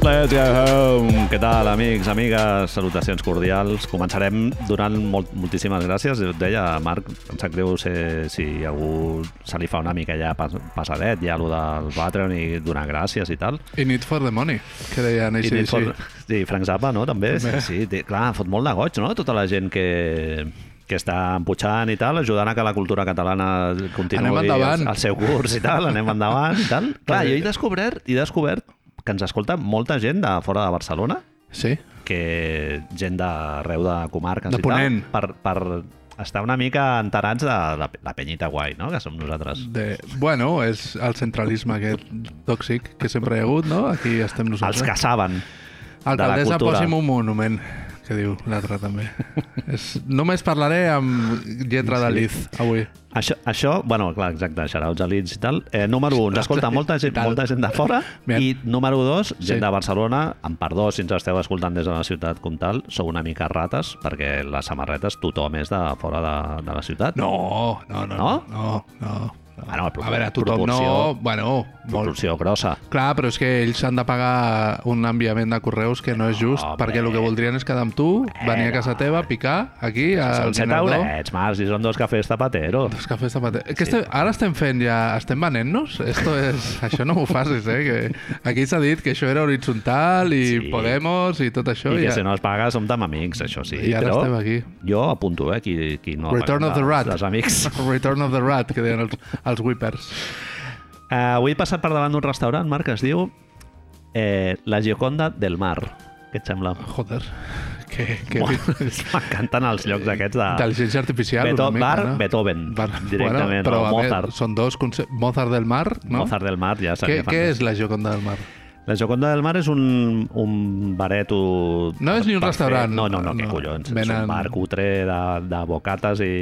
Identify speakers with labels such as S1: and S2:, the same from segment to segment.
S1: Let's go home. Què tal, amics, amigues? Salutacions cordials. Començarem donant molt, moltíssimes gràcies. Us deia, Marc, em sap greu ser, si algú se li fa una mica ja pas, passadet, ja allò del Patreon i donar gràcies i tal.
S2: I Need for the Money, que deien
S1: I
S2: així.
S1: Need for-
S2: sí.
S1: sí, Frank Zappa, no? També. Sí, sí, té- clar, fot molt de goig, no? Tota la gent que que està empujant i tal, ajudant a que la cultura catalana continuï
S2: Anem endavant.
S1: el, el seu curs i tal, anem endavant i tal. Clar, jo he descobert, he descobert que ens escolta molta gent de fora de Barcelona,
S2: Sí?
S1: que gent d'arreu de comarques
S2: De
S1: i
S2: Ponent.
S1: tal, per, per estar una mica enterats de la, la penyita guai, no?, que som nosaltres.
S2: De... Bueno, és el centralisme aquest tòxic que sempre hi ha hagut, no? Aquí estem nosaltres.
S1: Els que saben.
S2: Alcaldessa,
S1: cultura.
S2: posi'm un monument, que diu l'altre també. és... Només parlaré amb lletra sí. de Liz avui.
S1: Això, això, bueno, clar, exacte, xarauts a Leeds i tal. Eh, número 1, escolta, molta gent,
S2: tal.
S1: molta gent de fora.
S2: Bien.
S1: I número 2, gent
S2: Sí.
S1: de Barcelona, amb perdó si ens esteu escoltant des de la ciutat com tal, sou una mica rates, perquè les samarretes tothom és de fora de, de la ciutat.
S2: No, no, no.
S1: No?
S2: No, no. no.
S1: Bueno, però
S2: a veure, tothom
S1: proporció-
S2: no... Bueno, molt,
S1: Proporció grossa.
S2: Clar, però és que ells han de pagar un enviament de correus que no és just,
S1: Home.
S2: perquè el que voldrien és quedar amb tu, venir a casa teva, picar, aquí, al
S1: Són 7
S2: dinador...
S1: aurets, Marc, si són dos cafès tapatero.
S2: Dos cafès de paté. Que este, ara estem fent ja... Estem venent-nos? Esto és... Això no m'ho facis, eh? Que aquí s'ha dit que això era horitzontal i
S1: Sí.
S2: Podemos i tot això.
S1: I que
S2: ja-
S1: si no es paga som tan amics, això sí.
S2: I ara
S1: però
S2: estem aquí.
S1: Jo apunto, eh, qui, qui no ha
S2: Return of
S1: pagat
S2: the
S1: els-
S2: Rat.
S1: els amics.
S2: Return of the Rat, que deien els, els Whippers.
S1: Uh, avui he passat per davant d'un restaurant, Marc, que es diu eh, La Gioconda del Mar. Què et sembla?
S2: Joder. Que, que...
S1: M'encanten els llocs aquests de...
S2: Intel·ligència artificial,
S1: Beto-
S2: una mica,
S1: Bar
S2: no?
S1: Ah. Beethoven, directament,
S2: però
S1: o
S2: a més,
S1: Mozart.
S2: són dos conce... Mozart del mar, no?
S1: Mozart del Mar, ja
S2: Què,
S1: sabia.
S2: què és la Joconda del Mar?
S1: La Gioconda del Mar és un, un bareto...
S2: No és ni un
S1: per
S2: restaurant.
S1: Fer... No, no, no, què
S2: No.
S1: collons. Venen... És
S2: Venen-
S1: un bar cutre de, de bocates i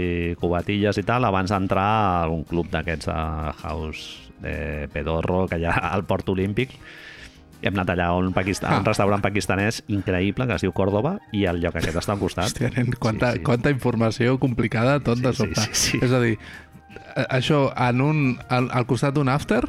S1: cubatilles i tal, abans d'entrar a un club d'aquests de House de Pedorro que hi ha al Port Olímpic. Hem anat allà a un, paquista... a un
S2: Ah.
S1: restaurant pakistanès increïble que es diu Còrdoba i el lloc aquest està al costat.
S2: Hòstia, nen, quanta, sí, sí. quanta informació complicada tot
S1: Sí,
S2: de
S1: sí,
S2: sobte.
S1: sí, sí.
S2: És a dir, a- això en un, al, al costat d'un after,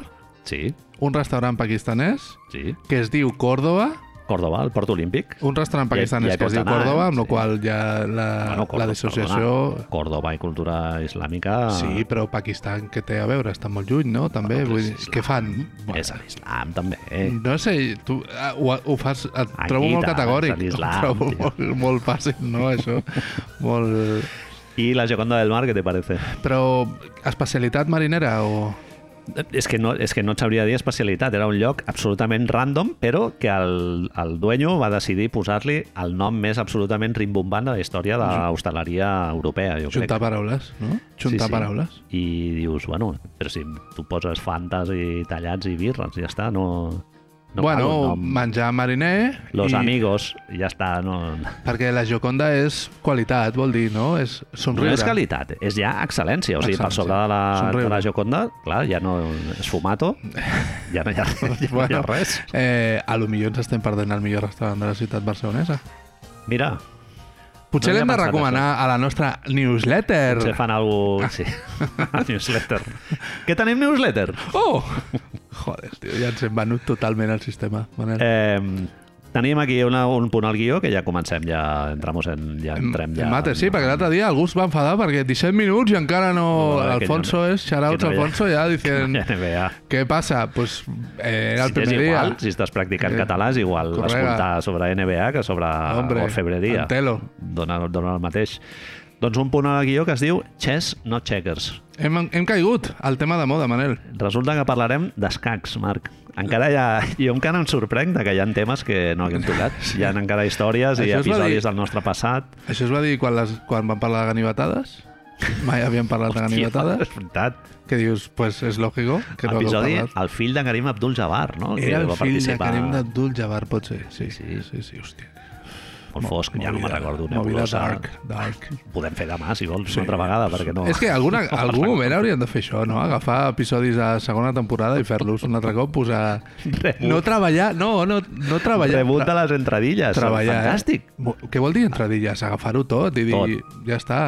S1: Sí,
S2: un restaurant pakistanès
S1: sí.
S2: que es diu Còrdoba,
S1: Còrdoba, al Port Olímpic.
S2: un restaurant
S1: Ja-
S2: pakistanès
S1: ja
S2: que es
S1: costa
S2: diu
S1: anar,
S2: Còrdoba, amb
S1: eh?
S2: la qual ja Uh, la,
S1: Bueno, Còrdoba,
S2: la dissociació...
S1: perdona. Ah. Còrdoba i cultura islàmica...
S2: Sí, però Pakistan, que té a veure? Està molt lluny, no? També,
S1: Bueno, però
S2: vull
S1: és
S2: dir, què fan?
S1: és a l'islam, també.
S2: No sé, tu ah, ho, ho fas... Et
S1: Aquí
S2: trobo molt
S1: tant,
S2: categòric.
S1: a l'Islam,
S2: Ho trobo
S1: tio.
S2: molt, molt fàcil, no, això? molt...
S1: I la Gioconda del Mar, què te parece?
S2: Però especialitat marinera o...
S1: És que, no, és que no et sabria dir especialitat, era un lloc absolutament random, però que el, el dueño va decidir posar-li el nom més absolutament rimbombant de la història de l'hostaleria europea, jo crec.
S2: Juntar paraules, no? Juntar paraules.
S1: I dius, bueno, però si tu poses fantes i tallats i birres, ja està, no... no
S2: bueno,
S1: cal un nom.
S2: menjar mariner...
S1: Los amigos, ja està, no...
S2: Perquè la Joconda és qualitat, vol dir, no? És
S1: No
S2: somriure.
S1: és qualitat, és ja excel·lència. O sigui, per
S2: Excel·lència.
S1: sobre de la,
S2: Somriure.
S1: de la Joconda, clar, ja no és fumato, ja no hi ha, ja no hi ha res.
S2: Eh, a lo millor ens estem perdent el millor restaurant de la ciutat barcelonesa.
S1: Mira,
S2: Potser
S1: No hi ha
S2: l'hem de
S1: pensat,
S2: recomanar a la nostra
S1: Potser
S2: newsletter.
S1: fan alguna cosa... Sí, a newsletter. Què tenim newsletter?
S2: Oh! Joder, tio, ja ens hem venut totalment el sistema. Manel.
S1: Eh, tenim aquí una, un punt al guió que ja comencem, ja entramos en... Ja entrem ja...
S2: Mate, sí, perquè l'altre dia algú es va enfadar perquè 17 minuts i encara no...
S1: No, eh, que
S2: Alfonso
S1: no-
S2: és, xarauts
S1: que no hi ha-
S2: Alfonso, ja dicen...
S1: Ja, NBA.
S2: Què passa? Pues, eh, era
S1: Si és
S2: el primer dia.
S1: igual, si estàs practicant
S2: Eh,
S1: català, és igual
S2: correga.
S1: escoltar sobre NBA que sobre
S2: Hombre,
S1: orfebreria.
S2: Antelo.
S1: Dona, dona el mateix. Doncs un punt al guió que es diu Chess, no checkers.
S2: Hem, hem caigut al tema de moda, Manel.
S1: Resulta que parlarem d'escacs, Marc. Encara hi ha... Jo encara em sorprenc de que hi ha temes que no haguem tocat. Hi ha encara històries i
S2: Això es va
S1: episodis
S2: dir-
S1: del nostre passat.
S2: Això es va dir quan, les, quan van parlar de ganivetades. Mai havíem parlat de
S1: Hòstia,
S2: ganivetades.
S1: és veritat.
S2: Que dius, pues és lògico que no hagueu
S1: Episodi,
S2: parlat.
S1: el fill de Karim Abdul-Jabbar, no? que
S2: Era el
S1: va
S2: fill de
S1: participar
S2: Karim Abdul Jabbar, pot ser. Sí,
S1: Sí.
S2: sí, sí, sí hòstia.
S1: Molt fosc, ja no me'n
S2: Movida-
S1: recordo.
S2: Movida
S1: Nebulosa.
S2: dark, dark.
S1: Podem fer demà, si vols, una altra vegada, perquè no...
S2: És que alguna, algun moment hauríem de fer això, no? Agafar episodis de segona temporada i fer-los un altre cop, posar...
S1: Rebut.
S2: No treballar, no, no, no treballar.
S1: Rebut de les entradilles.
S2: treballar. eh?
S1: Fantàstic.
S2: Mo- Què vol dir entradilles? Agafar-ho tot i dir,
S1: Tot.
S2: ja està.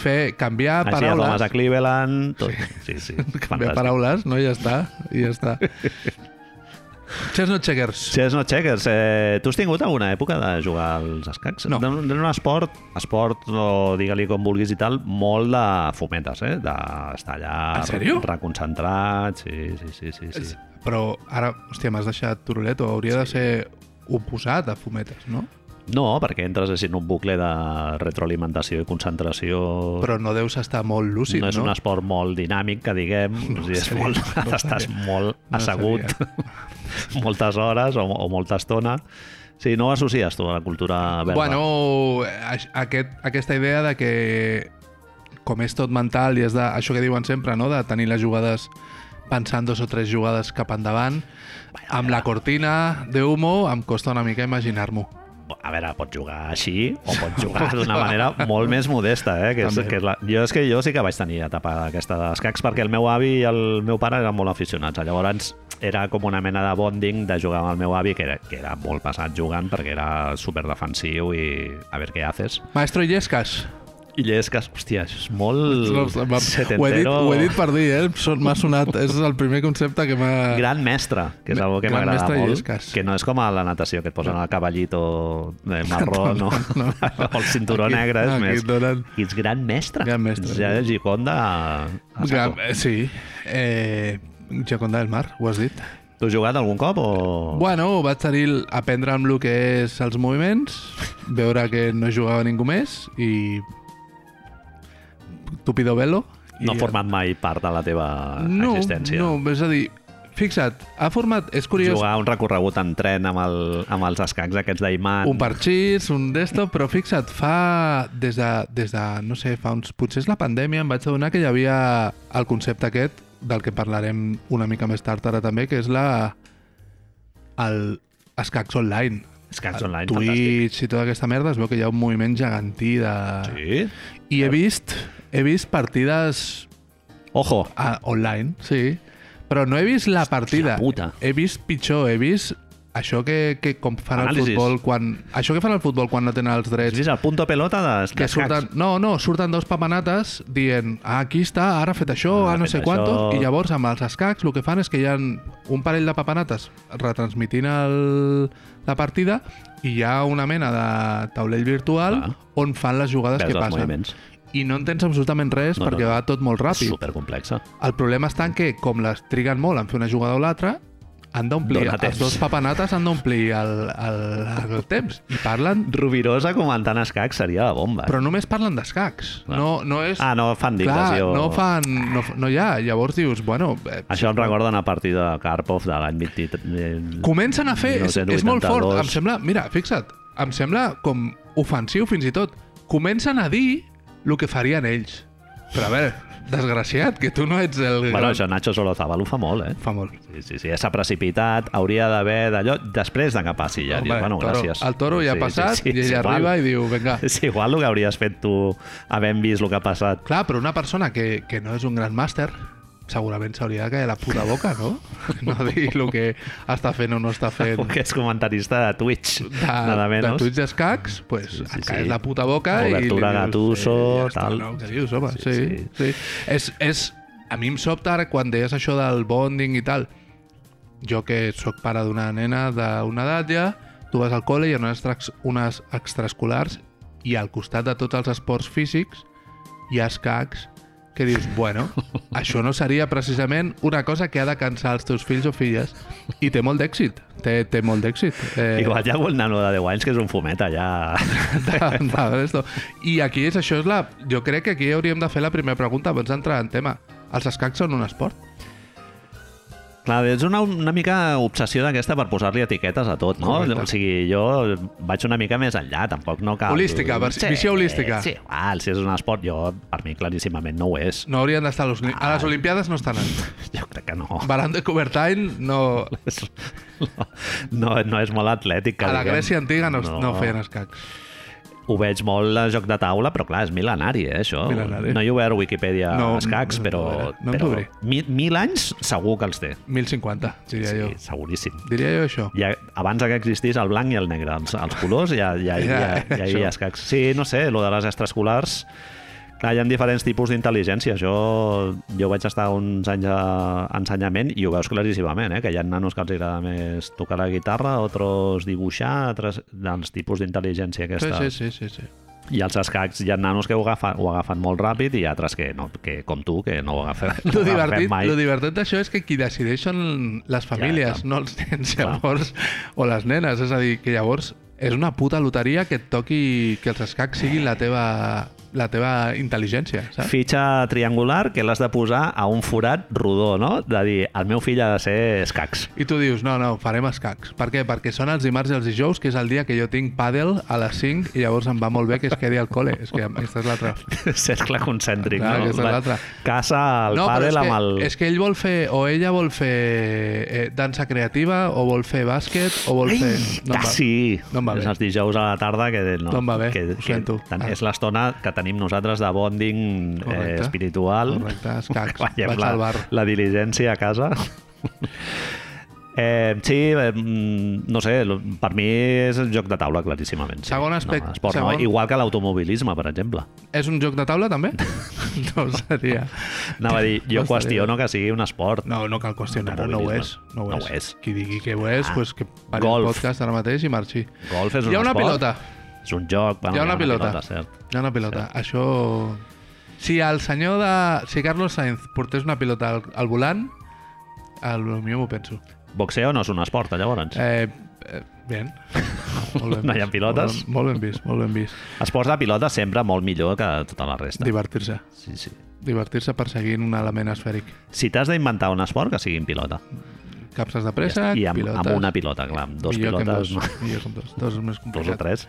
S2: Fer, canviar
S1: Així a Thomas
S2: paraules.
S1: a Cleveland, tot. Sí, sí.
S2: Canviar
S1: Fantàstic.
S2: paraules, no? I ja està. I ja està. Chess no checkers.
S1: Chess no checkers. Eh, tu has tingut alguna època de jugar als escacs?
S2: No.
S1: Era un- Era un esport, esport o digue-li com vulguis i tal, molt de fumetes, eh? D'estar allà
S2: En sèrio?
S1: reconcentrat. Sí, sí, sí. sí, sí.
S2: Però ara, hòstia, m'has deixat turulet, o hauria de ser oposat a fumetes, no?
S1: No, perquè entres així en un bucle de retroalimentació i concentració.
S2: Però no deus estar molt lúcid,
S1: no
S2: no?
S1: és un esport molt dinàmic, que diguem. No, o sigui, és
S2: sabia,
S1: molt,
S2: no
S1: estàs
S2: sabia.
S1: molt
S2: No
S1: assegut moltes hores o, o molta estona. Sí, no ho associes tu a la cultura verda.
S2: Bueno, a- aquest, aquesta idea de que com és tot mental i és de, això que diuen sempre, no? de tenir les jugades pensant dos o tres jugades cap endavant, amb la cortina de humo em costa una mica imaginar-m'ho.
S1: a veure, pot jugar així o pot jugar d'una manera molt més modesta, eh? Que és,
S2: També.
S1: que és la... Jo és que jo sí que vaig tenir etapa aquesta d'escacs perquè el meu avi i el meu pare eren molt aficionats. Llavors era com una mena de bonding de jugar amb el meu avi que era, que era molt passat jugant perquè era superdefensiu i a veure què haces.
S2: Maestro Illescas.
S1: I llesques, hòstia, això és molt
S2: No, m'ha- ho, he dit,
S1: setentero.
S2: ho he dit per dir, eh? Són- M'ha sonat, és el primer concepte que m'ha...
S1: Gran mestre, que és
S2: Me-
S1: una que
S2: Ah. Gran
S1: m'agrada
S2: mestre i
S1: molt,
S2: llesques.
S1: que no és com a la natació, que et posen el cavallito eh, marró, no,
S2: no.
S1: o el cinturó
S2: Aquí-
S1: negre, és
S2: aquí
S1: més.
S2: et donen-
S1: Aquí ets gran mestre.
S2: Gran mestre.
S1: Ja és Giconda a, a
S2: Gran,
S1: saco.
S2: eh, sí. Eh, Jaconda del Mar, ho has dit.
S1: Tu has jugat algun cop o...?
S2: Bueno, vaig tenir el- aprendre amb el que és els moviments, veure que no jugava ningú més i... Tupido velo. i-
S1: no ha format mai part de la teva
S2: no,
S1: existència.
S2: No, és a dir, fixa't, ha format... És curiós,
S1: Jugar un recorregut en tren amb, el, amb els escacs aquests d'Aiman.
S2: un parxís, un d'esto, però fixa't, fa des de, des de, no sé, fa uns... Potser és la pandèmia, em vaig adonar que hi havia el concepte aquest, del que parlarem una mica més tard ara també, que és la... el escacs online.
S1: Escacs online,
S2: Twitch
S1: fantàstic.
S2: Ah, i tota aquesta merda, es veu que hi ha un moviment gegantí de...
S1: Sí?
S2: I he vist, he vist partides
S1: Ojo,
S2: Ah, online, sí. Però no he vist la partida.
S1: puta.
S2: He vist pitjor, he vist això que, que com fan
S1: Anàlisis.
S2: el futbol quan... Això que fan el futbol quan no tenen els
S1: has
S2: drets.
S1: vist el punto pelota de-
S2: Que
S1: d'escacs?
S2: surten, no, no, surten dos papanates dient, ah, aquí està, ara ha fet això,
S1: Ara ha
S2: ah, no
S1: fet
S2: sé
S1: això."
S2: quantos, i llavors amb els escacs el que fan és que hi ha un parell de papanates retransmitint el, la partida i hi ha una mena de taulell virtual
S1: Clar.
S2: on fan les jugades
S1: Veus
S2: que
S1: els
S2: passen.
S1: moviments.
S2: I no entens absolutament res
S1: No, no,
S2: perquè
S1: no.
S2: va tot molt ràpid.
S1: Supercomplexa.
S2: El problema està en que, com les triguen molt en fer una jugada o l'altra, han d'omplir,
S1: Dóna temps.
S2: els dos papanates han d'omplir el, el, el temps. I parlen,
S1: Rubirosa comentant escacs seria la bomba. eh?
S2: però només parlen d'escacs.
S1: Clar.
S2: No, no és...
S1: Ah, no fan
S2: clar,
S1: digressió.
S2: no fan... No, fa- no hi ha. Llavors dius, bueno... Eh,
S1: Això em recorda una partida de Karpov de l'any 23. eh,
S2: Comencen a fer... És, és molt fort.
S1: 1982.
S2: Em sembla... Mira, fixa't. Em sembla com ofensiu, fins i tot. Comencen a dir el que farien ells. Però a veure, desgraciat, que tu no ets el...
S1: Bueno, això Nacho Solozabal ho fa molt, eh?
S2: Fa molt.
S1: Sí, sí, sí, ja s'ha precipitat, hauria d'haver d'allò després de que passi ja.
S2: Home,
S1: Dius, bueno,
S2: toro,
S1: gràcies.
S2: El toro ja ha passat i
S1: és
S2: ell
S1: igual.
S2: arriba i diu, vinga.
S1: És igual el que hauries fet tu havent vist el que ha passat.
S2: Clar, però una persona que, que no és un gran màster segurament s'hauria de caer la puta boca, no? No dir el que està fent o no està fent
S1: Perquè és comentarista de Twitch,
S2: de,
S1: nada
S2: de
S1: menos.
S2: tuits d'escacs, pues,
S1: Sí,
S2: sí,
S1: sí,
S2: sí, et caes
S1: sí.
S2: la puta boca
S1: Obertura
S2: i... li dius,
S1: Gattuso,
S2: "Eh, ja
S1: tal."
S2: Està, no, què dius, home?
S1: Sí,
S2: Sí, sí. sí. És, és, a mi em sobta ara quan deies això del bonding i tal. Jo que sóc pare d'una nena d'una edat ja, tu vas al col·le i hi ha unes, extra- unes extraescolars i al costat de tots els esports físics hi ha escacs que dius, bueno, això no seria precisament una cosa que ha de cansar els teus fills o filles. I té molt d'èxit, té, té molt d'èxit. Eh,
S1: Igual hi ha algun nano de 10 anys que és un fumeta ja.
S2: de, de esto. I aquí és això, és la... jo crec que aquí hauríem de fer la primera pregunta abans d'entrar en tema. Els escacs són un esport?
S1: Clar, és una, una mica obsessió d'aquesta per posar-li etiquetes a tot, no?
S2: Correcte.
S1: O sigui, jo vaig una mica més enllà, tampoc no cal...
S2: Holística, vers- visió holística.
S1: Sí, igual, si és un esport, jo, per mi, claríssimament no ho és.
S2: No haurien d'estar a, los... a les Olimpiades, no estan.
S1: Jo crec que no.
S2: Barant de Cobertine, no...
S1: És- No, no és molt atlètic. Que
S2: A la
S1: diguem.
S2: Grècia antiga no, no. no feien escacs.
S1: Ho veig molt a joc de taula, però clar, és mil·lenari, eh, això.
S2: Mil·lenari.
S1: No hi he obert Wikipedia no,
S2: No,
S1: escacs,
S2: no,
S1: però...
S2: no em
S1: però
S2: t'obriré.
S1: mil, mil anys segur que els té.
S2: 1050, diria
S1: sí,
S2: jo.
S1: seguríssim.
S2: Diria jo això.
S1: ja, abans que existís el blanc i el negre, els, els colors, ja, ja, ja, ja,
S2: Ja,
S1: ja, ja hi havia
S2: això.
S1: escacs. Sí, no sé, lo de les extraescolars, Clar, hi ha diferents tipus d'intel·ligència. Jo, jo vaig estar uns anys a ensenyament i ho veus claríssimament, eh? que hi ha nanos que els agrada més tocar la guitarra, altres dibuixar, altres dels tipus d'intel·ligència
S2: Sí,
S1: aquesta.
S2: sí, sí, sí, sí.
S1: I els escacs hi ha nanos que ho agafen, ho agafen molt ràpid i altres que, no, que com tu, que no ho agafen, no
S2: Lo
S1: ho
S2: divertit,
S1: agafen mai.
S2: lo divertit d'això és que qui decideix són les famílies,
S1: clar.
S2: no els nens,
S1: Clar.
S2: llavors, o les nenes. És a dir, que llavors és una puta loteria que et toqui que els escacs siguin la teva, la teva intel·ligència, saps?
S1: Fitxa triangular que l'has de posar a un forat rodó, no? De dir, el meu fill ha de ser escacs.
S2: I tu dius, no, no, farem escacs. Per què? Perquè són els dimarts i els dijous, que és el dia que jo tinc pàdel a les 5 i llavors em va molt bé que es quedi al col·le. És que aquesta és l'altra.
S1: Cercle concèntric,
S2: Clar,
S1: no?
S2: aquesta és l'altra.
S1: Casa el
S2: però
S1: pàdel
S2: és que,
S1: amb el...
S2: És que ell vol fer, o ella vol fer eh, dansa creativa, o vol fer bàsquet, o vol fer... em va-
S1: Quasi!
S2: no em va bé.
S1: és els dijous a la tarda que... No,
S2: No em va bé,
S1: que,
S2: ho sento.
S1: Tant,
S2: Ah.
S1: És l'estona que tenim nosaltres de bonding eh,
S2: Correcte.
S1: espiritual.
S2: Correcte, escacs.
S1: Veiem
S2: Vaig
S1: la,
S2: al bar.
S1: la diligència a casa. Eh, sí, eh, mm, no sé, lo- per mi és el joc de taula, claríssimament. Sí.
S2: Segon aspecte-
S1: No, esport,
S2: segon-
S1: No? Igual que l'automobilisme, per exemple.
S2: És un joc de taula, també? no ho seria.
S1: Anava a dir, jo
S2: Estaria bé.
S1: qüestiono que sigui un esport.
S2: No, no cal qüestionar-ho, no ho és. No ho és.
S1: No ho és.
S2: Qui digui que ho és,
S1: Ah,
S2: ah, pues que pari el
S1: golf.
S2: podcast ara mateix i marxi.
S1: Golf és un
S2: Hi ha una
S1: esport.
S2: pilota.
S1: És un joc. Bueno,
S2: Hi ha una pilota.
S1: cert.
S2: Hi ha una pilota. Això... Si el senyor de... Si Carlos Sainz portés una pilota al, al volant, al millor m'ho penso.
S1: Boxeo no és un esport, llavors.
S2: Eh, eh, bien. Molt ben
S1: No hi ha
S2: vist.
S1: pilotes?
S2: Molt ben, molt ben vist, molt ben vist.
S1: Esports de pilota sempre molt millor que tota la resta.
S2: Divertir-se.
S1: Sí, sí.
S2: Divertir-se perseguint un element esfèric.
S1: Si t'has d'inventar un esport, que sigui en pilota.
S2: Capses de pressa,
S1: I amb,
S2: pilotes...
S1: amb una pilota, clar, amb dos
S2: Ah, millor
S1: pilotes,
S2: Que amb
S1: no?
S2: dos, millor que amb dos. Dos és més
S1: dos o
S2: complicat.
S1: tres.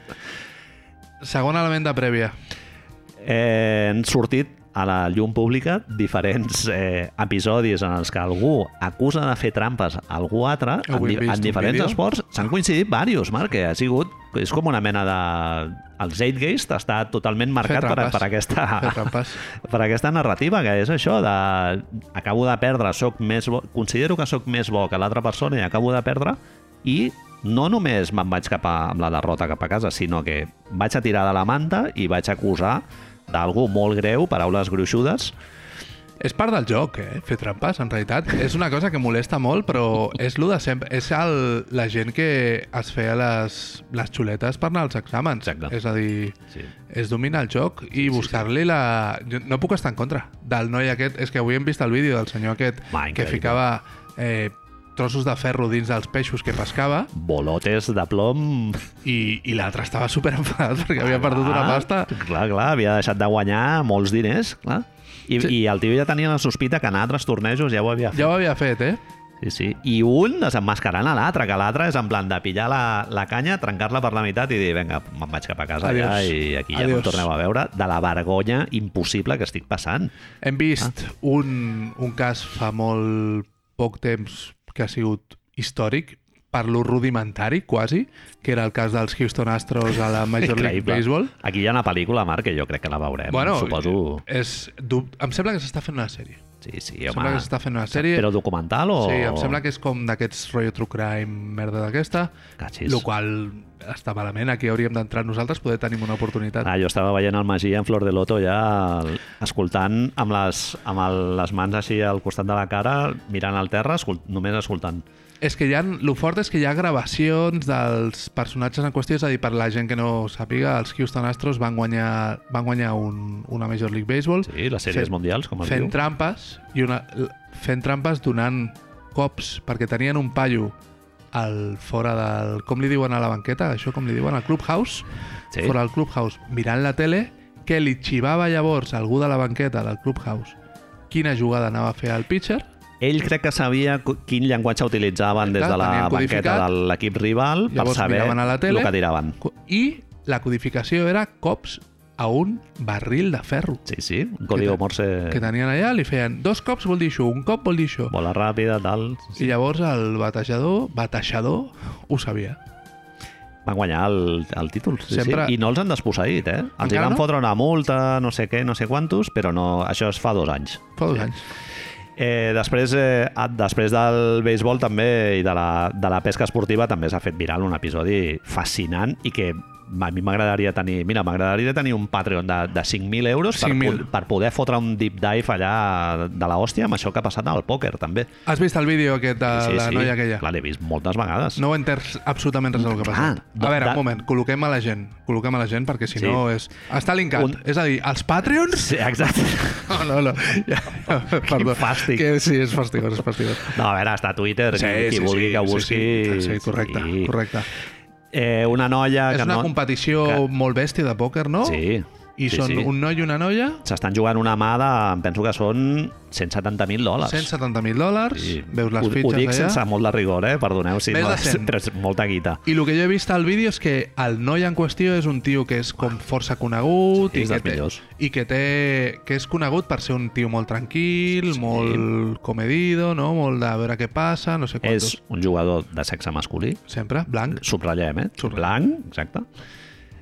S2: Segon element de prèvia.
S1: Eh, han sortit a la llum pública diferents eh, episodis en els que algú acusa de fer trampes a algú altre
S2: Ho
S1: en,
S2: hem
S1: di-
S2: vist,
S1: en
S2: un
S1: diferents
S2: vídeo.
S1: esports. S'han coincidit diversos, Marc, que ha sigut... És com una mena de... El Zeitgeist està totalment marcat per,
S2: trampes.
S1: per, aquesta,
S2: Fer trampes.
S1: per aquesta narrativa, que és això de... Acabo de perdre, soc més bo... Considero que sóc més bo que l'altra persona i acabo de perdre i no només me'n vaig cap a, amb la derrota cap a casa, sinó que vaig a tirar de la manta i vaig a acusar d'algú molt greu, paraules gruixudes.
S2: És part del joc, eh? Fer trampes, en realitat. És una cosa que molesta molt, però és lo de sempre. És el, la gent que es feia les, les xuletes per anar als exàmens.
S1: Exacte.
S2: És a dir,
S1: Sí.
S2: es domina el joc i buscar-li la... Jo no puc estar en contra del noi aquest. És que avui hem vist el vídeo del senyor aquest
S1: Va,
S2: que
S1: increïble.
S2: ficava eh, trossos de ferro dins dels peixos que pescava
S1: Bolotes de plom...
S2: i, i l'altre estava super enfadat perquè havia perdut una
S1: Clar,
S2: pasta.
S1: Clar, clar, havia deixat de guanyar molts diners, clar. I,
S2: Sí.
S1: I el tio ja tenia la sospita que en altres tornejos ja ho havia fet.
S2: Ja ho havia fet, eh?
S1: Sí, sí. I un desenmascarant a l'altre, que l'altre és en plan de pillar la, la canya, trencar-la per la meitat i dir, vinga, me'n vaig cap a casa
S2: Adiós.
S1: ja i aquí ja no
S2: Adiós.
S1: em torneu a veure, de la vergonya impossible que estic passant.
S2: Hem vist ah. un, un cas fa molt poc temps que ha sigut històric, per lo rudimentari, quasi, que era el cas dels Houston Astros a la Major League
S1: Increïble.
S2: Baseball.
S1: Aquí hi ha una pel·lícula, Marc, que jo crec que la veurem,
S2: Bueno,
S1: suposo.
S2: És, dub... em sembla que s'està fent una sèrie.
S1: Sí, sí, home.
S2: Em sembla que s'està fent una sèrie.
S1: Però documental o...?
S2: Sí, em sembla que és com d'aquests rotllo true crime, merda d'aquesta,
S1: Cachis.
S2: el qual està malament, aquí hauríem d'entrar nosaltres, poder tenim una oportunitat.
S1: Ah, jo estava veient el Magí en Flor de Loto ja el- escoltant amb les, amb el, les mans així al costat de la cara, mirant al terra, escol, només escoltant.
S2: És que hi ha, lo fort és que hi ha gravacions dels personatges en qüestió, és a dir, per la gent que no ho sàpiga, els Houston Astros van guanyar, van guanyar un, una Major League Baseball
S1: Sí, les sèries
S2: Fent-
S1: mundials, com es
S2: fent
S1: diu.
S2: trampes i una, l- fent trampes donant cops, perquè tenien un paio al fora del... Com li diuen a la banqueta? Això com li diuen? Al clubhouse?
S1: Sí.
S2: Fora del clubhouse, mirant la tele, que li xivava llavors a algú de la banqueta del clubhouse quina jugada anava a fer al pitcher
S1: Ell crec que sabia cu- quin llenguatge utilitzaven des
S2: Clar,
S1: de la
S2: tenien
S1: banqueta
S2: codificat.
S1: de l'equip rival per
S2: Llavors
S1: saber
S2: miraven a la tele.
S1: el que tiraven.
S2: Co- I la codificació era cops a un barril de ferro
S1: Sí, sí, un código
S2: Que te-
S1: morse,
S2: que tenien allà, li feien dos cops vol dir això, un cop vol dir això.
S1: bola ràpida, tal...
S2: I llavors el batejador, batejador, ho sabia.
S1: Van guanyar el, el títol, sí,
S2: Sempre-
S1: sí. I no els han desposseït, eh? Els hi
S2: Encara
S1: van
S2: no?
S1: fotre una multa, no sé què, no sé quantos, però no... Això es fa dos anys.
S2: Fa dos anys.
S1: Eh, després, eh, ah, després del béisbol també i de la, de la pesca esportiva també s'ha fet viral un episodi fascinant i que a mi m'agradaria tenir... Mira, m'agradaria tenir un Patreon de, de 5.000 euros per,
S2: 5.000.
S1: po- per poder fotre un deep dive allà de la hòstia amb això que ha passat al pòquer, també.
S2: Has vist el vídeo aquest de la noia aquella?
S1: Clar, l'he vist moltes vegades.
S2: No ho he entès absolutament res del que ha
S1: Clar,
S2: passat.
S1: de-
S2: a veure,
S1: de-
S2: un moment, col·loquem a la gent. Col·loquem a la gent perquè si
S1: Sí.
S2: no és... Està linkat.
S1: Un-
S2: És a dir, els Patreons...
S1: Sí, exacte.
S2: No, no, no. Ja, perdó.
S1: fàstic.
S2: Que, sí, és fastigós, és fastigós.
S1: No, a veure, està a Twitter, sí, qui, qui vulgui que busqui...
S2: Sí, sí, sí correcte, sí. correcte.
S1: Eh, una noia
S2: És
S1: que
S2: una
S1: no...
S2: competició
S1: que-
S2: molt bèstia de pòquer, no?
S1: Sí.
S2: I
S1: sí,
S2: són
S1: sí.
S2: un noi i una noia,
S1: S'estan jugant una mà de... Em penso que són 170.000 dòlars.
S2: 170.000 dòlars,
S1: Sí.
S2: veus les
S1: ho,
S2: fitxes
S1: Ho dic
S2: allà...
S1: sense molt de rigor, eh? Perdoneu si...
S2: Més
S1: no-
S2: de 100.
S1: Però és molta guita.
S2: I el que jo he vist al vídeo és que el noi en qüestió és un tio que és com força conegut
S1: Sí,
S2: i,
S1: és
S2: que
S1: dels
S2: té,
S1: millors.
S2: i que, té, que és conegut per ser un tio molt tranquil, sí. molt comedido, no? molt de veure què passa, no sé
S1: És
S2: quantos.
S1: un jugador de sexe masculí,
S2: Sempre, blanc.
S1: subratllem, eh?
S2: Subratllem.
S1: Blanc, exacte.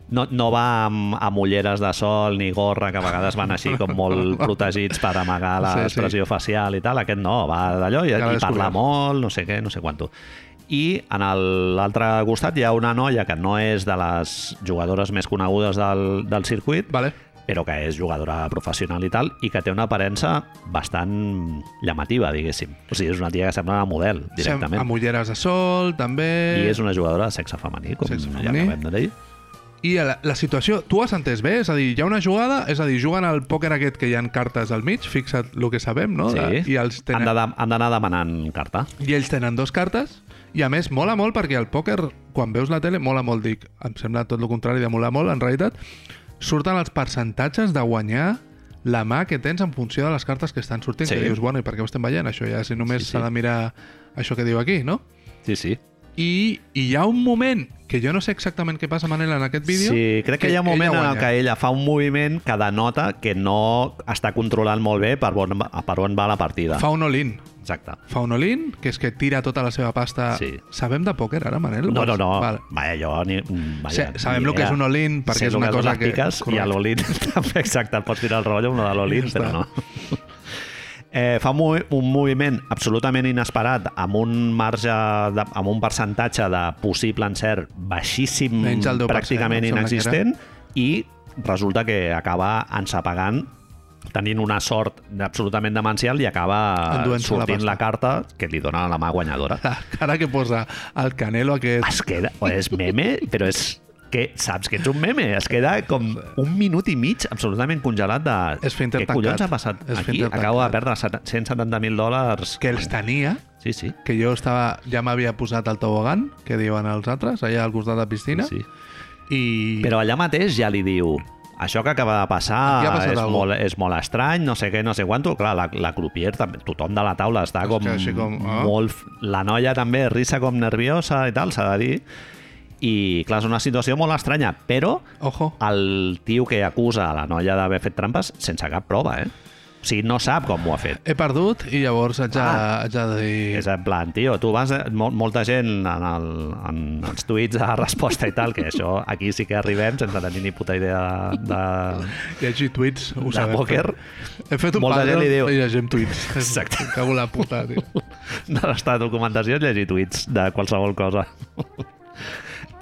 S1: No, no va amb, amb ulleres de sol ni gorra, que a vegades van així com molt protegits per amagar
S2: Sí, sí.
S1: l'expressió sí, sí. facial i tal. Aquest no, va d'allò i,
S2: Cara
S1: i parla
S2: descobert.
S1: molt, no sé què, no sé quanto. I en el- l'altre costat hi ha una noia que no és de les jugadores més conegudes del, del circuit,
S2: Vale.
S1: però que és jugadora professional i tal, i que té una aparença bastant llamativa, diguéssim. O sigui, és una tia que sembla una model,
S2: Sem-
S1: directament.
S2: Amb ulleres de sol, també...
S1: I és una jugadora de sexe femení, com
S2: Eh. Sexe
S1: ja
S2: femení.
S1: acabem de dir.
S2: I la, la situació, tu has entès bé? És a dir, hi ha una jugada, és a dir, juguen al pòquer aquest que hi ha cartes al mig, fixa't el que sabem, no? De- I, els
S1: Han
S2: tenen,
S1: de de- Han d'anar demanant carta.
S2: I ells tenen dos cartes, i a més mola molt perquè el pòquer, quan veus la tele, mola molt, dic, em sembla tot el contrari de molar molt, en realitat, surten els percentatges de guanyar la mà que tens en funció de les cartes que estan sortint,
S1: Sí.
S2: que dius, bueno, i per què ho estem veient, això ja, si només
S1: Sí, sí.
S2: s'ha de mirar això que diu aquí, no?
S1: Sí, sí.
S2: I, I hi ha un moment, que jo no sé exactament què passa, Manel, en aquest vídeo...
S1: Sí, crec que, hi ha un
S2: ella
S1: moment en el
S2: guanya.
S1: que ella fa un moviment que denota que no està controlant molt bé per on, va- per on va la partida.
S2: Fa un all-in.
S1: Exacte.
S2: Fa un all-in, que és que tira tota la seva pasta...
S1: Sí.
S2: Sabem de pòquer, ara, Manel? Doncs,
S1: No, no, no.
S2: Vale.
S1: Vaja, jo ni... mm, Vaja,
S2: Sa- sabem
S1: ni
S2: lo que
S1: idea.
S2: és un all-in, perquè
S1: Sé
S2: és
S1: lo
S2: una
S1: que són
S2: cosa
S1: les
S2: que-
S1: piques I
S2: correcte.
S1: l'Olin també, exacte, et pots tirar el rotllo, una de l'Olin,
S2: Ja
S1: però
S2: està.
S1: no. Eh, fa un, movi- un moviment absolutament inesperat amb un marge, de, amb un percentatge de possible encert baixíssim,
S2: Menys del 10%,
S1: pràcticament
S2: em sembla que era.
S1: inexistent, i resulta que acaba ensapegant tenint una sort absolutament demencial i acaba
S2: Enduent-se la
S1: sortint la,
S2: pasta.
S1: carta que li dona la mà guanyadora
S2: La cara que posa el Canelo aquest...
S1: es queda, o és meme, però és que saps que ets un meme, es queda com un minut i mig absolutament congelat de...
S2: És finter
S1: Què collons
S2: tancat.
S1: ha passat
S2: És
S1: aquí?
S2: finter
S1: Acabo de perdre 7- 170.000 dòlars.
S2: Que els tenia,
S1: Sí, sí.
S2: que jo estava, ja m'havia posat el tobogan, que diuen els altres, allà al costat de la piscina,
S1: sí.
S2: i...
S1: Però allà mateix ja li diu això que acaba de passar
S2: Aquí ha passat
S1: és
S2: alguna
S1: molt, és molt estrany, no sé què, no sé quanto. Clar, la, la crupier, també, tothom de la taula està
S2: És
S1: com,
S2: que així com, ah.
S1: molt... La noia també risa com nerviosa i tal, s'ha de dir. I clar, és una situació molt estranya, però
S2: Ojo.
S1: el tio que acusa a la noia d'haver fet trampes sense cap prova, eh? O sigui, no sap com ho ha fet.
S2: He perdut i llavors haig, ah. haig de dir...
S1: És en plan, tio, tu vas... eh, Mol, molta gent en, el, en els tuits de resposta i tal, que això aquí sí que arribem sense tenir ni puta idea de... de...
S2: Hi hagi tuits, ho
S1: De
S2: sabem.
S1: pòquer.
S2: He fet un
S1: Molta gent
S2: Patreon
S1: li diu-
S2: i llegim tuits.
S1: Exacte.
S2: Em Cago en la puta, tio.
S1: de l'estat de documentació és llegir tuits de qualsevol cosa.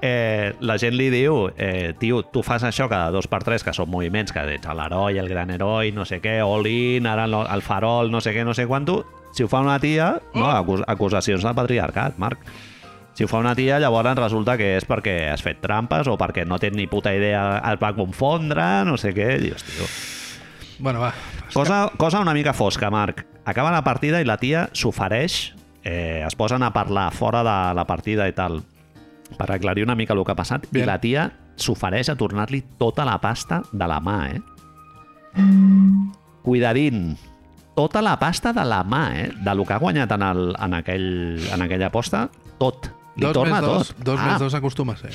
S1: Eh, la gent li diu, eh, tio, tu fas això cada dos per tres, que són moviments que ets l'heroi, el gran heroi, no sé què, all-in, ara no- el farol, no sé què, no sé quanto. Si ho fa una tia, no, acus acusacions de patriarcat, Marc. Si ho fa una tia, llavors resulta que és perquè has fet trampes o perquè no tens ni puta idea, es va confondre, no sé què. Dius, tio,
S2: Bueno, va.
S1: Cosa, cosa una mica fosca, Marc. Acaba la partida i la tia s'ofereix, eh, es posen a parlar fora de la partida i tal, per aclarir una mica el que ha passat,
S2: Bien.
S1: i la tia s'ofereix a tornar-li tota la pasta de la mà, eh? Cuidadín, tota la pasta de la mà, eh? De lo que ha guanyat en, el, en, aquell, en aquella aposta, tot. Li
S2: Dos
S1: torna Ah.
S2: més dos,
S1: tot.
S2: dos més dos eh? acostuma a ser.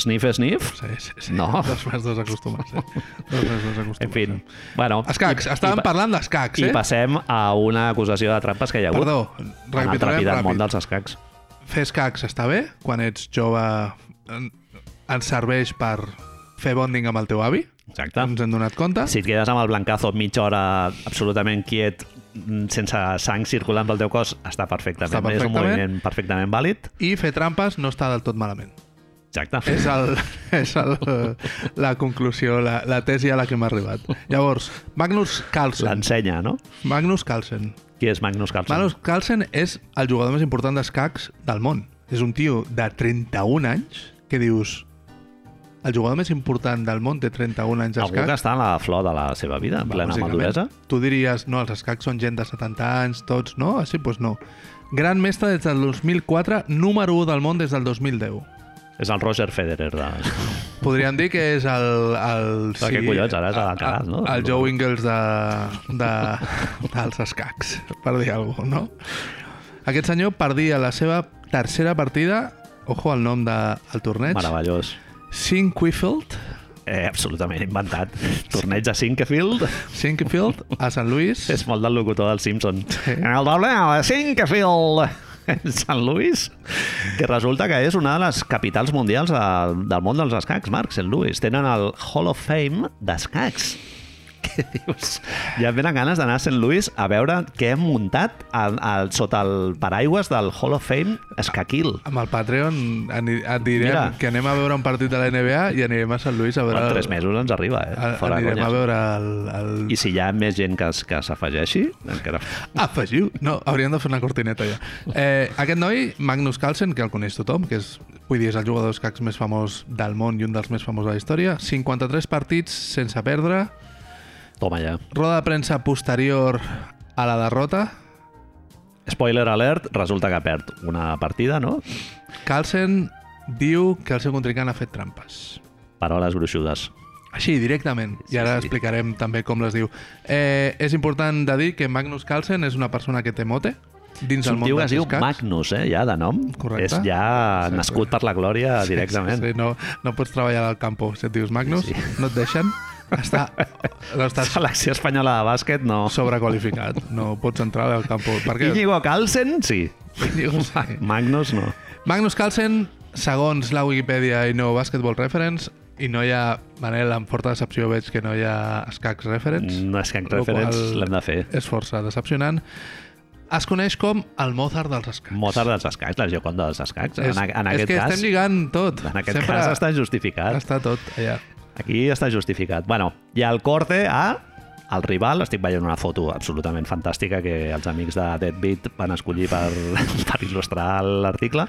S1: Sniff, sniff.
S2: Sí, sí, sí.
S1: No.
S2: Dos més dos acostuma a ser. Dos més dos acostuma
S1: En fi,
S2: a ser.
S1: bueno...
S2: Escacs,
S1: i-
S2: estàvem
S1: i pa-
S2: parlant d'escacs,
S1: I
S2: eh?
S1: passem a una acusació de trampes que hi ha hagut.
S2: Perdó,
S1: en el
S2: repitarem
S1: trepidant
S2: ràpid.
S1: món dels escacs.
S2: Fer escacs està bé? Quan ets jove en- ens serveix per fer bonding amb el teu avi?
S1: Exacte.
S2: Ens hem donat compte?
S1: Si et quedes amb el blancazo mitja hora absolutament quiet, mm, sense sang circulant pel teu cos, està perfectament.
S2: Està
S1: És un
S2: perfectament.
S1: moviment perfectament vàlid.
S2: I fer trampes no està del tot malament.
S1: Exacte.
S2: És, el, és el, la conclusió, la, la tesi a la que hem arribat. Llavors, Magnus Carlsen.
S1: L'ensenya, no?
S2: Magnus Carlsen.
S1: Qui és Magnus Carlsen?
S2: Magnus Carlsen és el jugador més important d'escacs del món. És un tio de 31 anys que dius... El jugador més important del món té 31 anys
S1: Algú que
S2: d'escacs.
S1: està a la flor de la seva vida, en plena
S2: bàsicament.
S1: maduresa.
S2: Tu diries, no, els escacs són gent de 70 anys, tots, no? Així, doncs pues no. Gran mestre des del 2004, número 1 del món des del 2010.
S1: És el Roger Federer de...
S2: Podríem dir que és el... el
S1: Però què collons, ara és a l'Alcaraz, no?
S2: El Joe Ingles de, de, dels escacs, per dir alguna cosa, no? Aquest senyor perdia la seva tercera partida, ojo al nom del de, el torneig,
S1: Meravellós.
S2: 5 Whiffield,
S1: Eh, absolutament inventat. Torneig a Sinkefield
S2: 5 Whiffield a Sant Lluís.
S1: és molt del locutor del Simpson. En el doble, a Sinkefield Sant Louis, que resulta que és una de les capitals mundials de, del món dels escacs, Marc, Sant Louis. Tenen el Hall of Fame d'escacs. Què dius? Ja em venen ganes d'anar a Sant Louis a veure què hem muntat al, al, sota el paraigües del Hall of Fame Escaquil.
S2: Amb el Patreon ani- et direm
S1: Mira.
S2: que anem a veure un partit de la NBA i anirem a Sant Lluís a veure...
S1: En
S2: el-
S1: tres mesos ens arriba, eh?
S2: a-
S1: Fora
S2: anirem a
S1: conyes.
S2: veure el... el...
S1: I si hi ha més gent que, es- que s'afegeixi, encara...
S2: Afegiu? No, hauríem de fer una cortineta ja. Eh, aquest noi, Magnus Carlsen, que el coneix tothom, que és, vull dir, és el jugador d'escacs més famós del món i un dels més famosos de la història, 53 partits sense perdre,
S1: Toma ja.
S2: roda de premsa posterior a la derrota,
S1: Spoiler alert, resulta que perd una partida, no?
S2: Carlsen diu que el seu contrincant ha fet trampes.
S1: Paraules gruixudes.
S2: Així, directament.
S1: Sí,
S2: I ara
S1: sí.
S2: explicarem també com les diu. Eh, és important de dir que Magnus Carlsen és una persona que té mote dins
S1: És
S2: el
S1: un
S2: món
S1: tio que
S2: dels
S1: es diu
S2: escacs.
S1: Magnus, eh, ja, de nom.
S2: Correcte.
S1: És ja nascut per la glòria directament.
S2: Sí, sí, no, no pots treballar al campo. Si et dius Magnus, sí. no et deixen. Està, no estàs
S1: Selecció espanyola de bàsquet, no.
S2: sobrequalificat. No pots entrar al campo. Per què?
S1: Íñigo Carlsen, sí.
S2: Íñigo, sí.
S1: Magnus, no.
S2: Magnus Carlsen, segons la Wikipedia i no Basketball Reference, i no hi ha... Manel, amb forta decepció veig que no hi ha escacs reference.
S1: No és que en
S2: Lo
S1: referents
S2: qual-
S1: l'hem de fer.
S2: És força decepcionant. Es coneix com el Mozart dels escacs.
S1: Mozart dels escacs, la Gioconda dels escacs.
S2: És,
S1: en, a- en
S2: és
S1: aquest
S2: que
S1: cas,
S2: estem lligant tot.
S1: en aquest cas està justificat.
S2: està tot allà.
S1: Aquí està justificat. Bueno, i el corte a el rival, estic veient una foto absolutament fantàstica que els amics de Deadbeat van escollir per, per il·lustrar l'article.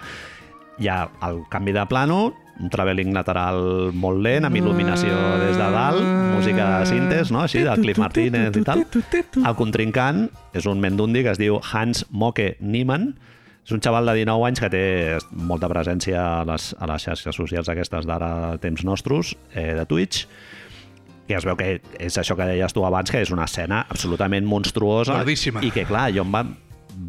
S1: Hi ha el canvi de plano, un travelling lateral molt lent, amb il·luminació des de dalt, música de cintes, no? així, del Cliff Martínez i tal. El contrincant és un mendundi que es diu Hans Moke Niemann, és un xaval de 19 anys que té molta presència a les, a les xarxes socials aquestes d'ara temps nostres, eh, de Twitch, i es veu que és això que deies tu abans, que és una escena absolutament monstruosa.
S2: Gordíssima.
S1: I que, clar, jo em va,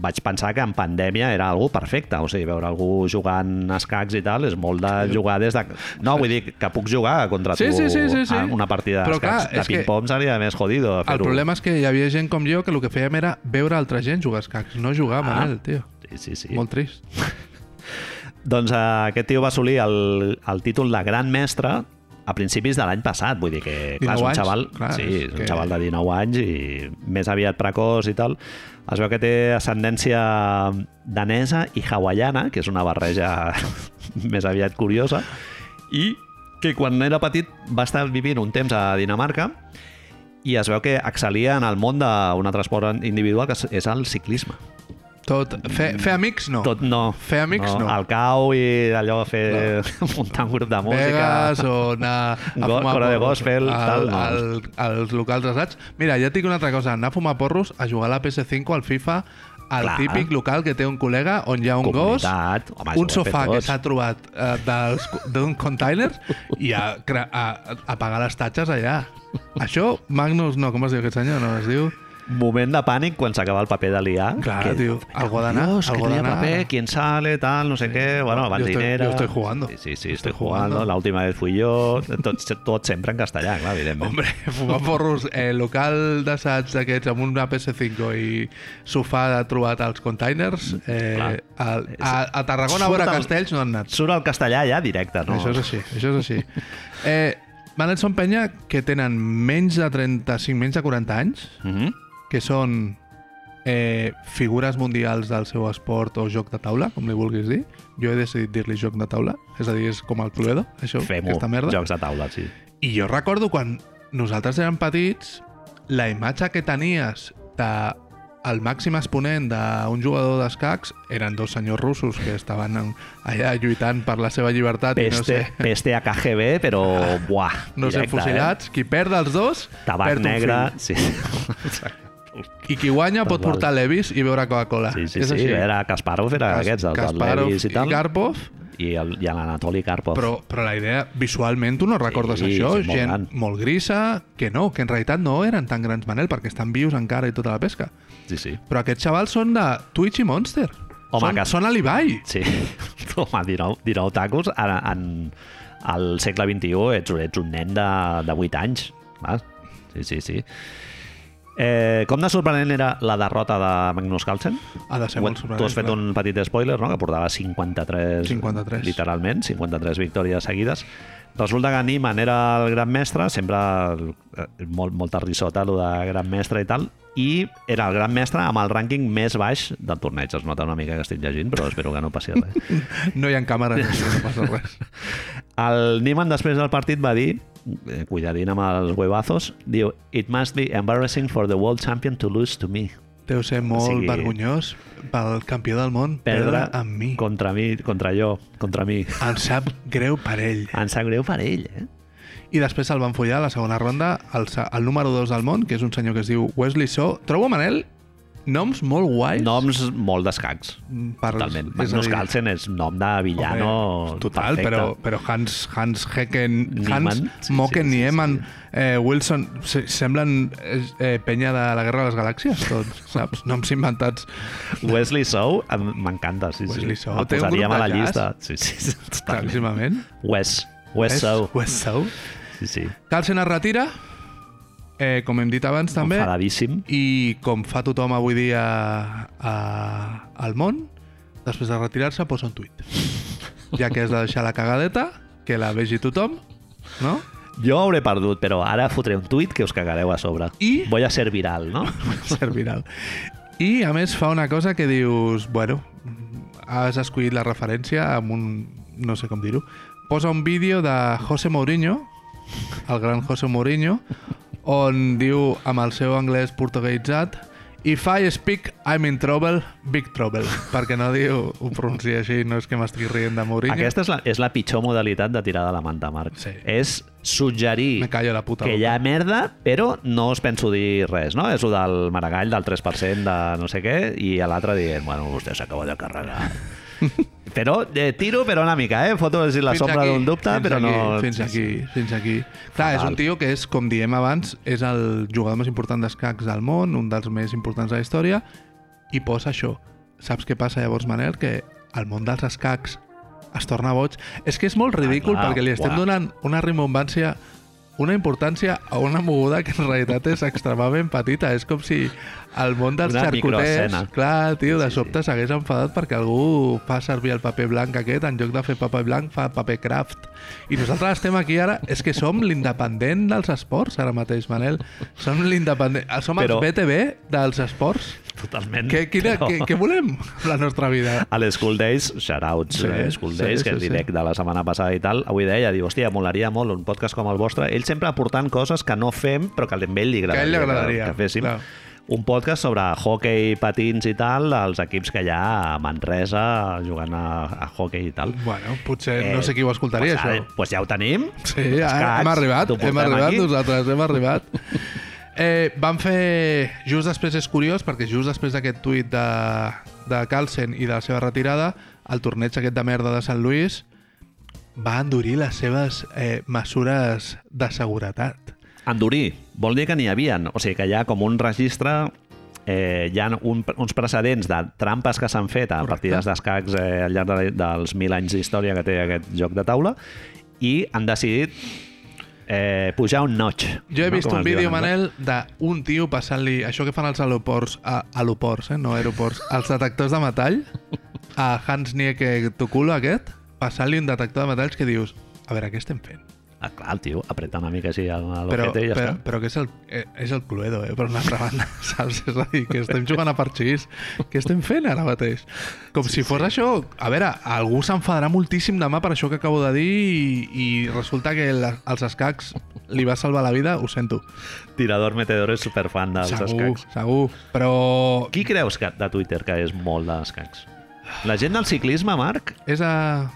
S1: vaig pensar que en pandèmia era algú perfecte, o sigui, veure algú jugant a escacs i tal, és molt de jugar des de... No, vull dir que puc jugar contra
S2: Sí,
S1: tu
S2: sí, sí, sí, sí.
S1: a una partida
S2: Però,
S1: d'escacs.
S2: clar,
S1: De
S2: és que-
S1: ping-pong seria més jodido
S2: El
S1: fer-ho.
S2: problema és que hi havia gent com jo que el que fèiem era veure altra gent jugar a escacs, no jugar,
S1: Ah.
S2: Manel, tio.
S1: Sí, sí, sí.
S2: Molt trist.
S1: Doncs eh, aquest tio va assolir el, el títol de gran mestre a principis de l'any passat, vull dir que clar, és
S2: 19
S1: un
S2: anys,
S1: xaval,
S2: clar,
S1: sí,
S2: és
S1: és un
S2: que-
S1: xaval de 19 anys i més aviat precoç i tal. Es veu que té ascendència danesa i hawaiana, que és una barreja més aviat curiosa, i que quan era petit va estar vivint un temps a Dinamarca i es veu que excel·lia en el món d'un altre esport individual que és- és el ciclisme.
S2: Tot. Fer, fer amics, no.
S1: Tot no.
S2: Fer amics, no.
S1: Al cau i allò fer... No. muntar un grup de música.
S2: Vegas o anar a
S1: Go-
S2: fumar
S1: cora de
S2: porros
S1: gospel, tal,
S2: al,
S1: no.
S2: al, als locals d'assaig. Mira, ja et dic una altra cosa. Anar a fumar porros, a jugar a la PS5, al FIFA, al
S1: Clar.
S2: típic local que té un col·lega on hi ha un
S1: Comunitat.
S2: gos,
S1: Home, això ho
S2: un
S1: hem
S2: sofà
S1: fet
S2: que
S1: tots.
S2: s'ha trobat eh, dels- d'un container i a, cra- a, a pagar les tatxes allà. Això, Magnus, no, com es diu aquest senyor? No, es diu...
S1: Moment de pànic quan s'acaba el paper de l'IA.
S2: Clar,
S1: que,
S2: tio, algo ha d'anar,
S1: Dios,
S2: algo
S1: que no hi
S2: ha
S1: ha
S2: d'anar.
S1: paper, quién sale, tal, no sé què... Bueno,
S2: Yo estoy-
S1: bandinera...
S2: yo estoy jugando.
S1: Sí, sí, sí,
S2: Estoy
S1: estoy,
S2: jugando.
S1: jugando. La última vez fui yo. Tot, tot sempre en castellà, clar, evidentment.
S2: Hombre, fumar porros, eh, local d'assaig d'aquests amb una PS5 i sofà de trobat als containers, eh,
S1: Clar.
S2: a, a, a Tarragona
S1: Surt
S2: a veure
S1: el-
S2: castells no han anat.
S1: Surt el castellà ja directe, no?
S2: No. Això és així, això és així. Eh, Manel són penya que tenen menys de 35, menys de 40 anys,
S1: Mhm.
S2: que són eh, figures mundials del seu esport o joc de taula, com li vulguis dir. Jo he decidit dir-li joc de taula, és a dir, és com el Cluedo, això,
S1: Fem-ho,
S2: aquesta merda.
S1: jocs de taula, sí.
S2: I jo recordo quan nosaltres érem petits, la imatge que tenies de el màxim exponent d'un jugador d'escacs eren dos senyors russos que estaven en- allà lluitant per la seva llibertat i no
S1: Peste,
S2: sé,
S1: peste a KGB, però buah,
S2: no sé
S1: directe,
S2: fusillats. Eh? Qui perd els dos,
S1: Eh? Tabac
S2: perd un
S1: negre,
S2: fill.
S1: sí.
S2: I qui guanya pot
S1: Total.
S2: portar Levis i beure Coca-Cola.
S1: Sí, sí,
S2: És
S1: sí,
S2: així.
S1: era Kasparov, era
S2: Kas-
S1: aquests, els
S2: Kasparov
S1: Kasparov i tal,
S2: i Karpov,
S1: i, el- i l'Anatoli Karpov.
S2: però, però la idea, visualment, tu no recordes
S1: Sí,
S2: això?
S1: sí, molt
S2: gent
S1: gran.
S2: molt grisa, que no, que en realitat no eren tan grans, Manel, perquè estan vius encara i tota la pesca.
S1: Sí, sí.
S2: Però aquests xavals són de Twitch i Monster.
S1: Home,
S2: són,
S1: que-
S2: són a l'Ibai.
S1: Sí, home, 19, 19 tacos en, en, al segle XXI ets, ets un nen de, de 8 anys va? sí, sí, sí Eh, com de sorprenent era la derrota de Magnus Carlsen?
S2: Ha Ah, de ser
S1: Ho-
S2: molt sorprenent.
S1: Tu has fet
S2: clar.
S1: un petit spoiler, no? que portava 53,
S2: 53.
S1: literalment, 53 victòries seguides. Resulta que Niemann era el gran mestre, sempre eh, molt, molta risota, allò de gran mestre i tal, i era el gran mestre amb el rànquing més baix del torneig. Es nota una mica que estic llegint, però espero que no passi res.
S2: No hi ha càmera, no passa res.
S1: El Niemann després del partit va dir eh, cuidadín amb els huevazos, diu It must be embarrassing for the world champion to lose to me.
S2: Deu ser molt
S1: sigui-
S2: vergonyós pel campió del món perdre,
S1: Perdre
S2: amb mi.
S1: Contra mi, contra jo, contra mi.
S2: Em sap greu per ell.
S1: Em sap greu per ell, eh?
S2: I després el van follar a la segona ronda el, se- el número 2 del món, que és un senyor que es diu Wesley So. Trobo, Manel, noms molt guais.
S1: Noms molt d'escacs.
S2: per,
S1: Totalment.
S2: és a
S1: Magnus
S2: dir,
S1: Carlsen és nom de villano
S2: Home, Total,
S1: perfecte.
S2: però, però Hans, Hans Hecken,
S1: Niemann,
S2: Hans
S1: sí,
S2: Mocken,
S1: sí, sí,
S2: Niemann,
S1: sí.
S2: Eh, Wilson, se- semblen eh, eh, penya de la Guerra de les Galàxies, tots, saps? Noms inventats.
S1: Wesley Sou, em- m'encanta. Sí,
S2: Wesley
S1: sí.
S2: Sou
S1: El
S2: té un
S1: posaríem
S2: grup
S1: a la
S2: de jazz.
S1: llista. Sí, sí, sí, totalment.
S2: Claríssimament.
S1: Wes. Wes Sou.
S2: West Sou.
S1: Sí, sí.
S2: Carlsen es retira, eh, com hem dit abans també,
S1: Enfadadíssim.
S2: i com fa tothom avui dia a, al món, després de retirar-se posa un tuit. Ja que has de deixar la cagadeta, que la vegi tothom, no?
S1: Jo ho hauré perdut, però ara fotré un tuit que us cagareu a sobre.
S2: I-
S1: Voy a ser viral, no?
S2: ser viral. I, a més, fa una cosa que dius... Bueno, has escollit la referència amb un... no sé com dir-ho. Posa un vídeo de José Mourinho, el gran José Mourinho, on diu amb el seu anglès portuguesat If I speak, I'm in trouble, big trouble. Perquè no diu, ho pronuncia així, no és que m'estigui rient de Mourinho.
S1: Aquesta és la, és la pitjor modalitat de tirar de la manta, Marc.
S2: Sí.
S1: És
S2: Me
S1: suggerir
S2: callo la puta
S1: que hi ha merda, però no us penso dir res, no? És el del Maragall, del 3% de no sé què, i a l'altre dient, bueno, vostè s'acaba de carregar. però eh, tiro, però una mica, eh? Foto és a dir, la
S2: Fins
S1: sombra
S2: aquí,
S1: d'un dubte,
S2: fins
S1: però
S2: aquí,
S1: no...
S2: Fins aquí, fins aquí. Clar, és
S1: Fatal.
S2: un tio que és, com diem abans, és el jugador més important d'escacs del món, un dels més importants de la història, i posa això. Saps què passa llavors, Manel? Que el món dels escacs es torna boig. És que és molt ridícul
S1: Ah, clar,
S2: perquè li estem
S1: uah.
S2: donant una rimbombància una importància a una moguda que en realitat és extremadament petita. És com si el món dels
S1: Una
S2: xarcuters...
S1: microescena.
S2: Clar, tio,
S1: Sí,
S2: de
S1: sí,
S2: sobte s'hagués enfadat perquè algú fa servir el paper blanc aquest, en lloc de fer paper blanc fa paper craft. I nosaltres estem aquí ara, és que som l'independent dels esports ara mateix, Manel. Som l'independent... eh, Som
S1: Però-
S2: els BTV dels esports.
S1: Totalment.
S2: Què, quina,
S1: però-
S2: què, què volem amb la nostra vida?
S1: a les School Days, shoutouts
S2: Sí,
S1: sí, a School
S2: sí,
S1: Days, sí,
S2: sí,
S1: que és
S2: sí.
S1: directe de la setmana passada i tal, avui deia, diu, hòstia, molaria molt un podcast com el vostre, ell sempre aportant coses que no fem, però que a ell li
S2: Que a ell
S1: agradaria,
S2: li agradaria,
S1: que, que féssim.
S2: clar.
S1: Un podcast sobre hockey, patins i tal, els equips que hi ha a Manresa jugant a, a hockey i tal. Eh,
S2: Bueno, potser Eh, no sé qui ho escoltaria,
S1: pues,
S2: això.
S1: Ara, pues ja ho tenim.
S2: Sí, ara
S1: Escacs,
S2: hem arribat,
S1: t'ho
S2: hem
S1: portem
S2: arribat
S1: aquí.
S2: nosaltres, hem arribat. Eh, van fer... Just després és curiós, perquè just després d'aquest tuit de, de Carlsen i de la seva retirada, el torneig aquest de merda de Sant Lluís va endurir les seves eh, mesures de seguretat.
S1: Endurir vol dir que n'hi havien, o sigui que hi ha com un registre eh, hi ha un, uns precedents de trampes que s'han fet a
S2: Correcte.
S1: partides d'escacs eh, al llarg de, dels mil anys d'història que té aquest joc de taula i han decidit eh, pujar un notch.
S2: Jo he
S1: no?
S2: vist
S1: Com
S2: un
S1: es diu en
S2: vídeo,
S1: anglès.
S2: Manel, d'un tio passant-li... Això que fan els aeroports... A, aeroports, eh? No aeroports. Els detectors de metall. eh, A Hans Nieke Toculo, aquest. Passant-li un detector de metalls que dius... A veure, què estem fent?
S1: Ah, clar, el tio apreta una mica així a
S2: Però,
S1: l'objecte i ja
S2: però,
S1: està.
S2: però que és el, eh, és el Cluedo, eh? per una altra banda, saps? És a dir, que estem jugant a parxís. Què estem fent ara mateix? Com sí, si fos sí. això... A veure, algú s'enfadarà moltíssim demà per això que acabo de dir i, i resulta que la, els escacs li va salvar la vida, ho sento.
S1: Tirador Meteor és superfan dels
S2: segur,
S1: escacs.
S2: segur. Però
S1: Qui creus que de Twitter que és molt d'escacs? La gent del ciclisme, Marc?
S2: és a...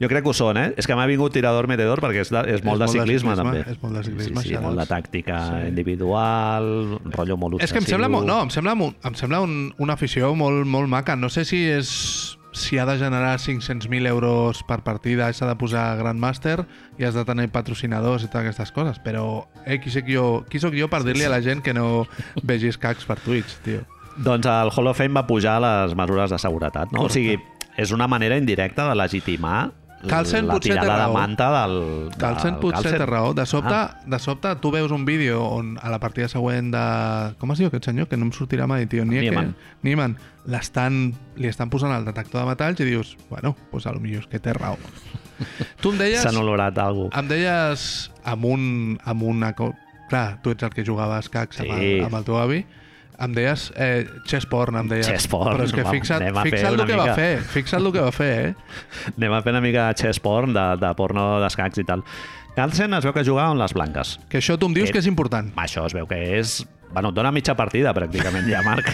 S1: Jo crec que ho són, eh? És que m'ha vingut tirador metedor perquè és, de, és, molt, de ciclisme, també.
S2: És molt de ciclisme,
S1: Sí, sí,
S2: xavals.
S1: molt de tàctica
S2: Sí.
S1: sí. individual, rotllo molt
S2: És
S1: obsessiu.
S2: que em sembla, molt, no, em sembla, mo- em sembla un, una afició molt, molt maca. No sé si és si ha de generar 500.000 euros per partida, s'ha de posar Grandmaster i has de tenir patrocinadors i totes aquestes coses, però eh, qui, soc jo, qui soc jo per dir-li a la gent que no vegi escacs per Twitch, tio?
S1: Doncs el Hall of Fame va pujar les mesures de seguretat, no? O sigui, és una manera indirecta de legitimar
S2: Carlsen
S1: la
S2: potser té
S1: tirada de
S2: raó.
S1: manta del...
S2: Carlsen
S1: del
S2: potser té
S1: Carlsen.
S2: raó. De sobte, ah. de sobte tu veus un vídeo on a la partida següent de... Com es diu aquest senyor? Que no em sortirà mai, tio. Nie-
S1: Niemann.
S2: que- Niemann. L'estan... Li estan posant el detector de metalls i dius, bueno, pues a lo millor és que té raó. tu em deies...
S1: S'han olorat algú.
S2: Em deies amb un... Amb una... co- Clar, tu ets el que jugava a escacs amb,
S1: Sí.
S2: el, amb el teu avi. Em deies eh, chess porn, em deies.
S1: Chess porn,
S2: Però és que
S1: va,
S2: fixa't,
S1: anem a fer
S2: fixa't el
S1: una
S2: que va
S1: mica.
S2: fer. Fixa't el que va fer, eh?
S1: Anem a fer una mica chess porn, de, de porno d'escacs i tal. Carlsen es veu que jugava amb les blanques.
S2: Que això tu em dius
S1: Eh,
S2: que és important.
S1: Això es veu que és... Bueno, et dona mitja partida, pràcticament, ja, Marc.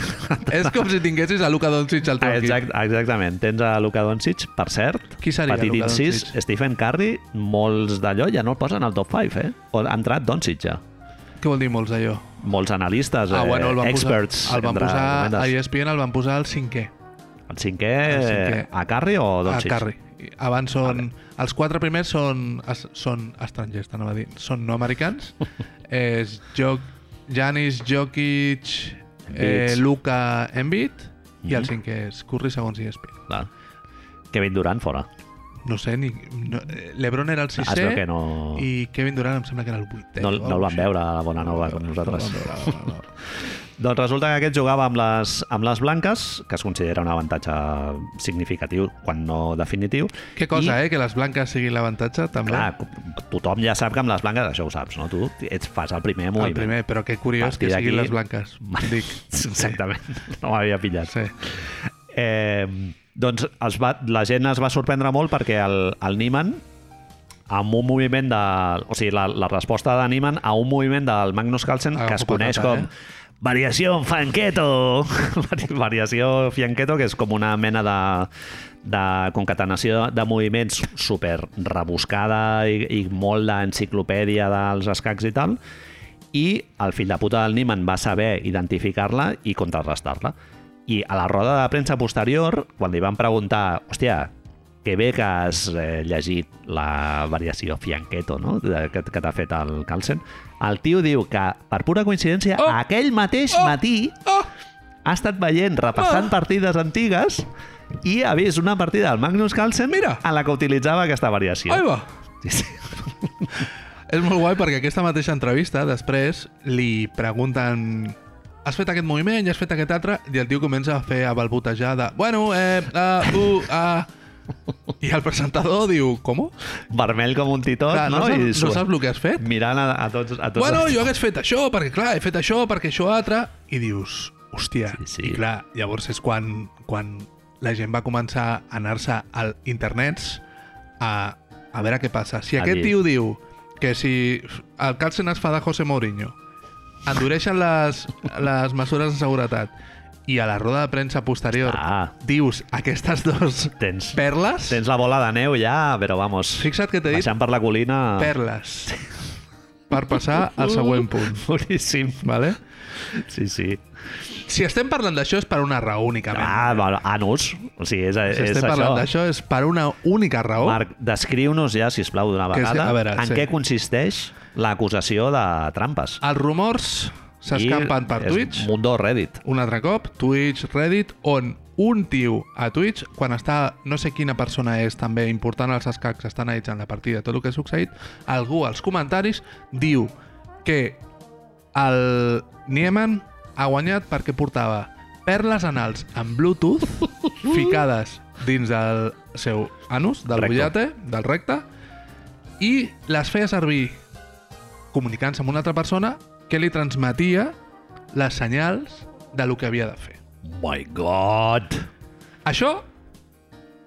S2: És com si tinguessis a Luka Doncic al teu
S1: Ah,
S2: equip.
S1: Exact, exactament. Tens a Luka Doncic, per cert.
S2: Qui seria
S1: Petit
S2: Luka
S1: incís,
S2: Doncic?
S1: Stephen Curry, molts d'allò ja no el posen al top 5, eh? O ha entrat Doncic ja.
S2: Què vol dir molts, allò?
S1: Molts analistes,
S2: Ah, bueno, el van
S1: eh, experts.
S2: posar, el van
S1: entre
S2: posar a E
S1: cometes.
S2: ESPN el van posar al cinquè,
S1: El cinquè,
S2: el cinquè.
S1: a Curry o
S2: a
S1: Doncic?
S2: Curry. I Abans són... Els quatre primers són, es- són estrangers, t'anava a dir. Són no americans. És Jok, Janis, Jokic, eh,
S1: Embiid. Mm-hmm.
S2: Luka, Embiid. I el cinquè és Curry segons E ESPN.
S1: Clar. Kevin Durant fora.
S2: No sé, ni... No, eh, Lebron era el
S1: Ah, es veu
S2: sisè
S1: que no...
S2: i Kevin Durant em sembla que era el vuitè.
S1: No, no
S2: o
S1: el
S2: alguna
S1: van
S2: cosa
S1: veure a la bona
S2: així.
S1: nova
S2: No el
S1: com
S2: van veure,
S1: nosaltres.
S2: no el van veure, no el van veure.
S1: Doncs resulta que aquest jugava amb les, amb les blanques, que es considera un avantatge significatiu, quan no definitiu.
S2: Que
S1: I-
S2: cosa, eh? Que les blanques siguin l'avantatge, també.
S1: Clar, tothom ja sap que amb les blanques això ho saps, no? Tu ets, fas el primer
S2: el
S1: moviment.
S2: primer, però que curiós
S1: Partir
S2: que siguin
S1: d'aquí-
S2: les blanques. Dic,
S1: Exactament, no m'havia pillat.
S2: sí.
S1: Eh, doncs es va, la gent es va sorprendre molt perquè el, el Niemann, amb un moviment de... O sigui, la, la resposta de Niemann a un moviment del Magnus Carlsen
S2: Agafo
S1: que es coneix
S2: patata,
S1: com...
S2: eh?
S1: Variació Fanqueto! Vari- Variació Fianqueto, que és com una mena de, de concatenació de moviments super rebuscada i, i molt d'enciclopèdia dels escacs i tal, i el fill de puta del Niemann va saber identificar-la i contrarrestar-la. I a la roda de premsa posterior, quan li van preguntar, hòstia, que bé que has eh, llegit la variació Fianqueto, no?, de, que, que t'ha fet el Carlsen, el tio diu que, per pura coincidència,
S2: Oh!
S1: oh! aquell mateix
S2: Oh!
S1: oh! matí
S2: Oh!
S1: ha estat veient, repassant
S2: Ah.
S1: partides antigues, i ha vist una partida del Magnus Carlsen
S2: Mira.
S1: en la que utilitzava aquesta variació.
S2: Ahí va!
S1: Sí, sí.
S2: És molt guai perquè aquesta mateixa entrevista després li pregunten has fet aquest moviment i has fet aquest altre i el tio comença a fer a balbotejar de bueno, eh, uh, uh, uh, i el presentador diu com?
S1: Vermell com un titot,
S2: Clar, no,
S1: Ah, no?
S2: saps-
S1: I
S2: no
S1: sua-
S2: saps el que has fet?
S1: Mirant a, a tots... A tots
S2: Bueno,
S1: els-
S2: jo hagués fet això, perquè clar, he fet això, perquè això altre, i dius, hòstia,
S1: Sí, sí.
S2: i clar, llavors és quan, quan la gent va començar a anar-se al internets a, a veure què passa. Si
S1: A
S2: aquest
S1: dir.
S2: tio diu que si el Carlsen es fa de José Mourinho, endureixen les, les mesures de seguretat i a la roda de premsa posterior
S1: Ah.
S2: dius aquestes dues
S1: Tens,
S2: perles,
S1: tens la bola de neu ja, però vamos,
S2: fixa't que t'he dit
S1: baixant per la colina... Uh,
S2: perles per passar al següent punt.
S1: Boníssim.
S2: Vale?
S1: Sí, sí.
S2: Si estem parlant d'això és per una raó únicament.
S1: Ah, bueno, anus. O sigui, és,
S2: si
S1: és
S2: estem
S1: això.
S2: parlant d'això és per una única raó.
S1: Marc, descriu-nos ja, si plau d'una
S2: Que sí,
S1: vegada,
S2: a veure,
S1: en
S2: sí.
S1: què consisteix l'acusació de trampes.
S2: Els rumors s'escampen
S1: I
S2: per
S1: és
S2: Twitch,
S1: Mundo Reddit.
S2: un altre cop, Twitch, Reddit, on un tio a Twitch, quan està, no sé quina persona és també important als escacs, està analitzant la partida, tot el que ha succeït, algú als comentaris diu que el Niemann ha guanyat perquè portava perles anals amb Bluetooth ficades dins del seu anus, del
S1: Recte.
S2: bullate, del recte, i les feia servir comunicant-se amb una altra persona que li transmetia les senyals de lo que havia de fer.
S1: My God!
S2: Això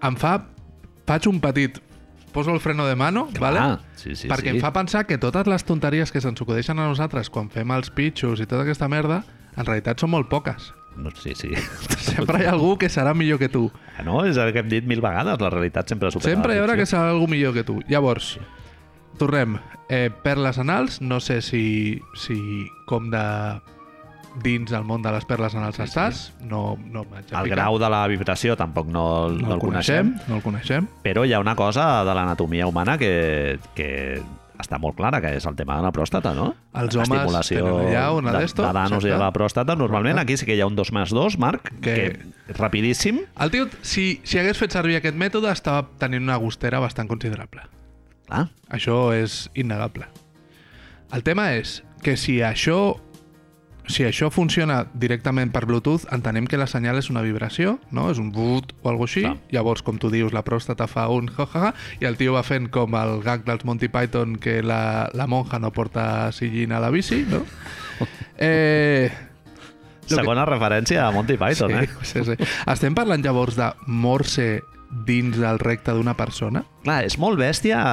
S2: em fa... Faig un petit... Poso el freno de mano, vale?
S1: Ah, sí, sí,
S2: perquè
S1: sí.
S2: em fa pensar que totes les tonteries que se'ns acudeixen a nosaltres quan fem els pitxos i tota aquesta merda, en realitat són molt poques.
S1: No, sí, sí.
S2: Sempre hi ha algú que serà millor que tu.
S1: No, és el que hem dit mil vegades, la realitat sempre supera
S2: Sempre hi
S1: la
S2: haurà que
S1: ficció.
S2: serà algú millor que tu. Llavors, tornem. Eh, perles anals, no sé si, si com de dins del món de les perles anals sí, estàs, no, no m'haig de
S1: El
S2: ficar.
S1: grau de la vibració tampoc no, el-
S2: no
S1: no el coneixem,
S2: No el coneixem.
S1: però hi ha una cosa de l'anatomia humana que, que està molt clara, que és el tema de la pròstata, no?
S2: Els homes tenen allà una
S1: de,
S2: d'esto,
S1: de l'anus i de
S2: exacte.
S1: la pròstata. Normalment aquí sí que hi ha un 2 més 2, Marc, que,
S2: Que-
S1: que rapidíssim,
S2: El tio, si, si hagués fet servir aquest mètode, estava tenint una gustera bastant considerable.
S1: clar,
S2: Això és innegable. El tema és que si això si això funciona directament per Bluetooth, entenem que la senyal és una vibració, no? És un boot o alguna així.
S1: Clar.
S2: Llavors, com tu dius, la pròstata fa un ha, ha, ha, i el tio va fent com el gag dels Monty Python que la, la monja no porta sillín a la bici, no? Eh, que-
S1: segona referència a Monty Python,
S2: sí,
S1: eh?
S2: sí, sí. Estem parlant llavors de morse dins del recte d'una persona?
S1: Clar, és molt bèstia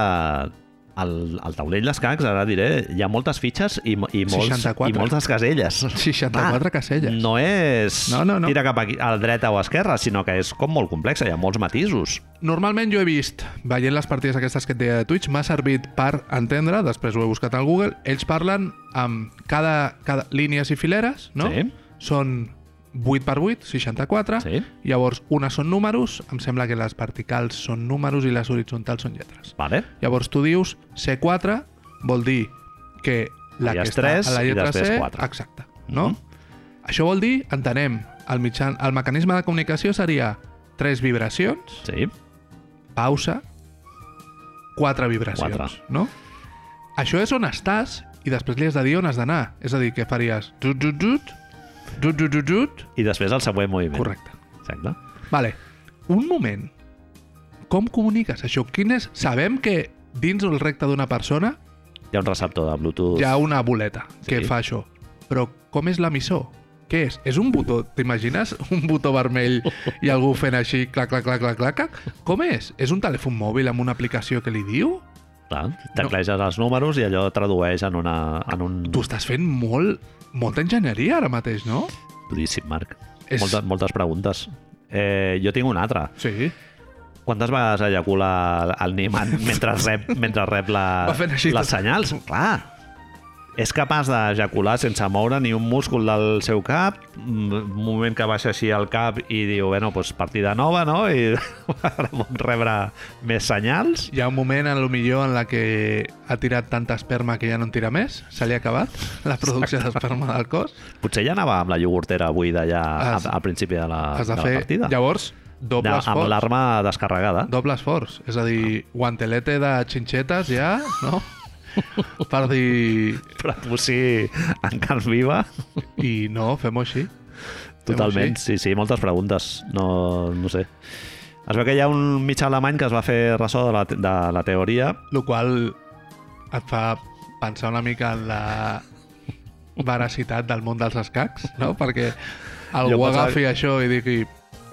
S1: el, el taulell d'escacs, ara diré, hi ha moltes fitxes i, mo- i, molts,
S2: 64.
S1: i moltes caselles.
S2: 64 caselles.
S1: No és
S2: No, no, no.
S1: tira cap aquí, a la dreta o a esquerra, sinó que és com molt complexa, hi ha molts matisos.
S2: Normalment jo he vist, veient les partides aquestes que et deia de Twitch, m'ha servit per entendre, després ho he buscat al Google, ells parlen amb cada, cada línies i fileres, no? Ah.
S1: Sí.
S2: Són 8 per 8, 64.
S1: Sí.
S2: Llavors, unes són números, em sembla que les verticals són números i les horitzontals són lletres.
S1: Vale?
S2: Llavors tu dius C4 vol dir que la
S1: Hi
S2: que
S1: has
S2: està
S1: tres
S2: a la
S1: i
S2: lletra
S1: després
S2: C,
S1: quatre. Mhm.
S2: exacte, no? Això vol dir, entenem, el, mitjan, el mecanisme de comunicació seria tres vibracions,
S1: Sí.
S2: pausa, quatre vibracions,
S1: Quatre.
S2: no? Això és on estàs i després li has de dir on has d'anar. És a dir, que faries jut, jut, jut, jut, jut, jut, jut,
S1: I després el següent moviment.
S2: correcte.
S1: Exacte.
S2: Vale, un moment. Com comuniques això? Quin és... Sabem que dins el recte d'una persona
S1: Hi ha un receptor de Bluetooth.
S2: hi ha una boleta que
S1: Sí.
S2: fa això. Però com és l'emissor? Què és? És un botó, t'imagines? Un botó vermell i algú fent així, clac, clac, clac, clac, clac, clac. Com és? És un telèfon mòbil amb una aplicació que li diu?
S1: Clar, tecleges els números i allò tradueix en, una, en un...
S2: Tu estàs fent molt, molta enginyeria ara mateix, no?
S1: Duríssim, Marc.
S2: És-
S1: És... Moltes, moltes preguntes. Eh, jo tinc una altra.
S2: Sí.
S1: Quantes vegades eyacula el Niemann mentre rep, mentre rep la,
S2: Va fent així
S1: les
S2: tot.
S1: senyals? Clar. És capaç d'ejacular sense moure ni un múscul del seu cap, mm, un moment que baixa així el cap i diu, bueno, doncs partida nova, no? I ara puc rebre més senyals.
S2: Hi ha un moment, en lo millor, en la que ha tirat tanta esperma que ja no en tira més. Se li ha acabat la producció d'esperma del cos.
S1: Potser ja anava amb la iogurtera buida ja
S2: Has-
S1: al principi de la,
S2: Has de,
S1: de
S2: fer,
S1: Ah, la partida.
S2: llavors, doble
S1: de, amb Ah.
S2: esforç.
S1: l'arma descarregada.
S2: Doble esforç. És a dir, guantelete de xinxetes ja, no? per dir...
S1: Però tu sí, en cal viva.
S2: I no, fem-ho així. Fem-ho
S1: Totalment,
S2: així.
S1: sí, sí, moltes preguntes. No, no sé. Es veu que hi ha un mitjà alemany que es va fer ressò de la, te- de la teoria.
S2: Lo qual et fa pensar una mica en la veracitat del món dels escacs, no? Perquè algú
S1: Jo pensava-
S2: agafi això i digui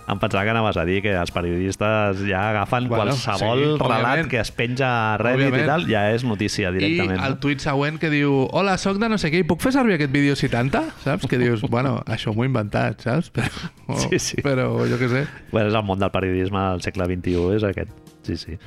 S1: Em pensava que anaves a dir que els periodistes ja agafen
S2: Bueno,
S1: bueno, qualsevol
S2: sí,
S1: sí,
S2: òbviament.
S1: relat que es penja a Reddit
S2: Òbviament.
S1: i tal, ja és notícia
S2: i
S1: directament.
S2: el tuit següent que diu hola, sóc de no sé què, i puc fer servir aquest vídeo si tanta? Saps? Que dius, bueno, això m'ho he inventat, saps? Però,
S1: Sí, sí.
S2: però jo què sé.
S1: Bueno, és el món del periodisme del segle XXI, és aquest. Sí, sí.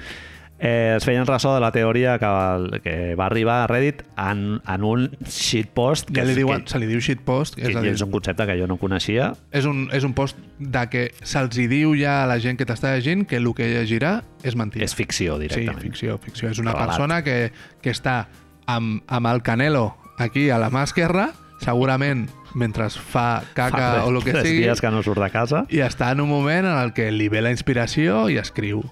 S1: Eh, es feien ressò de la teoria que, que va arribar a Reddit en, en un shitpost que,
S2: Ja li
S1: és-
S2: diuen,
S1: que,
S2: se li diu shitpost,
S1: que,
S2: és a
S1: que
S2: dir,
S1: és un concepte que jo no coneixia.
S2: és un, és un post de que se'ls hi diu ja a la gent que t'està llegint que el que llegirà és mentida.
S1: És ficció,
S2: sí,
S1: directament.
S2: ficció, ficció. És una
S1: Relat.
S2: persona que, que està amb, amb el Canelo aquí a la mà esquerra, segurament mentre fa caca
S1: Fa
S2: o el Ah, que
S1: tres
S2: sigui,
S1: dies que no surt de casa.
S2: i està en un moment en el que li ve la inspiració i escriu.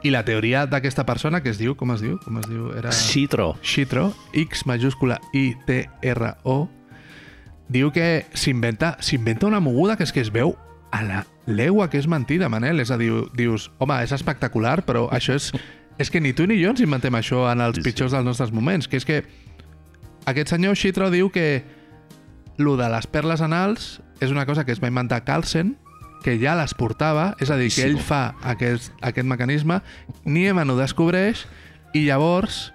S2: I la teoria d'aquesta persona, que es diu, com es diu? Com es diu? Era...
S1: Citro.
S2: Xitro, X majúscula I-T-R-O, diu que s'inventa s'inventa una moguda que és que es veu a la legua que és mentida, Manel. És a dir, dius, home, és espectacular, però això és És que ni tu ni jo ens inventem això en els
S1: Sí, sí.
S2: pitjors dels nostres moments, que és que aquest senyor Xitro diu que lo de les perles anals és una cosa que es va inventar Carlsen, que ja les portava, és a dir, que ell
S1: Bonísimo.
S2: fa aquest, aquest mecanisme, Nieman ho descobreix i llavors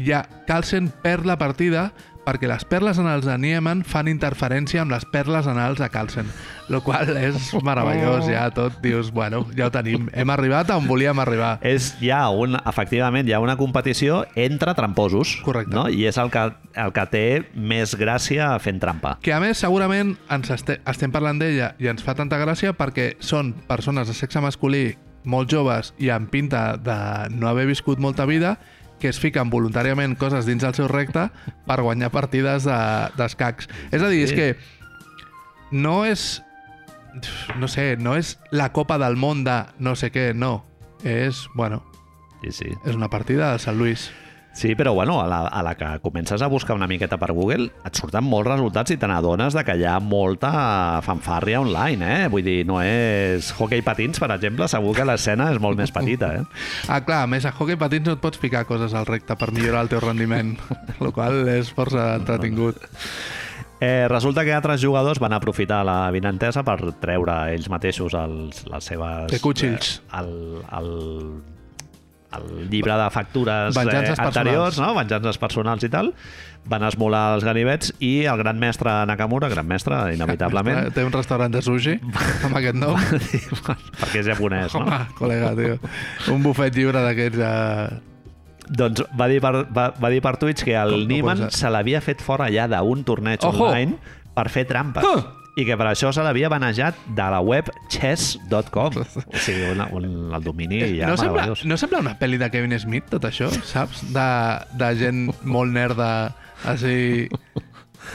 S2: ja Carlsen perd la partida perquè les perles anals de Nieman fan interferència amb les perles anals de Carlsen, lo qual és meravellós, ja tot dius, bueno, ja ho tenim, hem arribat on volíem arribar.
S1: és, hi ha un, efectivament, hi ha una competició entre tramposos.
S2: Correcte.
S1: No? I és el que, el que té més gràcia fent trampa.
S2: Que a més, segurament, ens este estem parlant d'ella i ens fa tanta gràcia perquè són persones de sexe masculí molt joves i amb pinta de no haver viscut molta vida que es fiquen voluntàriament coses dins del seu recte per guanyar partides de- d'escacs. És a dir, és
S1: Sí.
S2: que no és... No sé, no és la copa del món de no sé què, no. És, bueno,
S1: Sí, sí.
S2: és una partida de Sant Lluís.
S1: Sí, però bueno, a la, a la que comences a buscar una miqueta per Google et surten molts resultats i te n'adones de que hi ha molta fanfàrria online, eh? Vull dir, no és... Hockey patins, per exemple, segur que l'escena és molt més petita, eh?
S2: Ah, clar, a més, a hockey patins no et pots ficar coses al recte per millorar el teu rendiment, el qual és força entretingut.
S1: eh? Resulta que altres jugadors van aprofitar la vinentesa per treure ells mateixos els, les seves...
S2: De cutxills.
S1: Eh, el, el, el llibre de factures eh,
S2: Venjances
S1: anteriors,
S2: personals.
S1: no? venjances personals i tal, van esmolar els ganivets i el gran mestre Nakamura, gran mestre, inevitablement,
S2: Té un restaurant de sushi amb aquest nom.
S1: perquè és japonès,
S2: Home,
S1: no?
S2: col·lega, tio. Un bufet lliure d'aquests... Eh...
S1: Doncs va dir per, va, va dir per Twitch que el
S2: Com no
S1: Niemann
S2: pot ser?
S1: se l'havia fet fora ja d'un torneig
S2: Ojo!
S1: online per fer trampes.
S2: Ah!
S1: I que per això se l'havia banejat de la web chess.com. O sigui, un, un, el domini ja
S2: Eh, no, sembla,
S1: meravellós.
S2: no sembla una pel·li de Kevin Smith, tot això, saps? De, de gent molt nerda, així...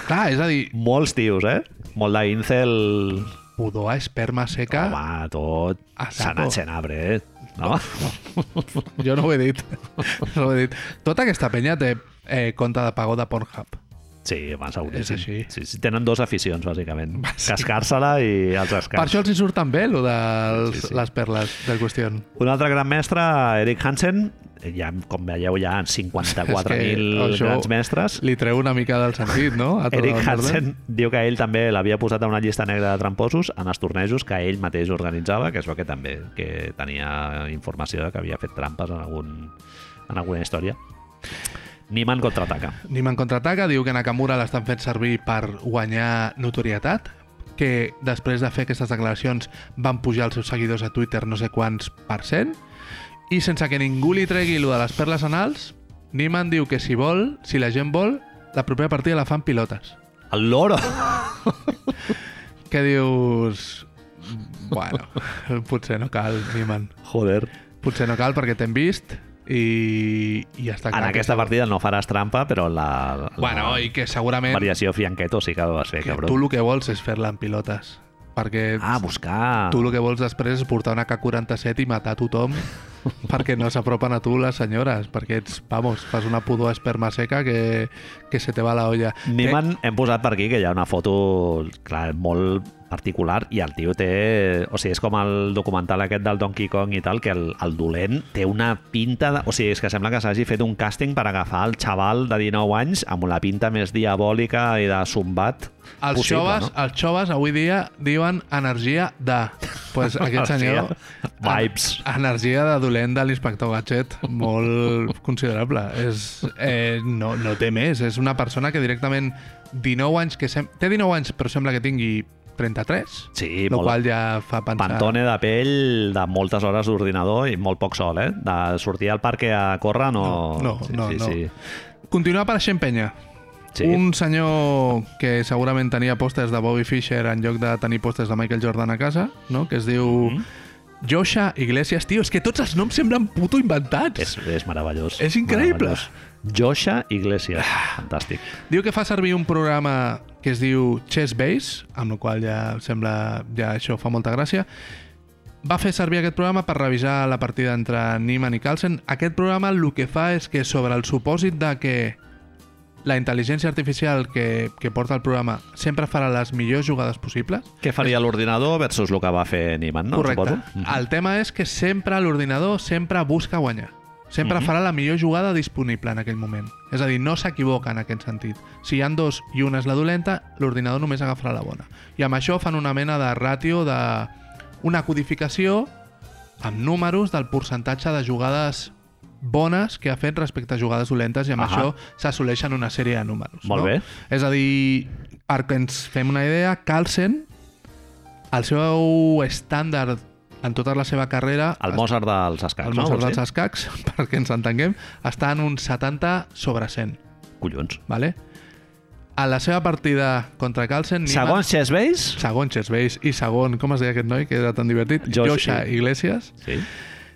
S2: Clar, és a dir,
S1: Molts tios, eh? Molt d'incel...
S2: pudor a esperma seca...
S1: Home, tot...
S2: A saco.
S1: Sanat Senabre, eh? No?
S2: Jo no ho he dit. No ho he dit. Tota aquesta penya té eh, compte de pagó de Pornhub.
S1: Sí, home, seguríssim.
S2: És així.
S1: Sí, sí, tenen dues aficions, bàsicament. Cascar-se-la i els escars.
S2: Per això els hi surt tan bé, lo de
S1: Sí, sí.
S2: les perles del qüestió.
S1: Un altre gran mestre, Eric Hansen, ja, com veieu, ja en 54.000
S2: això
S1: grans mestres.
S2: Li treu una mica del sentit, no? A tota
S1: Eric
S2: la merda.
S1: Hansen diu que ell també l'havia posat a una llista negra de tramposos en els tornejos que ell mateix organitzava, que es veu que també que tenia informació de que havia fet trampes en, algun, en alguna història. Niemann contraataca.
S2: Niman contraataca, diu que Nakamura l'estan fent servir per guanyar notorietat, que després de fer aquestes declaracions van pujar els seus seguidors a Twitter no sé quants per cent, i sense que ningú li tregui lo de les perles anals, Niman diu que si vol, si la gent vol, la propera partida la fan pilotes.
S1: El loro!
S2: Què dius? Bueno, potser no cal, Niman.
S1: Joder.
S2: Potser no cal perquè t'hem vist i, i ja està clar.
S1: En
S2: que-
S1: aquesta partida no faràs trampa, però en la, la
S2: Bueno, i que segurament
S1: variació Fianqueto sí que vas fer,
S2: que tu
S1: cabró.
S2: el que vols és fer-la en pilotes. Perquè
S1: Ah, buscar...
S2: tu el que vols després és portar una K-47 i matar tothom perquè no s'apropen a tu les senyores, perquè ets, vamos, fas una pudor a esperma seca que, que se te va la olla.
S1: Niemann, hem posat per aquí que hi ha una foto clar, molt particular i el tio té... O sigui, és com el documental aquest del Donkey Kong i tal, que el, el dolent té una pinta... De, o sigui, és que sembla que s'hagi fet un càsting per agafar el xaval de 19 anys amb la pinta més diabòlica i de sombat
S2: Que els,
S1: possible,
S2: joves,
S1: no?
S2: els joves avui dia diuen energia de... pues aquest senyor...
S1: Vibes.
S2: en- Energia de dolent de l'inspector Gadget, molt considerable. És, eh, no, no té més, és una persona que directament 19 anys, que sem té 19 anys però sembla que tingui 33,
S1: Sí,
S2: lo
S1: molt-
S2: qual ja fa pensar...
S1: Pantone de pell de moltes hores d'ordinador i molt poc sol, eh? De sortir al parc a córrer no...
S2: No, no,
S1: sí,
S2: no,
S1: sí,
S2: no.
S1: Sí.
S2: Continua apareixent penya.
S1: Sí.
S2: Un senyor que segurament tenia pòsters de Bobby Fischer en lloc de tenir pòsters de Michael Jordan a casa, no? que es diu... Mm
S1: Mm-hmm.
S2: Josha Iglesias, tio, és que tots els noms semblen puto inventats.
S1: És, és meravellós.
S2: És increïble. Ah.
S1: Meravellós. Josha Iglesias. Fantàstic.
S2: Diu que fa servir un programa que es diu Chess Base, amb el qual ja em sembla ja això fa molta gràcia. Va fer servir aquest programa per revisar la partida entre Niemann i Carlsen. Aquest programa el que fa és que sobre el supòsit de que la intel·ligència artificial que, que porta el programa sempre farà les millors jugades possibles,
S1: Què faria l'ordinador versus el que va fer Niemann, no?
S2: Correcte.
S1: Suposo? Mhm.
S2: El tema és que sempre l'ordinador sempre busca guanyar. Sempre
S1: Mhm.
S2: farà la millor jugada disponible en aquell moment. És a dir, no s'equivoca en aquest sentit. Si hi han dos i una és la dolenta, l'ordinador només agafarà la bona. I amb això fan una mena de ràtio de... una codificació amb números del percentatge de jugades bones que ha fet respecte a jugades dolentes i amb
S1: Ahà.
S2: això s'assoleixen una sèrie de números.
S1: Molt
S2: no?
S1: bé.
S2: És a dir, perquè ens fem una idea, Carlsen, el seu estàndard en tota la seva carrera...
S1: El Mozart dels escacs,
S2: El
S1: no?
S2: Mozart
S1: Vols
S2: dels
S1: dir?
S2: escacs, perquè ens entenguem, està en un 70 sobre 100,
S1: Collons.
S2: vale? A la seva partida contra Carlsen... Niemann-
S1: Segons Chess Base...
S2: Segon Chesveis i segon, com es deia aquest noi, que era tan divertit?
S1: Josh-
S2: Joshua Iglesias.
S1: Sí.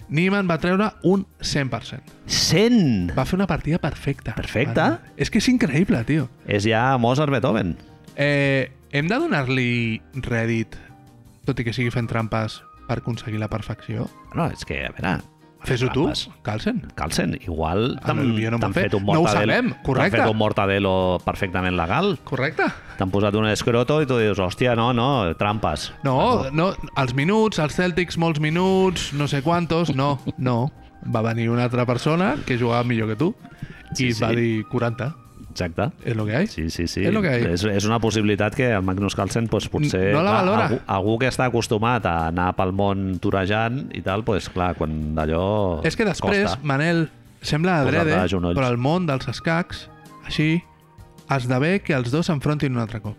S2: Niemann va treure un 100%.
S1: 100!
S2: Va fer una partida perfecta.
S1: Perfecta?
S2: Vale. És que és increïble, tio.
S1: És ja Mozart Beethoven.
S2: Eh, hem de donar-li rèdit, tot i que sigui fent trampes, per aconseguir la perfecció?
S1: No, és que, a veure...
S2: Fes-ho tu,
S1: trampes.
S2: Carlsen.
S1: Carlsen, igual
S2: Ah,
S1: t'han
S2: no, jo no
S1: t'han
S2: m'ho he
S1: fet
S2: fet.
S1: un
S2: No ho
S1: mortadelo...
S2: sabem, correcte.
S1: T'han fet un mortadelo perfectament legal.
S2: Correcte?
S1: T'han posat un escroto i tu dius, hòstia, no, no, trampes.
S2: No, no, els minuts, els Celtics molts minuts, no sé quantos, no, no. Va venir una altra persona que jugava millor que tu
S1: Sí,
S2: i
S1: sí.
S2: va dir 40,
S1: Exacte.
S2: és lo que hay.
S1: Sí, sí, sí.
S2: És lo que hay.
S1: és, és una possibilitat que el Magnus Carlsen doncs, potser...
S2: No la
S1: clar,
S2: valora.
S1: Algú, algú que està acostumat a anar pel món torejant i tal, doncs clar, quan d'allò
S2: És que després,
S1: Costa.
S2: Manel, sembla
S1: Posar-te
S2: adrede,
S1: de genolls.
S2: però el món dels escacs, així, esdevé que els dos s'enfrontin un altre cop.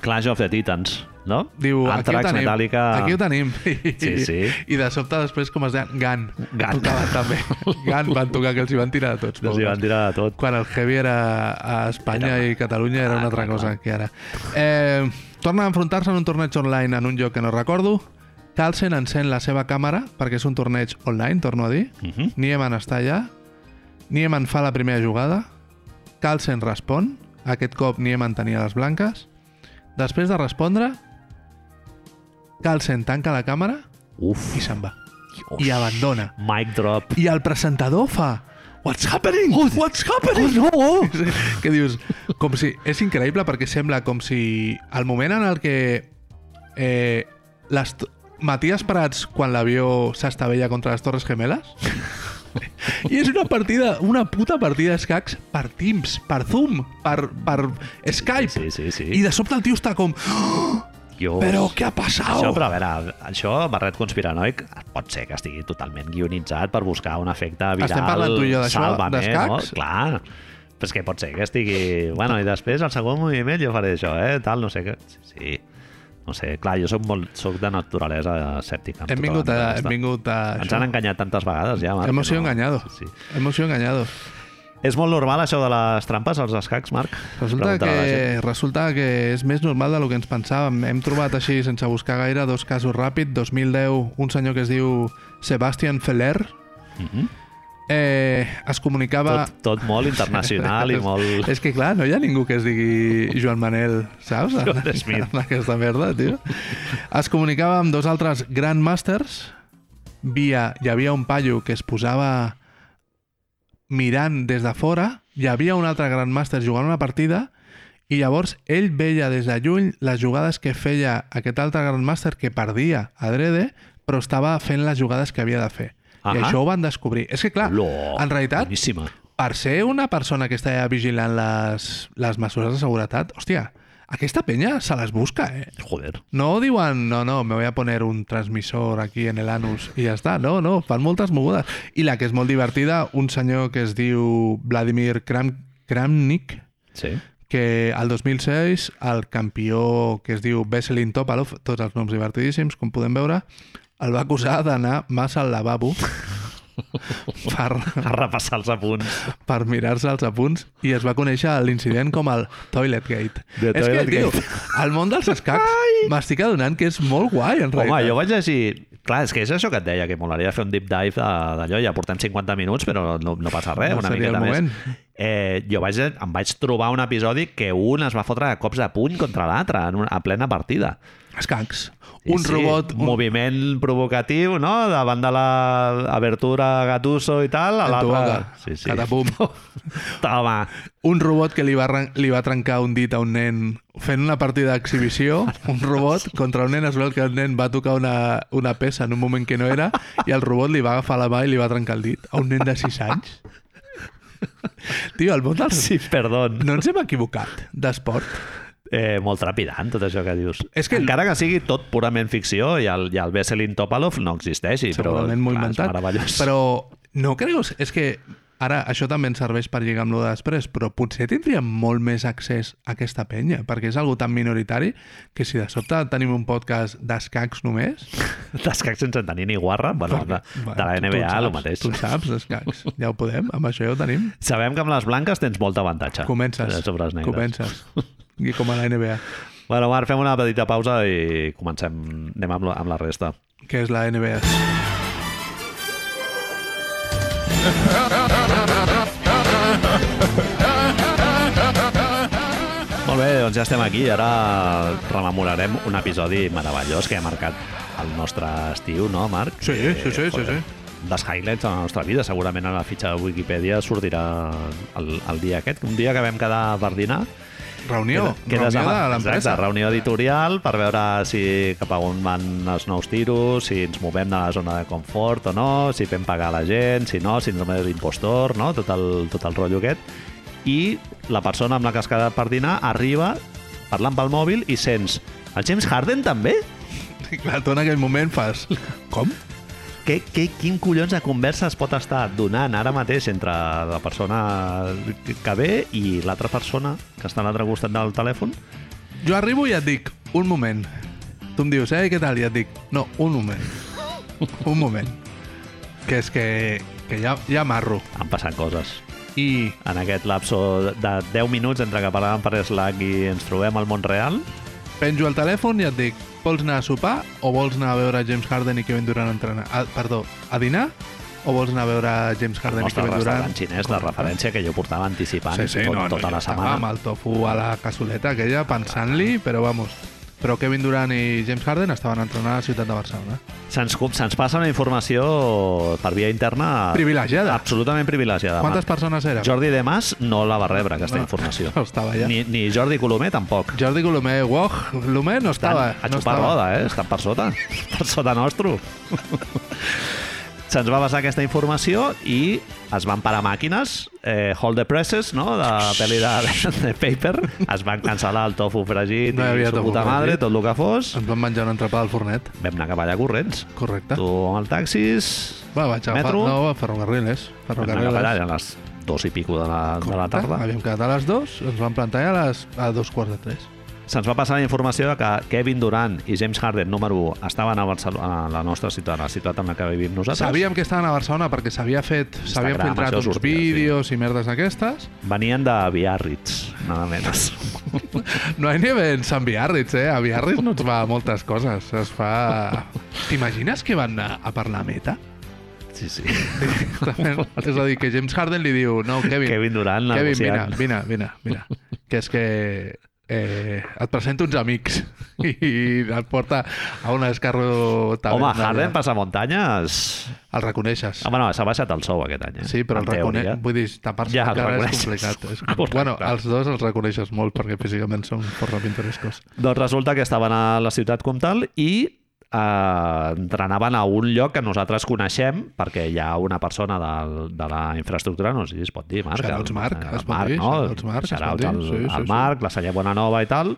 S1: Clash of the Titans, no?
S2: Diu, aquí ho
S1: Anthrax,
S2: tenim,
S1: Metallica...
S2: aquí ho tenim.
S1: Sí, sí.
S2: I de sobte després, com es deien, Gan.
S1: Gun.
S2: Tocaven també. Gan van tocar, que els hi van tirar de tots.
S1: Els hi van tirar de tot.
S2: quan el heavy era a Espanya i Catalunya era una altra cosa que ara. Eh, torna a enfrontar-se en un torneig online en un lloc que no recordo. Carlsen encén la seva càmera, perquè és un torneig online, torno a dir.
S1: Mhm.
S2: Niemann està allà. Niemann fa la primera jugada. Carlsen respon. Aquest cop Niemann tenia les blanques. Després de respondre, Carlsen tanca la càmera
S1: Uf,
S2: i se'n va.
S1: Dios.
S2: I abandona.
S1: Mic drop.
S2: I el presentador fa... What's happening? What's happening? Oh, no! que dius... Com si... És increïble perquè sembla com si... El moment en el que... Eh, les, t- Matías Prats, quan l'avió s'estavella contra les Torres Gemeles... I és una partida, una puta partida d'escacs per Teams, per Zoom, per, per Skype.
S1: Sí, sí, sí.
S2: I de sobte el tio està com...
S1: Dios.
S2: Però què ha passat?
S1: Això, però a veure, això, barret conspiranoic, pot ser que estigui totalment guionitzat per buscar un efecte viral.
S2: Estem parlant tu i jo d'això,
S1: Sálvame,
S2: d'escacs?
S1: No? Clar. Però és que pot ser que estigui... Bueno, i després, al segon moviment, jo faré això, eh? Tal, no sé què... Sí, sí. No sé, clar, jo soc, molt, soc de naturalesa escèptica. amb
S2: Hem
S1: tota la
S2: vingut a,
S1: meva
S2: hem
S1: aquesta.
S2: vingut a
S1: Ens
S2: això.
S1: han enganyat tantes vegades, ja, Marc. que
S2: Hemos sido engañados.
S1: Sí.
S2: Hemos sido engañados.
S1: És molt normal, això de les trampes als escacs, Marc?
S2: Resulta
S1: Pregunta-la a la gent.
S2: que, resulta que és més normal del que ens pensàvem. Hem trobat així, sense buscar gaire, dos casos ràpid. 2010, un senyor que es diu Sebastian Feller
S1: Mhm.
S2: eh, es comunicava...
S1: Tot, tot molt internacional i molt...
S2: És que clar, no hi ha ningú que es digui Joan Manel, saps?
S1: Joan Smith.
S2: En aquesta merda, tio. Es comunicava amb dos altres grandmasters. Via, hi havia un paio que es posava mirant des de fora. Hi havia un altre grandmaster jugant una partida i llavors ell veia des de lluny les jugades que feia aquest altre grandmaster que perdia adrede, però estava fent les jugades que havia de fer. I
S1: Ahà.
S2: això ho van descobrir. És que, clar,
S1: Lo-
S2: en realitat,
S1: Boníssima.
S2: per ser una persona que està vigilant les, les mesures de seguretat, hòstia, aquesta penya se les busca, eh?
S1: Joder.
S2: No diuen, no, no, me voy a poner un transmissor aquí en el anus i ja està. No, no, fan moltes mogudes. I la que és molt divertida, un senyor que es diu Vladimir Kram, Kramnik,
S1: Sí.
S2: que al 2006 el campió que es diu Veselin Topalov, tots els noms divertidíssims, com podem veure, el va acusar d'anar massa al lavabo per,
S1: A repassar els apunts.
S2: per mirar-se els apunts i es va conèixer l'incident com el Toilet Gate.
S1: The
S2: és
S1: Toilet
S2: que,
S1: Gate.
S2: tio, el món dels escacs m'estic adonant que és molt guai, en
S1: Home,
S2: realitat.
S1: jo vaig llegir... Clar, és que és això que et deia, que molaria fer un deep dive de- d'allò. Ja portem 50 minuts, però no, no passa res,
S2: No
S1: una
S2: seria
S1: miqueta
S2: el
S1: més.
S2: moment.
S1: eh, jo vaig, em vaig trobar un episodi que un es va fotre a cops de puny contra l'altre en una- a plena partida.
S2: Escacs.
S1: Sí,
S2: Un
S1: sí,
S2: robot...
S1: Un
S2: Un...
S1: moviment provocatiu, no? Davant de l'abertura Gatuso i tal, a l'altre...
S2: Entobaga.
S1: Sí, sí.
S2: Catapum.
S1: Toma.
S2: Un robot que li va, arran- li va trencar un dit a un nen fent una partida d'exhibició, un robot, contra un nen es veu que el nen va tocar una, una peça en un moment que no era i el robot li va agafar la mà i li va trencar el dit a un nen de 6 anys. Tio, el món dels...
S1: Sí, perdó.
S2: No ens hem equivocat d'esport.
S1: Eh, molt trepidant, tot això que dius.
S2: És que-
S1: Encara que sigui tot purament ficció i el, i el Veselin Topalov no existeixi, però clar,
S2: Segurament m'ho he
S1: és
S2: inventat.
S1: meravellós.
S2: Però no creus? És que ara això també ens serveix per lligar amb lo de després, però potser tindríem molt més accés a aquesta penya, perquè és algo tan minoritari que si de sobte tenim un podcast d'escacs només...
S1: D'escacs sense tenir ni guarra, bueno, de,
S2: Bueno,
S1: de la
S2: tu- tu en
S1: NBA, el
S2: saps,
S1: mateix.
S2: Tu en saps, escacs. Ja ho podem, amb això ja ho tenim.
S1: Sabem que amb les blanques tens molt avantatge.
S2: Comences.
S1: eh, Sobre les negres.
S2: Comences. I com a la NBA.
S1: Bueno, Marc, fem una petita pausa i comencem. Anem amb, la- amb la resta.
S2: Què és la NBA?
S1: Molt bé, doncs ja estem aquí. Ara rememorarem un episodi meravellós que ha marcat el nostre estiu, no, Marc?
S2: Sí, sí, sí, sí,
S1: joder, un dels highlights de la nostra vida. Segurament a la fitxa de Wikipedia sortirà el, el dia aquest, un dia que vam quedar per dinar.
S2: Reunió.
S1: Queda-
S2: Oh, Reunió
S1: amb-
S2: de l'empresa.
S1: Exacte, reunió editorial per veure si cap a on van els nous tiros, si ens movem de la zona de confort o no, si fem pagar la gent, si no, si ens només impostor, no? tot, el, tot el rotllo aquest. I la persona amb la que has quedat per dinar arriba parlant pel mòbil i sents el James Harden també?
S2: I clar, tu en aquell moment fas... Com?
S1: Que, que, quin collons de conversa es pot estar donant ara mateix entre la persona que ve i l'altra persona que està a l'altre costat del telèfon?
S2: Jo arribo i et dic, un moment. Tu em dius, eh, què tal? I et dic, no, un moment. Un moment. Que és que, que ja, ja marro.
S1: Han passat coses.
S2: I
S1: en aquest lapso de 10 minuts entre que parlàvem per Slack i ens trobem al món real.
S2: penjo el telèfon i et dic, vols anar a sopar o vols anar a veure James Harden i Kevin Durant a entrenar? A, perdó, a dinar o vols anar a veure James
S1: El
S2: Harden i
S1: nostre restaurant
S2: Kevin Durant? eh?
S1: xinès de referència que jo portava anticipant
S2: Sí, sí,
S1: tot,
S2: no, no,
S1: tota
S2: jo
S1: la
S2: estava
S1: setmana.
S2: Amb el tofu a la cassoleta aquella, pensant-li, però vamos. Però Kevin Durant i James Harden estaven entrenant a la ciutat de Barcelona.
S1: Se'ns se'ns passa una informació per via interna
S2: Privilegiada.
S1: absolutament privilegiada.
S2: Quantes
S1: Marc.
S2: persones eren?
S1: Jordi Demas no la va rebre, aquesta
S2: No,
S1: informació.
S2: no estava allà.
S1: Ni, ni Jordi Colomer tampoc.
S2: Jordi Colomer, uoh, Lomer no estava.
S1: a
S2: no
S1: xupar
S2: estava.
S1: roda, eh? Estan per sota. Per sota nostre. Se'ns va passar aquesta informació i es van parar màquines, eh, Hold the Presses, no?, de la pel·li de, de Paper, es van cancel·lar el tofu fregit
S2: No hi
S1: i
S2: havia
S1: su
S2: tofu
S1: puta madre,
S2: fregit.
S1: tot el que fos.
S2: Ens vam menjar una entrapada al fornet,
S1: Vam anar cap allà corrents.
S2: correcte.
S1: Tu amb el taxis,
S2: Va, vaig agafar...
S1: Metro?
S2: No, a ferrocarriles.
S1: vam anar cap allà
S2: Ferrocarriles.
S1: a les dos i pico de la, de la
S2: Correcte.
S1: tarda.
S2: Havíem quedat a les dues, ens vam plantar a, les, a dos quarts de tres.
S1: Se'ns va passar la informació de que Kevin Durant i James Harden, número 1, estaven a, Barcelona, a la nostra ciutat, a la ciutat en la que vivim nosaltres.
S2: Sabíem que estaven a Barcelona perquè s'havia fet... S'havien
S1: Instagram,
S2: filtrat
S1: això
S2: uns
S1: sortia, sí.
S2: vídeos i merdes d'aquestes.
S1: Venien de Biarritz, nada menys.
S2: No hi ha en Sant Biarritz, eh? A Biarritz no es fa moltes coses. Es fa... T'imagines que van anar a parlar a Meta?
S1: Sí, sí.
S2: És a dir, que James Harden li diu... No, Kevin,
S1: Kevin Durant
S2: Kevin, vine,
S1: negociant.
S2: vine, vine, vine. Que és que eh, et presento uns amics i et porta a un escarro
S1: Home,
S2: taverna.
S1: Harden passa muntanyes...
S2: El reconeixes.
S1: Ah, bueno, s'ha baixat el sou aquest any. eh?
S2: Sí, però el
S1: En
S2: reconeix...
S1: teoria.
S2: Vull dir, tapar-se
S1: Ja,
S2: ja,
S1: el
S2: cara és
S1: reconeixes.
S2: complicat. És...
S1: Correcte.
S2: Bueno, els dos els reconeixes molt perquè físicament són força pintorescos.
S1: Doncs resulta que estaven a la ciutat comtal i eh, entrenaven a un lloc que nosaltres coneixem perquè hi ha una persona de, de la infraestructura, no sé si es pot dir, Marc.
S2: Shoutouts
S1: el-
S2: Marc,
S1: el
S2: es pot dir,
S1: no?
S2: shoutouts Marc, es pot
S1: Shoutouts
S2: dir,
S1: al-
S2: sí, sí,
S1: al
S2: sí.
S1: Marc, la Salla Bonanova i tal.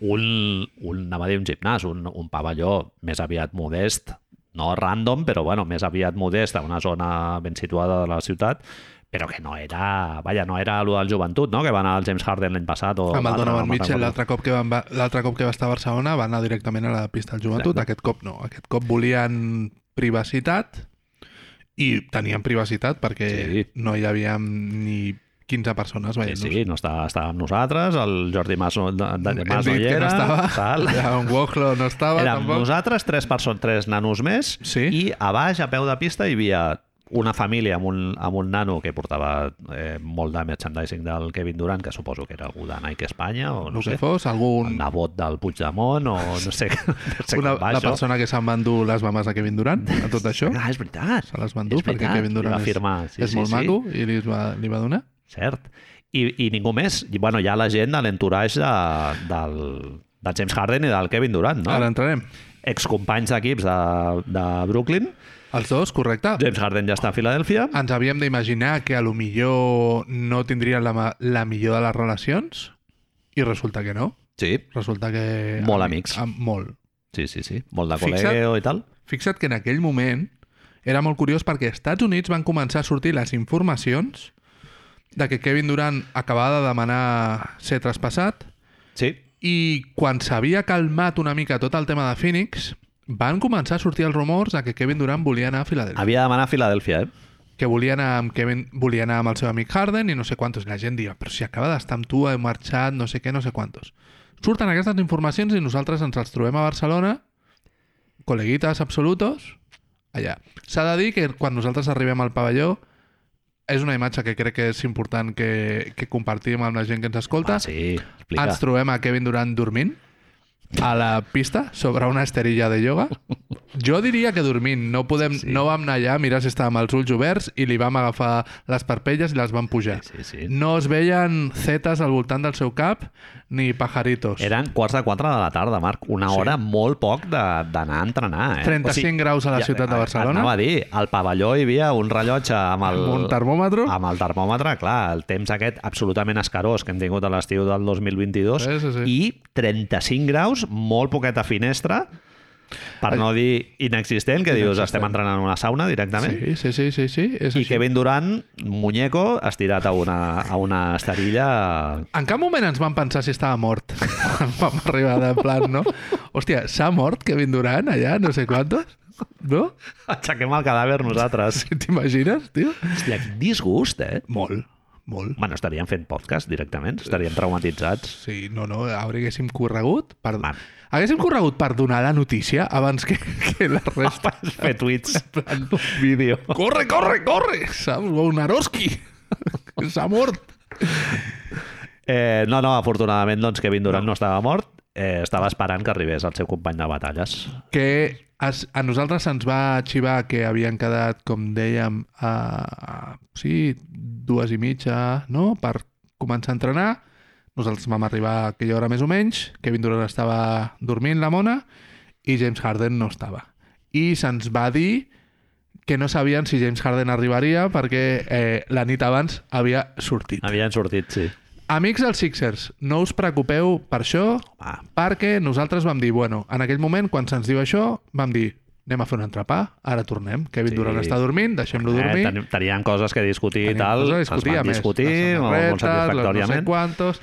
S1: Un, un, anava a dir un gimnàs, un, un pavelló més aviat modest, no random, però bueno, més aviat modest, a una zona ben situada de la ciutat, però que no era, vaja, no era allò del joventut, no? que va anar el James Harden l'any passat. O
S2: Amb el
S1: l'altre, no
S2: Donovan
S1: me'n
S2: Mitchell,
S1: recordo.
S2: l'altre cop, que van, va- l'altre cop que va estar a Barcelona, va anar directament a la pista del joventut. Aquest cop no. Aquest cop volien privacitat i tenien privacitat perquè
S1: Sí.
S2: no hi havia ni 15 persones
S1: Sí,
S2: veient-nos.
S1: sí, no està, estava amb nosaltres, el Jordi Mas no, de, de,
S2: Hem
S1: Mas no
S2: dit
S1: hi
S2: que no
S1: era,
S2: estava.
S1: tal.
S2: Ja, un Wojlo no estava,
S1: Érem
S2: tampoc.
S1: nosaltres, tres persones, tres nanos més,
S2: Sí.
S1: i a baix, a peu de pista, hi havia una família amb un, amb un nano que portava eh, molt de merchandising del Kevin Durant, que suposo que era algú de Nike Espanya, o no,
S2: No
S1: sé,
S2: que fos, algun...
S1: el nebot del Puigdemont, o no sé, no sé
S2: una,
S1: com va
S2: la
S1: això.
S2: persona que se'n va endur les mames de Kevin Durant, a tot això.
S1: Ah, és veritat.
S2: Se les va endur
S1: És
S2: perquè
S1: veritat,
S2: Kevin Durant
S1: li va firmar,
S2: és,
S1: sí, sí,
S2: és molt
S1: sí.
S2: maco i li es va, li va donar.
S1: Cert. I, I ningú més. I, bueno, hi ha la gent de l'entourage de, del, del James Harden i del Kevin Durant, no?
S2: Ara entrarem.
S1: Excompanys d'equips de, de Brooklyn.
S2: Els dos, correcte.
S1: James Harden ja està a Filadèlfia.
S2: Ens havíem d'imaginar que a lo millor no tindrien la, ma- la millor de les relacions i resulta que no.
S1: Sí,
S2: Resulta que...
S1: Molt amics.
S2: Am, molt.
S1: sí, sí, sí. Molt de
S2: Fixa't.
S1: col·lego i tal.
S2: Fixa't que en aquell moment era molt curiós perquè als Estats Units van començar a sortir les informacions de que Kevin Durant acabava de demanar ser traspassat
S1: Sí,
S2: Eh. i quan s'havia calmat una mica tot el tema de Phoenix van començar a sortir els rumors de que Kevin Durant volia anar a Filadelfia.
S1: havia de demanar a Filadèlfia, eh?
S2: Que volia anar amb Kevin, volia anar amb el seu amic Harden i no sé quantos. I la gent dia, però si acaba d'estar amb tu, he marxat, no sé què, no sé quantos. Surten aquestes informacions i nosaltres ens els trobem a Barcelona, col·leguites absolutos, allà. S'ha de dir que quan nosaltres arribem al pavelló és una imatge que crec que és important que, que compartim amb la gent que ens escolta.
S1: Ah, sí, explica.
S2: Ens trobem a Kevin Durant dormint a la pista sobre una esterilla de ioga. Jo diria que dormint. No, podem,
S1: Sí.
S2: sí. no vam anar allà a mirar si estava amb els ulls oberts i li vam agafar les parpelles i les vam pujar.
S1: Sí, sí.
S2: No es veien zetes al voltant del seu cap ni pajaritos.
S1: Eren quarts de quatre de la tarda, Marc. Una
S2: Sí.
S1: hora molt poc de- d'anar a entrenar, eh?
S2: 35 graus a la ciutat de Barcelona.
S1: Anava a dir, al pavelló hi havia un rellotge amb el... Ah,
S2: Amb un termòmetre.
S1: Amb el termòmetre, clar, el temps aquest absolutament escarós que hem tingut a l'estiu del 2022
S2: Sí, sí, sí.
S1: i 35 graus, molt poqueta finestra, per no dir inexistent, que dius,
S2: Inexistent.
S1: estem entrenant en una sauna directament.
S2: Sí, sí, sí, sí, sí. És
S1: I
S2: així.
S1: Kevin Durant, muñeco, estirat a una, a una esterilla
S2: En cap moment ens vam pensar si estava mort. Quan vam arribar de plan, no? Hòstia, s'ha mort Kevin Durant allà, no sé quantos? No?
S1: Aixequem el cadàver nosaltres.
S2: T'imagines, tio?
S1: Hòstia, quin disgust, eh?
S2: Molt, molt.
S1: Bueno, estaríem fent podcast directament, estaríem traumatitzats.
S2: Sí, no, no, hauríem corregut per...
S1: Man.
S2: Haguéssim corregut per donar la notícia abans que, que la resta...
S1: Fer tuits, un vídeo.
S2: Corre, corre, corre! Saps? O un Aroski! S'ha mort!
S1: Eh, no, no, afortunadament doncs, Kevin Durant no, no estava mort, eh, estava esperant que arribés el seu company de batalles.
S2: Que es, a nosaltres se'ns va xivar que havien quedat, com dèiem, a, a, sí, dues i mitja, no?, per començar a entrenar. Nosaltres vam arribar a aquella hora més o menys, Kevin Durant estava dormint, la mona, i James Harden no estava. I se'ns va dir que no sabien si James Harden arribaria perquè eh, la nit abans havia sortit.
S1: Havien sortit, sí.
S2: Amics dels Sixers, no us preocupeu per això,
S1: Home,
S2: perquè nosaltres vam dir, bueno, en aquell moment, quan se'ns diu això, vam dir, anem a fer un entrepà, ara tornem. Kevin
S1: Sí.
S2: sí. Durant està dormint, deixem-lo dormir.
S1: Eh, ten, tenien coses que discutir i
S2: Tenim
S1: tal,
S2: coses a
S1: es
S2: a
S1: van
S2: més,
S1: discutir
S2: les
S1: molt,
S2: samarretes,
S1: molt
S2: les No sé
S1: satisfactòriament.
S2: quantos,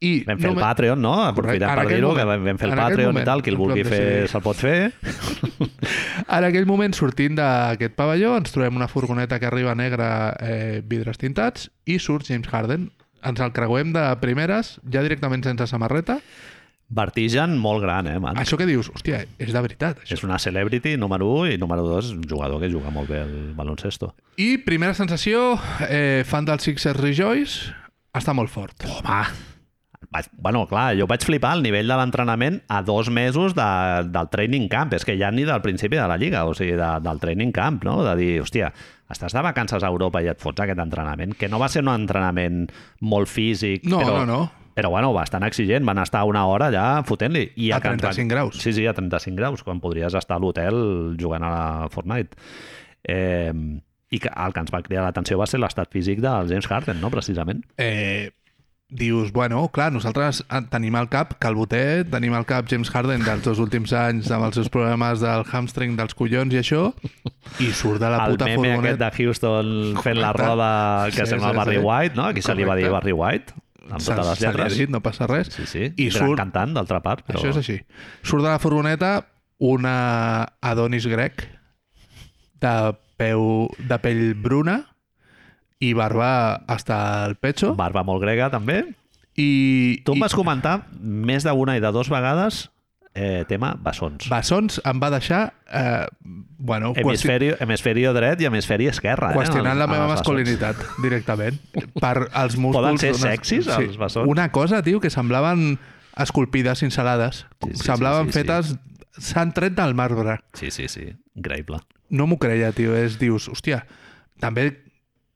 S2: i
S1: Vam fer el
S2: només-
S1: Patreon, no?
S2: Correcte,
S1: Aprofitant
S2: en
S1: per
S2: aquell
S1: dir-ho, que
S2: moment.
S1: vam, vam fer el
S2: En aquell
S1: Patreon
S2: moment,
S1: i tal, qui el
S2: en plan
S1: vulgui
S2: de
S1: fer
S2: sí.
S1: se'l pot fer.
S2: En aquell moment, sortint d'aquest pavelló, ens trobem una furgoneta que arriba negra, eh, vidres tintats, i surt James Harden. Ens el creuem de primeres, ja directament sense samarreta.
S1: Vertigen molt gran, eh, man?
S2: Això que dius, hòstia, és de veritat, això.
S1: És una celebrity, número 1, i número 2, un jugador que juga molt bé el baloncesto.
S2: I primera sensació, eh, fan del Sixers Rejoice, està molt fort.
S1: Home! Vaig, bueno, clar, jo vaig flipar el nivell de l'entrenament a dos mesos de, del training camp. És que ja ni del principi de la Lliga, o sigui, de, del training camp, no? De dir, hòstia, estàs de vacances a Europa i et fots aquest entrenament, que no va ser un entrenament molt físic,
S2: No,
S1: però,
S2: no, no.
S1: però bueno, bastant exigent. Van estar una hora allà fotent-li. I
S2: A
S1: que entren-
S2: 35 graus.
S1: Sí, sí, a 35 graus, quan podries estar a l'hotel jugant a la Fortnite. Eh, i que el que ens va cridar l'atenció va ser l'estat físic del James Harden, no? precisament.
S2: Eh, dius, bueno, clar, nosaltres en- tenim al cap Calbotet, tenim al cap James Harden dels dos últims anys amb els seus problemes del hamstring, dels collons i això, i surt de la
S1: el
S2: puta
S1: meme aquest
S2: furgoneta.
S1: de Houston fent la
S2: Correcte.
S1: roda que
S2: Sí,
S1: sembla
S2: sí,
S1: Barry
S2: sí.
S1: White, no? Aquí se li va dir
S2: Correcte.
S1: Barry White, amb tota
S2: Se-
S1: totes les
S2: se li ha
S1: lletres.
S2: dit, no passa res.
S1: Sí, sí.
S2: I
S1: gran
S2: surt-
S1: cantant d'altra part, però...
S2: Això és així. Surt de la furgoneta una Adonis grec de, peu, de pell bruna i barba hasta el pecho.
S1: Barba molt grega, també.
S2: I,
S1: Tu
S2: i-
S1: em vas comentar més d'una i de dues vegades eh, tema bessons.
S2: Bessons em va deixar... Eh, bueno, qüesti-
S1: Hemisferio, hemisferio dret i hemisferi esquerra.
S2: qüestionant
S1: eh,
S2: la
S1: en- en
S2: meva
S1: les bessons.
S2: masculinitat, directament. Per als músculs...
S1: Poden ser
S2: d'unes-
S1: sexis, els bessons?
S2: Una cosa, tio, que semblaven esculpides cincelades.
S1: Sí, sí,
S2: semblaven
S1: sí, sí, sí.
S2: fetes... S'han tret del marbre.
S1: Sí, sí, sí. Increïble.
S2: no m'ho creia, tio. És, dius, hòstia, també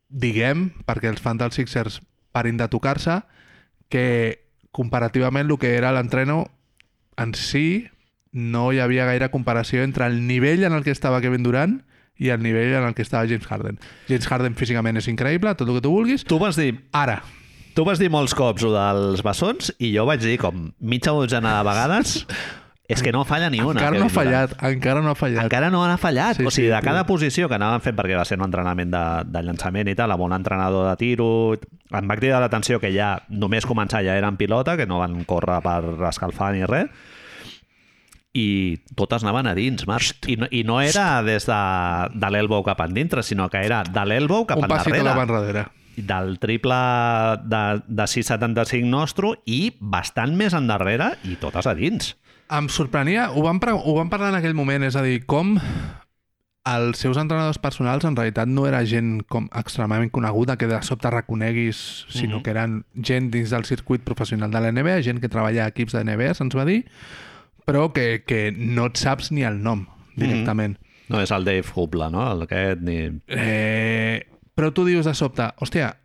S2: diguem, perquè els fans dels Sixers parin de tocar-se, que comparativament el que era l'entreno en si no hi havia gaire comparació entre el nivell en el que estava Kevin Durant i el nivell en el que estava James Harden. James Harden físicament és increïble, tot el que tu vulguis.
S1: Tu vas dir,
S2: Ara,
S1: tu vas dir molts cops ho dels bessons i jo vaig dir com mitja dotzena de vegades és que no falla ni una.
S2: encara
S1: Kevin
S2: no ha
S1: Durant.
S2: fallat, encara no ha fallat.
S1: Encara no han fallat.
S2: Sí,
S1: Sí, o sigui,
S2: sí,
S1: de
S2: tio.
S1: cada posició que anaven fent, perquè va ser un entrenament de, de llançament i tal, amb un entrenador de tiro, em va cridar l'atenció que ja només començar ja eren pilota, que no van córrer per escalfar ni res, i totes anaven a dins, Marc. I no, I no era des de, de l'elbow cap endintre, sinó que era de l'elbow cap
S2: Un passit a
S1: endarrere
S2: la enrere.
S1: del triple de, de 6,75 nostre i bastant més endarrere i totes a dins.
S2: Em sorprenia, ho vam, pre- ho vam parlar en aquell moment, és a dir, com els seus entrenadors personals en realitat no era gent com extremadament coneguda que de sobte reconeguis,
S1: Mhm.
S2: sinó que eren gent dins del circuit professional de la NBA, gent que treballa a equips de NBA, se'ns va dir, però que, que no et saps ni el
S1: Mhm.
S2: nom directament.
S1: No és el Dave Hubla, no? El aquest, ni...
S2: Eh, però tu dius de sobte, hòstia,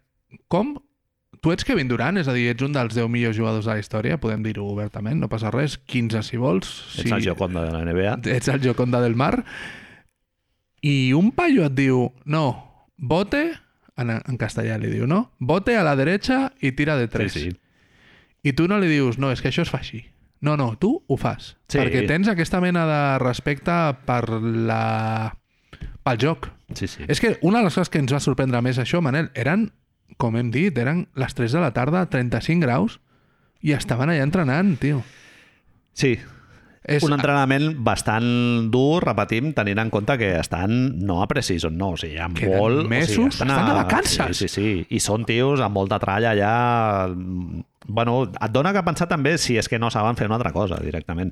S2: com? Tu ets Kevin Durant, és a dir, ets un dels 10 millors jugadors de la història, podem dir-ho obertament, no passa res, 15 si vols.
S1: Ets
S2: si-
S1: el Gioconda de la NBA.
S2: ets el Gioconda del mar i un paio et diu no, bote en, en castellà li diu, no? Bote a la dreta i tira de tres.
S1: Sí, sí.
S2: I tu no li dius, no, és que això es fa així. No, no, tu ho fas.
S1: Sí.
S2: Perquè tens aquesta mena de respecte per la... pel joc.
S1: Sí, sí.
S2: És que una de les coses que ens va sorprendre més això, Manel, eren, com hem dit, eren les 3 de la tarda, 35 graus, i estaven allà entrenant, tio.
S1: sí.
S2: És,
S1: un entrenament bastant dur, repetim, tenint en compte que estan no a preseason, no, o sigui, amb
S2: Queden
S1: vol... o sigui,
S2: mesos, estan de vacances.
S1: Sí, sí, sí, i són tios amb molta tralla ja... mm, Bueno, et dona que pensar també si és que no saben fer una altra cosa directament.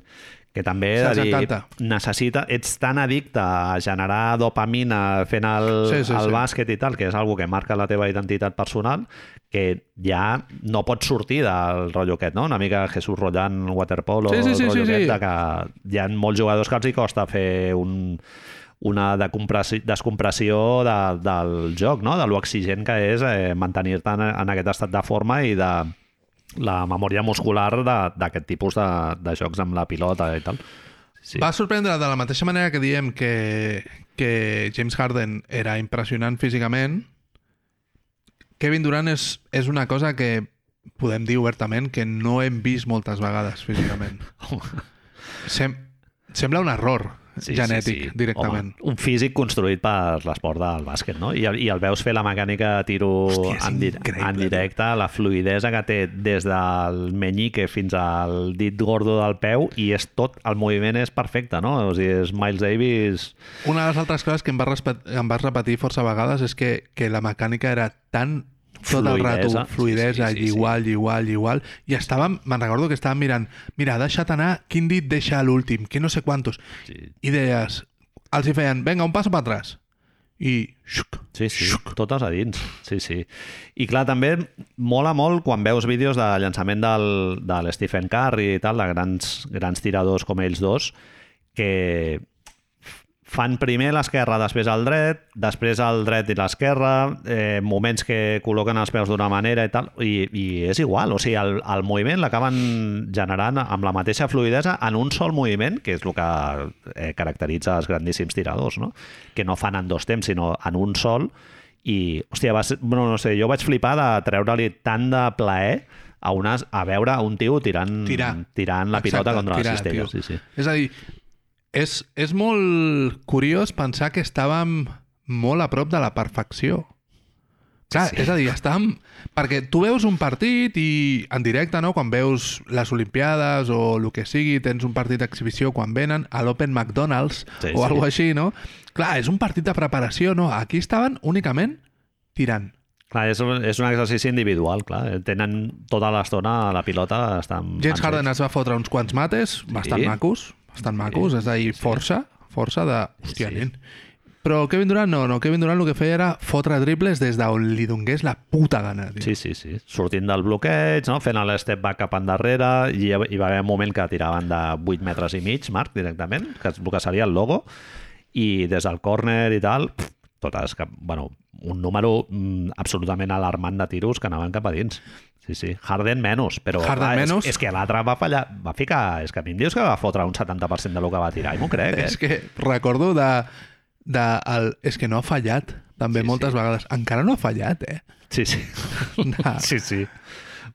S1: Que també he de
S2: Se'ls
S1: dir,
S2: encanta.
S1: necessita, ets tan addicte a generar dopamina fent el,
S2: Sí, sí,
S1: el
S2: sí.
S1: bàsquet i tal, que és algo que marca la teva identitat personal, que ja no pots sortir del rotllo aquest, no? Una mica Jesús Rollán, waterpolo,
S2: Sí, sí, sí,
S1: el rotllo
S2: sí,
S1: aquest
S2: sí.
S1: de que hi ha molts jugadors que els hi costa fer un, una decompressi- descompressió de, del joc, no? de lo exigent que és eh, mantenir-te en, en aquest estat de forma i de la memòria muscular de- d'aquest tipus de, de jocs amb la pilota i tal. Sí.
S2: Va sorprendre de la mateixa manera que diem que, que James Harden era impressionant físicament. Kevin Durant és, és una cosa que podem dir obertament que no hem vist moltes vegades físicament. Sem sembla un error sí, genètic, sí, sí. directament.
S1: Home, un físic construït per l'esport del bàsquet, no? I, el- I el veus fer la mecànica de tiro
S2: Hòstia, és
S1: en, di
S2: increïble,
S1: en directe, la fluidesa que té des del menyique fins al dit gordo del peu i és tot, el moviment és perfecte, no? O sigui, és Miles Davis...
S2: Una de les altres coses que em vas, respe- em vas repetir força vegades és que, que la mecànica era tan tot el
S1: Fluïdesa.
S2: rato, fluidesa,
S1: Sí, sí, sí, sí.
S2: igual, igual, igual, i estàvem, me'n recordo que estàvem mirant, mira, ha deixat anar, quin dit deixa a l'últim, que no sé quantos,
S1: Sí,
S2: i deies, els hi feien, venga, un passo per atrás, i xuc,
S1: Sí, sí, totes a dins. Sí, sí. I clar, també mola molt quan veus vídeos de llançament del, de l'Stephen Curry i tal, de grans, grans tiradors com ells dos, que fan primer l'esquerra, després el dret, després el dret i l'esquerra, eh, moments que col·loquen els peus d'una manera i tal, i, i és igual, o sigui, el, el moviment l'acaben generant amb la mateixa fluidesa en un sol moviment, que és el que eh, caracteritza els grandíssims tiradors, no? que no fan en dos temps, sinó en un sol, i, hòstia, va ser, bueno, no sé, jo vaig flipar de treure-li tant de plaer a, unes, a veure un tio tirant,
S2: Tirar.
S1: tirant la pilota contra
S2: tirar,
S1: les cistelles.
S2: tio.
S1: Sí, sí.
S2: És a dir, és, és molt curiós pensar que estàvem molt a prop de la perfecció. Clar, sí. és a dir, estàvem... Perquè tu veus un partit i en directe, no?, quan veus les Olimpiades o el que sigui, tens un partit d'exhibició quan venen a l'Open McDonald's
S1: Sí,
S2: sí, o
S1: sí.
S2: sí. alguna així, no? Clar, és un partit de preparació, no? Aquí estaven únicament tirant.
S1: Clar, és, un- és un exercici individual, clar. Tenen tota l'estona a la pilota, estan...
S2: James
S1: mans
S2: Harden es va fotre uns quants mates, bastant macos, bastant macos, és a dir, força, força de... Hòstia,
S1: Sí.
S2: nen. Però Kevin Durant no, no, Kevin Durant el que feia era fotre triples des d'on li donés la puta gana, tio.
S1: Sí, sí, sí. Sortint del bloqueig, no? fent l'step back cap endarrere, i hi hi va haver un moment que tiraven de 8 metres i mig, Marc, directament, que és el que seria el logo, i des del córner i tal, pff, totes, cap, bueno, un número mm, absolutament alarmant de tiros que anaven cap a dins. Sí, sí. Harden menys, però
S2: Harden
S1: clar,
S2: menys.
S1: És, és que l'altre va fallar, va ficar, és que a mi em dius que va fotre un 70% del que va tirar, i m'ho crec, eh?
S2: És que recordo de... de el, és que no ha fallat, també
S1: Sí,
S2: sí, moltes sí. vegades. Encara no ha fallat, eh?
S1: Sí, sí.
S2: De...
S1: Sí, sí.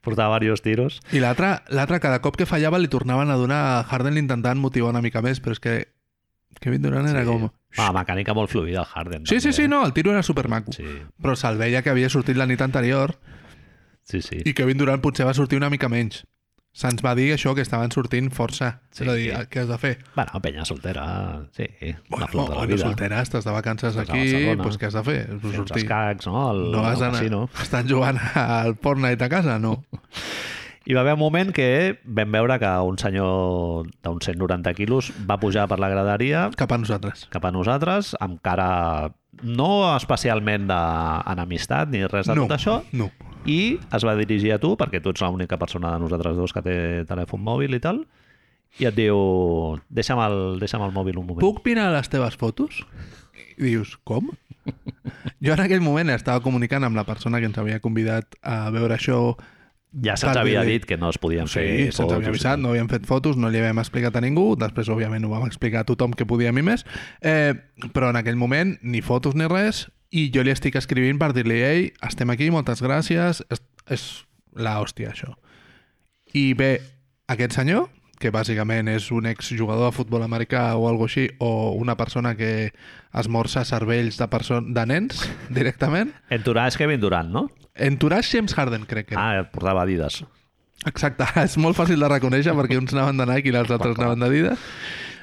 S1: Portava diversos tiros.
S2: I l'altre, l'altre, cada cop que fallava li tornaven a donar a Harden l'intentant motivar una mica més, però és que Kevin Durant era com...
S1: Ah, mecànica molt fluida, el Harden.
S2: Sí, sí,
S1: també,
S2: sí,
S1: eh?
S2: no, el tiro era supermaco. Sí.
S1: Sí,
S2: Però se'l veia que havia sortit la nit anterior
S1: sí, sí.
S2: i Kevin Durant potser va sortir una mica menys. Se'ns va dir això, que estaven sortint força.
S1: Sí,
S2: Sí, és a dir,
S1: sí.
S2: què has de fer?
S1: Bueno, penya soltera, sí, la flor de la
S2: bueno,
S1: vida.
S2: soltera, estàs de vacances
S1: Estàs a
S2: aquí,
S1: Barcelona.
S2: doncs pues, què has de fer? Pues
S1: Fer uns
S2: sortir.
S1: escacs, no? El,
S2: No vas
S1: al
S2: anar.
S1: casino.
S2: Estan jugant al Fortnite a casa? No.
S1: Hi va haver un moment que vam veure que un senyor d'uns 190 quilos va pujar per la graderia
S2: Cap a nosaltres.
S1: cap a nosaltres amb cara no especialment d'enamistat ni res de
S2: no.
S1: tot això
S2: No.
S1: i es va dirigir a tu perquè tu ets l'única persona de nosaltres dos que té telèfon mòbil i tal i et diu deixa'm el, deixa'm el mòbil un moment
S2: Puc pinar les teves fotos? I dius, com? Jo en aquell moment estava comunicant amb la persona que ens havia convidat a veure això.
S1: ja se'ns
S2: per
S1: havia
S2: dir-li-
S1: dit que no es podien
S2: Sí,
S1: fer
S2: Eh, se'ns havia
S1: fotos i
S2: avisat,
S1: tal.
S2: no havíem fet fotos, no li havíem explicat a ningú, després, òbviament, ho vam explicar a tothom que podíem i més, eh, però en aquell moment ni fotos ni res, i jo li estic escrivint per dir-li, ei, estem aquí, moltes gràcies, és, és la hòstia, això. I bé, aquest senyor, que bàsicament és un exjugador de futbol americà o algo així, o una persona que esmorza cervells de, perso de nens directament,
S1: Entourage Kevin Durant, no?
S2: entourage James Harden, crec que era.
S1: Ah, portava Adidas.
S2: Exacte, és molt fàcil de reconèixer perquè uns anaven de Nike i els altres anaven de Adidas.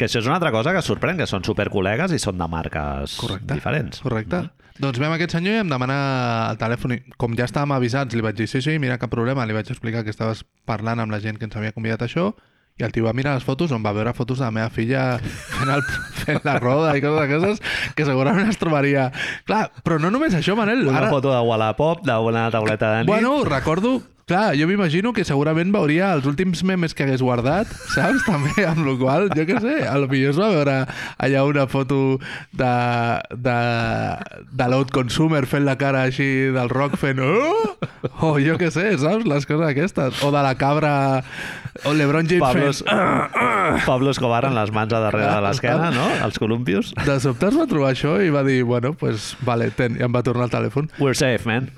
S1: Que això és una altra cosa que sorprèn, que són supercol·legues i són de marques
S2: Correcte.
S1: diferents.
S2: Correcte.
S1: Mm.
S2: Doncs vam a aquest senyor i em demana el telèfon. I com ja estàvem avisats, li vaig dir, sí, sí, mira, cap problema. Li vaig explicar que estaves parlant amb la gent que ens havia convidat a això i el tio va mirar les fotos on va veure fotos de la meva filla fent, el, fent la roda i coses d'aquestes que segurament es trobaria. Clar, però no només això, Manel.
S1: Una
S2: Ara,
S1: foto de Wallapop, d'una tauleta de nit...
S2: Bueno, recordo... Clar, jo m'imagino que segurament veuria els últims memes que hagués guardat, saps? També, amb la qual cosa, jo què sé, a lo millor es va veure allà una foto de, de, de l'Out Consumer fent la cara així del rock fent... Oh! O jo què sé, saps? Les coses aquestes. O de la cabra... O LeBron James
S1: Pablo,
S2: fent...
S1: Pablo Escobar amb les mans a darrere de l'esquena, no? Els columpios.
S2: De sobte es va trobar això i va dir, bueno, pues, vale, ten, i em va tornar el telèfon.
S1: We're safe, man.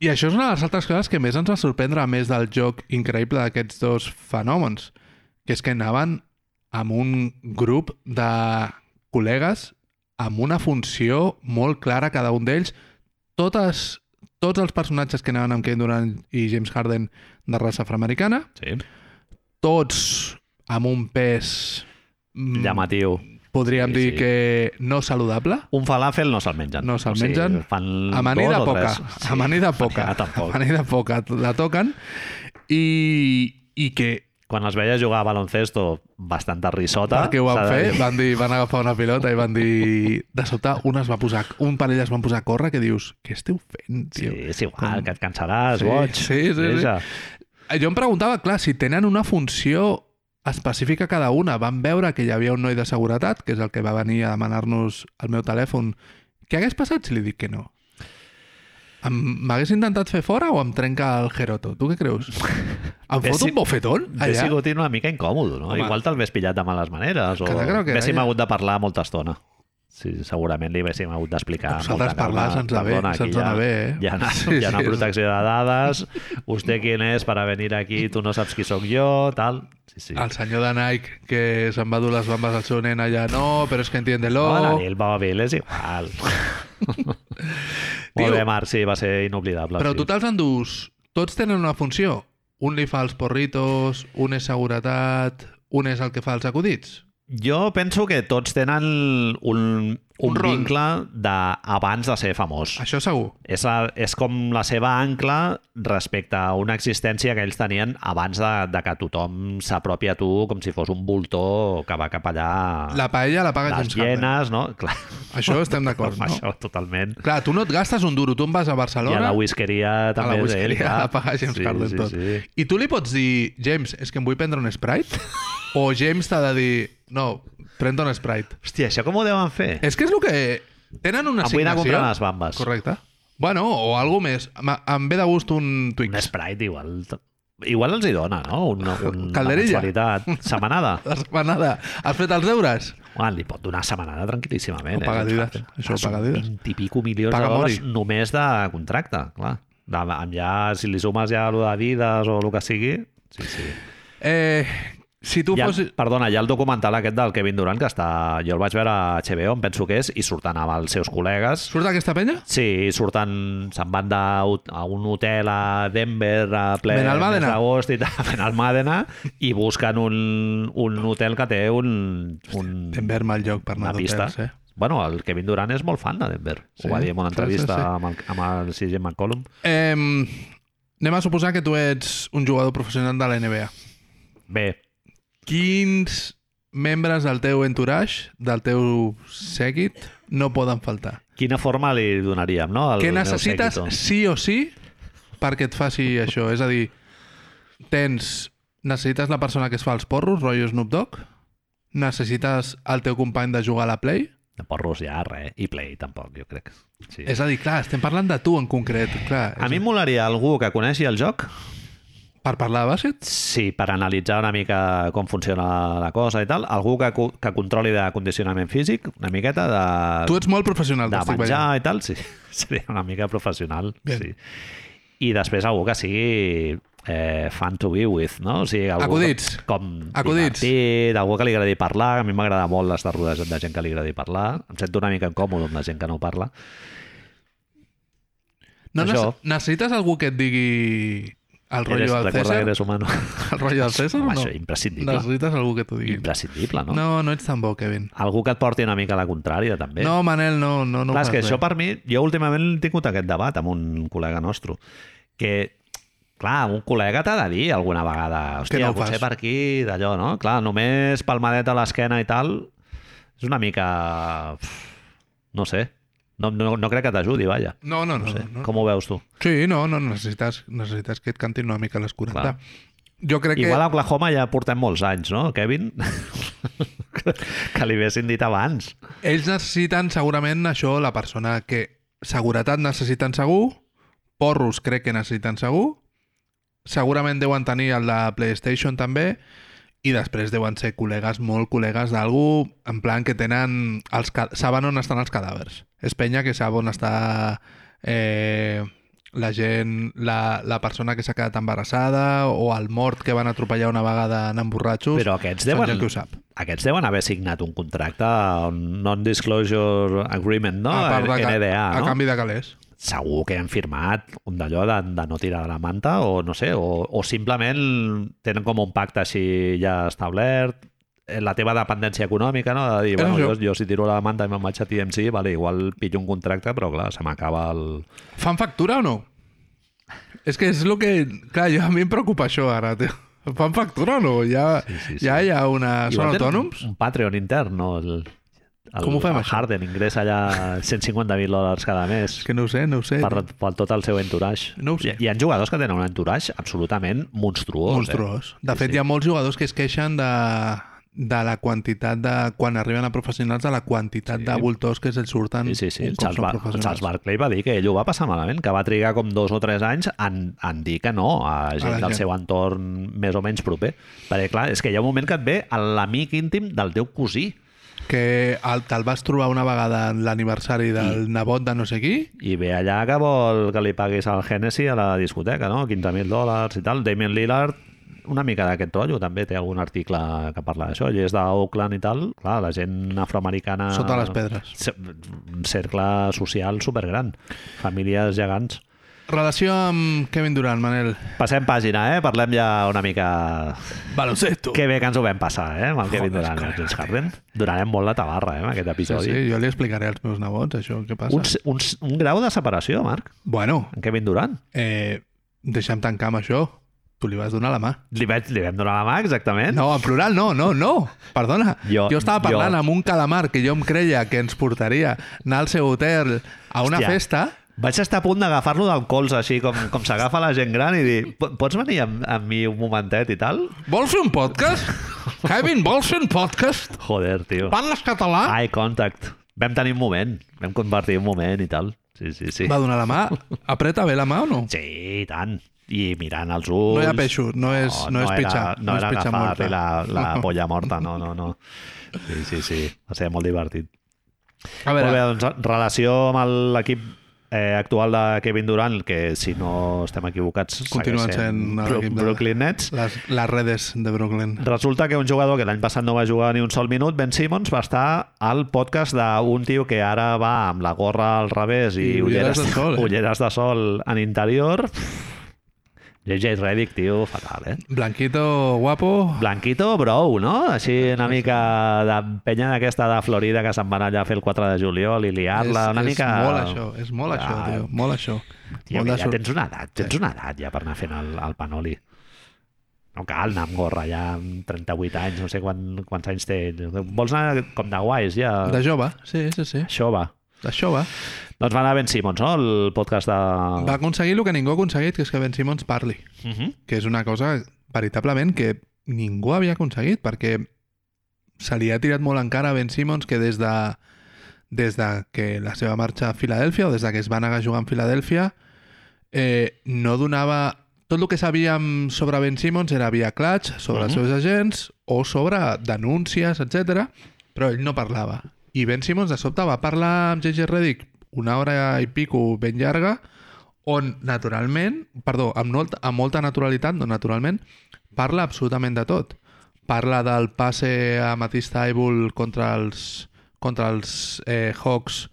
S2: I això és una de les altres coses que més ens va sorprendre a més del joc increïble d'aquests dos fenòmens, que és que anaven amb un grup de col·legues amb una funció molt clara cada un d'ells. Totes, tots els personatges que anaven amb Kevin Durant i James Harden de raça afroamericana,
S1: Sí,
S2: tots amb un pes... mm,
S1: llamatiu.
S2: Podríem
S1: Sí,
S2: dir
S1: sí.
S2: que no saludable,
S1: Un falàfel no se'l mengen.
S2: No se'l mengen.
S1: fan Mm,
S2: Amanida
S1: dos o
S2: poca,
S1: tres.
S2: sí, amanida poca,
S1: amanida tampoc.
S2: amanida poca, la toquen i, i que
S1: Quan els veia jugar a baloncesto, bastanta risota.
S2: perquè ho van
S1: s'ha de
S2: fer,
S1: dir.
S2: van, dir, van agafar una pilota i van dir... De sobte, un, es va posar, un parell es van posar a córrer que dius, què esteu fent,
S1: Sí,
S2: tio?
S1: és igual, que et cansaràs,
S2: Sí,
S1: boig.
S2: sí, sí, sí.
S1: Deixa.
S2: Eh, Jo em preguntava, clar, si tenen una funció específica cada una. Vam veure que hi havia un noi de seguretat, que és el que va venir a demanar-nos el meu telèfon. Què hagués passat si li dic que no? Em- M'hagués intentat fer fora o em trenca el Geroto? Tu què creus? Em
S1: Bé,
S2: fot
S1: si-
S2: un bofetón
S1: He
S2: allà?
S1: sigut una mica incòmode, no?
S2: Home.
S1: Home. Igual te'l vés pillat de males maneres o
S2: Que crec que
S1: haguéssim
S2: era, ja.
S1: hagut de parlar molta estona. Sí, segurament li haguéssim hagut d'explicar.
S2: A nosaltres
S1: molta calma.
S2: parlar se'ns va bé,
S1: Perdona, aquí
S2: se'ns dona
S1: hi ha-
S2: bé, eh?
S1: Hi ha una,
S2: Sí,
S1: hi ha una
S2: sí,
S1: protecció de dades, vostè quién és per a venir aquí, tu no saps qui sóc jo, tal... Sí, sí.
S2: El senyor de Nike que se'n va dur les bambes al seu nen allà, no, però és que entiende-lo...
S1: Bona nit, Bobil, és igual.
S2: Tio.
S1: Molt bé, Marc, sí, va ser inoblidable.
S2: Però
S1: sí.
S2: tu te'ls endús. Tots tenen una funció. Un li fa els porritos, un és seguretat, un és el que fa els acudits.
S1: Jo penso que tots tenen un, un,
S2: Un rol.
S1: vincle d'abans de ser famós.
S2: Això segur.
S1: És, la, és com la seva ancla respecte a una existència que ells tenien abans de, de que tothom s'apropi a tu com si fos un voltor que va cap allà...
S2: La paella la paga
S1: Ah, les
S2: James Harden.
S1: hienes, no? Clar,
S2: Això estem d'acord,
S1: amb
S2: no?
S1: això totalment.
S2: Clar, tu no et gastes un duro, tu en vas a
S1: I a
S2: Barcelona
S1: la whiskeria
S2: a
S1: també
S2: la
S1: és ell,
S2: whiskeria
S1: clar.
S2: la paga James
S1: sí,
S2: Harden
S1: sí,
S2: tot.
S1: Sí.
S2: I tu li pots dir, James, és que em vull prendre un Sprite? o James t'ha de dir, no, pren un Sprite.
S1: Hòstia, això com ho deuen fer?
S2: És que és el que... Tenen una
S1: Em vull anar a
S2: assignació.
S1: comprar unes bambes.
S2: Correcte. Bueno, o algú més. Ma- Em ve de gust un
S1: Un
S2: Twix.
S1: Sprite igual... Igual els hi dona, no? Un, un,
S2: Calderilla.
S1: Una mensualitat. Setmanada.
S2: La setmanada. Has fet els deures?
S1: Home, li pot donar setmanada tranquil·líssimament.
S2: Ho paga
S1: eh?
S2: Adidas. Això ho
S1: Són
S2: paga Adidas.
S1: 20 i pico milions
S2: Paga
S1: de dòlars
S2: Mori.
S1: només de contracte, clar. De, amb ja, si li sumes ja allò d'Adidas o el que sigui... Sí, sí.
S2: Eh, si tu
S1: Hi ha,
S2: fossis...
S1: Perdona, hi ha el documental aquest del Kevin Durant que està... Jo el vaig veure a HBO, em penso que és, i surten amb els seus col·legues
S2: Surt aquesta penya?
S1: Sí, surten, se'n van de, a un hotel a Denver a ple mes
S2: Benalmádena.
S1: d'agost i tal, Benalmádena, i busquen un, un hotel que té un, un,
S2: Denver mal lloc per anar
S1: una pista.
S2: d'hotels, eh?
S1: Bueno, el Kevin Durant és molt fan de Denver.
S2: Sí,
S1: Ho va dir en una
S2: sí,
S1: entrevista
S2: sí, sí.
S1: amb el, amb el CJ McCollum.
S2: Eh, anem a suposar que tu ets un jugador professional de la NBA.
S1: Bé,
S2: Quins membres del teu entourage, del teu seguit, no poden faltar?
S1: quina forma li donaríem, no? al
S2: Què
S1: meu
S2: necessites
S1: séquito?
S2: sí o sí perquè et faci això? És a dir, tens... Necessites la persona que es fa els porros, rotllo Snoop Dogg? Necessites el teu company de jugar a la Play?
S1: De porros ja, res. I play, tampoc, jo crec. Sí.
S2: És a dir, clar, estem parlant de tu en concret. Clar,
S1: A mi em molaria algú que coneixi el joc,
S2: Per parlar de bàsquet?
S1: Sí, per analitzar una mica com funciona la cosa i tal. Algú que, co- que controli de condicionament físic, una miqueta de,
S2: Tu ets molt professional,
S1: de
S2: t'estic veient.
S1: menjar i tal, sí. Seria una mica professional,
S2: Bien.
S1: sí. I després algú que sigui eh, fun to be with, no? O sigui, algú
S2: Acudits.
S1: Com, com
S2: Acudits.
S1: divertit, algú que li agradi parlar. A mi m'agrada molt estar rodejat de gent que li agradi parlar. Em sento una mica incòmode amb la gent que no parla.
S2: No,
S1: Això.
S2: nece- necessites algú que et digui el rotllo del
S1: recorda
S2: César?
S1: que eres humano.
S2: El rotllo del César o
S1: Home,
S2: no?
S1: això, imprescindible.
S2: Necessites algú que t'ho digui.
S1: Imprescindible, no?
S2: No, no ets tan bo, Kevin.
S1: Algú que et porti una mica a la contrària, també.
S2: No, Manel, no, no, no
S1: Clar,
S2: ho
S1: és
S2: fas
S1: que
S2: bé.
S1: això per mi, jo últimament he tingut aquest debat amb un col·lega nostre, que clar, un col·lega t'ha de dir alguna vegada,
S2: Que no
S1: hòstia,
S2: ho
S1: no potser
S2: fas."
S1: per aquí, d'allò, no? Clar, només palmadeta a l'esquena i tal, és una mica... no sé, no, no, no crec que t'ajudi, vaja.
S2: No, no, no.
S1: No sé,
S2: no, no.
S1: com ho veus tu?
S2: Sí, no, no, necessites, necessites que et cantin una mica a les 40.
S1: Clar.
S2: Jo crec
S1: Igual a
S2: que...
S1: Oklahoma ja portem molts anys, no, Kevin? que li haguessin dit abans.
S2: Ells necessiten segurament això, la persona que seguretat necessiten segur, porros crec que necessiten segur, segurament deuen tenir el de PlayStation també, i després deuen ser col·legues, molt col·legues d'algú, en plan que tenen... Els, ca- saben on estan els cadàvers. És penya que sap on està eh, la gent, la, la persona que s'ha quedat embarassada o el mort que van atropellar una vegada anant borratxos.
S1: Però aquests
S2: Són
S1: deuen,
S2: gent que ho sap.
S1: aquests deuen haver signat un contracte, un non-disclosure agreement, no?
S2: a part de, ca-
S1: NDA,
S2: a
S1: no?
S2: canvi de calés.
S1: Segur que han firmat un d'allò de, de no tirar de la manta o no sé, o, o simplement tenen com un pacte així ja establert, eh, la teva dependència econòmica, no? De dir,
S2: És
S1: bueno, jo,
S2: això.
S1: jo si tiro la manta i me'n vaig a TMC, vale, igual pillo un contracte, però clar, se m'acaba el...
S2: Fan factura o no? És que és el que... Clar, jo, a mi em preocupa això ara, tio. Fan factura o no? Ja, sí, sí,
S1: sí,
S2: sí.
S1: sí.
S2: ja hi ha una... Ah, Són
S1: Igual tenen
S2: autònoms?
S1: Un Patreon intern, no? El, el,
S2: Com ho fem,
S1: el
S2: això?
S1: Harden ingressa allà 150.000 dòlars cada mes.
S2: És que no ho sé, no ho sé.
S1: per, per tot el seu entourage.
S2: Eh, No ho sé.
S1: Hi, hi ha jugadors que tenen un entourage absolutament monstruós.
S2: Monstruós. De
S1: eh? Sí,
S2: fet,
S1: sí.
S2: hi ha molts jugadors que es queixen de, de la quantitat de... Quan arriben a professionals, de la quantitat sí. de voltors que se'ls
S1: Eh?
S2: surten
S1: Sí, sí, sí.
S2: un
S1: El
S2: cop
S1: Charles,
S2: són
S1: Bar el
S2: professionals.
S1: Charles Barkley va dir que ell ho va passar malament, que va trigar com dos o tres anys en, en dir que no a gent
S2: la
S1: del
S2: gent.
S1: seu entorn més o menys proper. Perquè, clar, és que hi ha un moment que et ve l'amic íntim del teu cosí
S2: Que el- te'l vas trobar una vegada en l'aniversari del nebot de no sé qui
S1: i ve allà que vol que li paguis al Hennessy a la discoteca, no? 15.000 dòlars i tal. Damien Lillard una mica d'aquest rotllo, també té algun article que parla d'això, i és d'Oakland i tal, clar, la gent afroamericana...
S2: sota les pedres.
S1: Ce- un cercle social supergran. Famílies gegants.
S2: Relació amb Kevin Durant, Manel.
S1: Passem pàgina, eh? Parlem ja una mica...
S2: Baloncesto.
S1: Que bé que ens ho vam passar, eh? Amb el Kevin
S2: Joder,
S1: Durant i el
S2: correcte.
S1: James Harden. Donarem molt la tabarra, eh? Amb aquest
S2: Sí,
S1: episodi.
S2: sí, jo li explicaré als meus nebots això, què passa.
S1: Un, un, un grau de separació, Marc,
S2: Bueno,
S1: en Kevin Durant.
S2: eh, deixa'm tancar amb això. Tu li vas donar la mà.
S1: Li, vaig, li vam donar la mà, exactament.
S2: No, en plural no, no, no. Perdona.
S1: Jo-
S2: Jo, jo estava parlant
S1: jo-
S2: amb un calamar que jo em creia que ens portaria anar al seu hotel a
S1: Hòstia.
S2: una Hòstia. festa.
S1: Vaig estar a punt d'agafar-lo del colze, així com, com s'agafa la gent gran i dir "Po- pots venir amb, amb mi un momentet i tal?
S2: Vols fer un podcast? Kevin, vols fer un podcast?
S1: Joder, tio.
S2: Parles català?
S1: Eye contact. Vam tenir un moment. Vam compartir un moment i tal. Sí, sí, sí.
S2: Va donar la mà. Apreta bé la mà o no?
S1: Sí, i tant. I mirant els ulls... Oh,
S2: No hi ha peixos, no és- no és pitxar,
S1: No,
S2: no és
S1: era
S2: pitxar
S1: agafar-li
S2: morta.
S1: la, la polla morta, no, no, no. Sí, sí, sí. Va ser molt divertit.
S2: A
S1: Molt bé,
S2: veure,
S1: doncs, relació amb l'equip eh, actual de Kevin Durant, que si no estem equivocats
S2: Continua
S1: segueix
S2: sent
S1: Bru-
S2: l'equip de-
S1: Brooklyn Nets.
S2: les, les redes de Brooklyn.
S1: Resulta que un jugador que l'any passat no va jugar ni un sol minut, Ben Simmons, va estar al podcast d'un tio que ara va amb la gorra al revés i,
S2: I ulleres de sol, eh?
S1: ulleres de sol en interior. JJ Redick, tio, fatal, eh?
S2: Blanquito, guapo.
S1: Blanquito Brou, no? Així una mica de penya d'aquesta de Florida que se'n van allà a fer el 4 de juliol i liar-la una
S2: és
S1: mica...
S2: molt això, és molt això,
S1: Ah.
S2: tio, molt això.
S1: Tio,
S2: molt
S1: que
S2: de
S1: ja
S2: sor-
S1: tens una edat, tens una edat ja per anar fent el, el panoli. No cal anar amb gorra ja amb 38 anys, no sé quan, quants anys té. ell. Vols anar com de guais ja?
S2: De jove, sí, sí, sí,
S1: Això va.
S2: de jove.
S1: Doncs va anar Ben Simmons, no? El podcast de...
S2: Va aconseguir el que ningú ha aconseguit, que és que Ben Simmons parli,
S1: Uh -huh.
S2: que és una cosa, veritablement, que ningú havia aconseguit, perquè se li ha tirat molt en cara a Ben Simmons que des de, des de que la seva marxa a Filadèlfia o des de que es va negar a jugar en Filadèlfia eh, no donava... Tot el que sabíem sobre Ben Simmons era via Clutch, sobre els
S1: Mhm.
S2: seus agents o sobre denúncies, etc. però ell no parlava. I Ben Simmons de sobte va parlar amb JJ Redick una hora i pico ben llarga on naturalment, perdó, amb, molt, amb molta naturalitat, no naturalment, parla absolutament de tot. Parla del passe a Matisse Taibull contra els, contra els eh, Hawks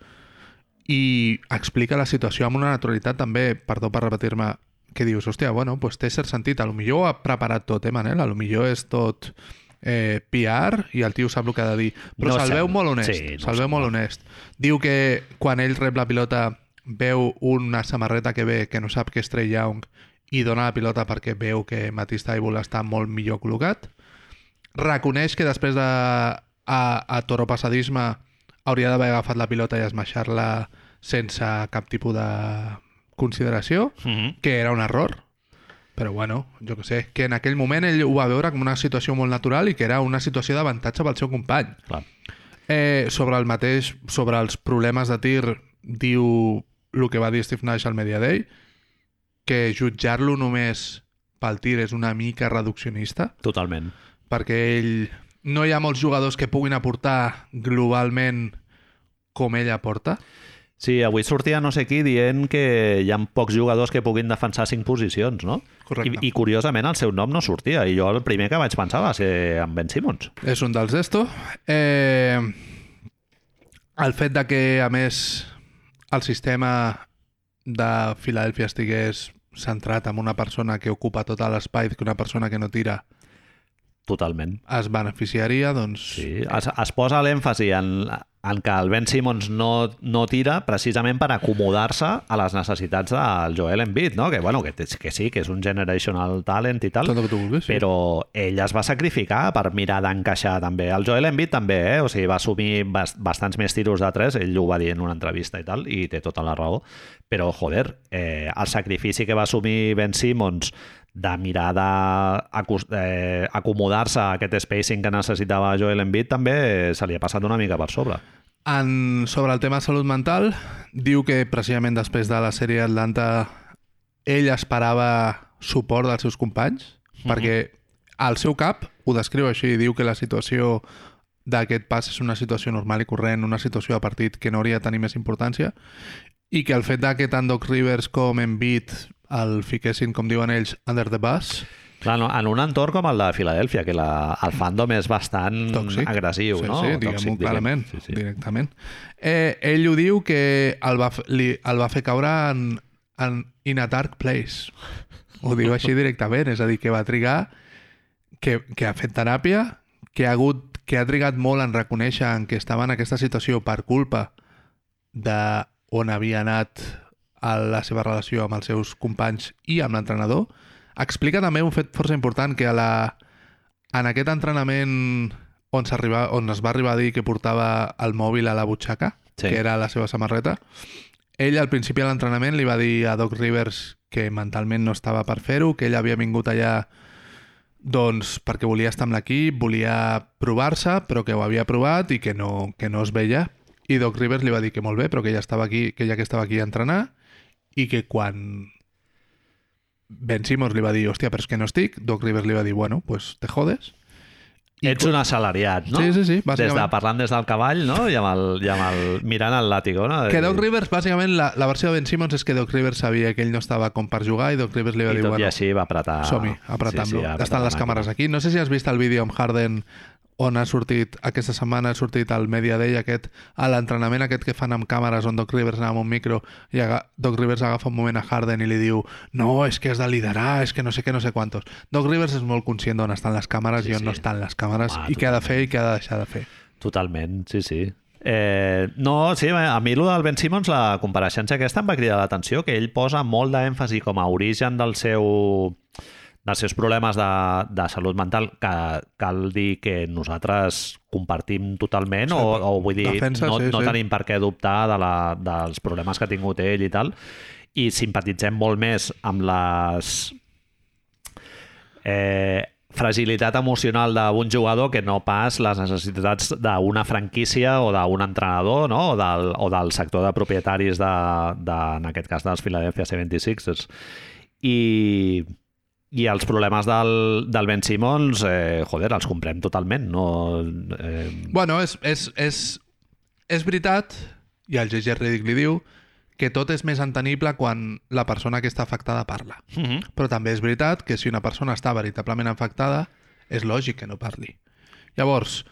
S2: i explica la situació amb una naturalitat també, perdó per repetir-me, que dius, hòstia, bueno, pues té cert sentit, a lo millor ho ha preparat tot, eh, Manel? A lo millor és tot eh, PR i el tio sap el que ha de dir.
S1: No
S2: Però no se'l veu
S1: sembla.
S2: molt honest,
S1: Sí,
S2: sí,
S1: no
S2: no se'l veu molt honest. Diu que quan ell rep la pilota veu una samarreta que ve que no sap que és Trey Young i dona la pilota perquè veu que Matisse Taibull està molt millor col·locat reconeix que després de a, a Toro Passadisme hauria d'haver agafat la pilota i esmaixar-la sense cap tipus de consideració,
S1: Uh -huh.
S2: que era un error. Però bueno, jo que sé, que en aquell moment ell ho va veure com una situació molt natural i que era una situació d'avantatge pel seu company.
S1: Clar.
S2: Eh, sobre el mateix, sobre els problemes de tir, diu el que va dir Steve Nash al Media Day, que jutjar-lo només pel tir és una mica reduccionista,
S1: Totalment.
S2: perquè ell no hi ha molts jugadors que puguin aportar globalment com ell aporta.
S1: Sí, avui sortia no sé qui dient que hi ha pocs jugadors que puguin defensar cinc posicions, no?
S2: Correcte.
S1: I, I curiosament el seu nom no sortia i jo el primer que vaig pensar va ser en Ben Simmons.
S2: És un dels d'esto. Eh, el fet de que, a més, el sistema de Filadèlfia estigués centrat en una persona que ocupa tot l'espai que una persona que no tira
S1: Totalment.
S2: es beneficiaria, doncs...
S1: Sí, es, es posa l'èmfasi en, en que el Ben Simmons no, no tira precisament per acomodar-se a les necessitats del Joel Embiid, no? que, bueno, que, té- que sí, que és un generational talent i tal,
S2: Tot el que tu vulguis. sí.
S1: però ell es va sacrificar per mirar d'encaixar també. El Joel Embiid també, eh? o sigui, va assumir bast bastants més tiros de tres, ell ho va dir en una entrevista i tal, i té tota la raó, però, joder, eh, el sacrifici que va assumir Ben Simmons de mirar d'acomodar-se eh, acomodar-se a aquest spacing que necessitava Joel Embiid també eh, se li ha passat una mica per sobre.
S2: En, sobre el tema salut mental, diu que precisament després de la sèrie Atlanta ell esperava suport dels seus companys, perquè al seu cap ho descriu així, diu que la situació d'aquest pas és una situació normal i corrent, una situació de partit que no hauria de tenir més importància, i que el fet de que tant Doc Rivers com Embiid el fiquessin, com diuen ells, under the bus,
S1: Clar, no, en un entorn com el de Filadèlfia, que la, el fandom és bastant
S2: Tòxic.
S1: agressiu,
S2: sí,
S1: no?
S2: Sí,
S1: Tòxic,
S2: diguem-ho
S1: diguem.
S2: clarament,
S1: Sí, sí.
S2: directament. Eh, ell ho diu que el va, f- li, el va fer caure en, en In a Dark Place. Ho diu així directament, és a dir, que va trigar, que, que ha fet teràpia, que ha, hagut, que ha trigat molt en reconèixer en que estava en aquesta situació per culpa de on havia anat a la seva relació amb els seus companys i amb l'entrenador. Explica també un fet força important que a la, en aquest entrenament on, s'arriba- on es va arribar a dir que portava el mòbil a la butxaca,
S1: Sí.
S2: sí. que era la seva samarreta, ell al principi de l'entrenament li va dir a Doc Rivers que mentalment no estava per fer-ho, que ell havia vingut allà doncs perquè volia estar amb l'equip, volia provar-se, però que ho havia provat i que no, que no es veia. I Doc Rivers li va dir que molt bé, però que ja estava aquí, que ja que estava aquí a entrenar i que quan Ben Simmons li va dir, hòstia, però és que no estic, Doc Rivers li va dir, bueno, pues te jodes. I
S1: Ets un assalariat, no?
S2: Sí, sí, sí,
S1: Des de,
S2: bàsicament.
S1: parlant des del cavall, no? I amb el, i amb el mirant el làtigo, no?
S2: Que Doc Rivers, bàsicament, la, la versió de Ben Simmons és que Doc Rivers sabia que ell no estava com per jugar i Doc Rivers li va
S1: I
S2: dir,
S1: tot i
S2: bueno,
S1: així va apretar...
S2: som-hi, apretam-lo.
S1: va apretar
S2: Estan les
S1: la
S2: càmeres aquí. No sé si has vist el vídeo amb Harden on ha sortit, aquesta setmana ha sortit al Media Day aquest, a l'entrenament aquest que fan amb càmeres on Doc Rivers anava amb un micro i aga Doc Rivers agafa un moment a Harden i li diu no, és que has de liderar, és que no sé què, no sé quantos. Doc Rivers és molt conscient d'on estan les càmeres
S1: Sí,
S2: i on
S1: sí. Ah,
S2: no estan les càmeres
S1: Home,
S2: i què ha de fer i què ha de deixar de fer.
S1: Totalment, sí, sí. Eh, no, sí, a mi el del Ben Simmons, la compareixença aquesta em va cridar l'atenció, que ell posa molt d'èmfasi com a origen del seu dels seus problemes de, de salut mental que cal dir que nosaltres compartim totalment o, o vull dir,
S2: Defensa,
S1: no,
S2: sí,
S1: no
S2: sí.
S1: tenim per què dubtar de la, dels problemes que ha tingut ell i tal i simpatitzem molt més amb les eh, fragilitat emocional d'un jugador que no pas les necessitats d'una franquícia o d'un entrenador no? o, del, o del sector de propietaris de, de, en aquest cas dels Philadelphia 76ers i, i els problemes del, del Ben Simmons eh, joder, els comprem totalment no, eh,
S2: Bueno, és, és, és, és veritat, i el J.J. Reddick li diu, que tot és més entenible quan la persona que està afectada parla.
S1: mm -hmm.
S2: Però també és veritat que si una persona està veritablement afectada, és lògic que no parli. Llavors,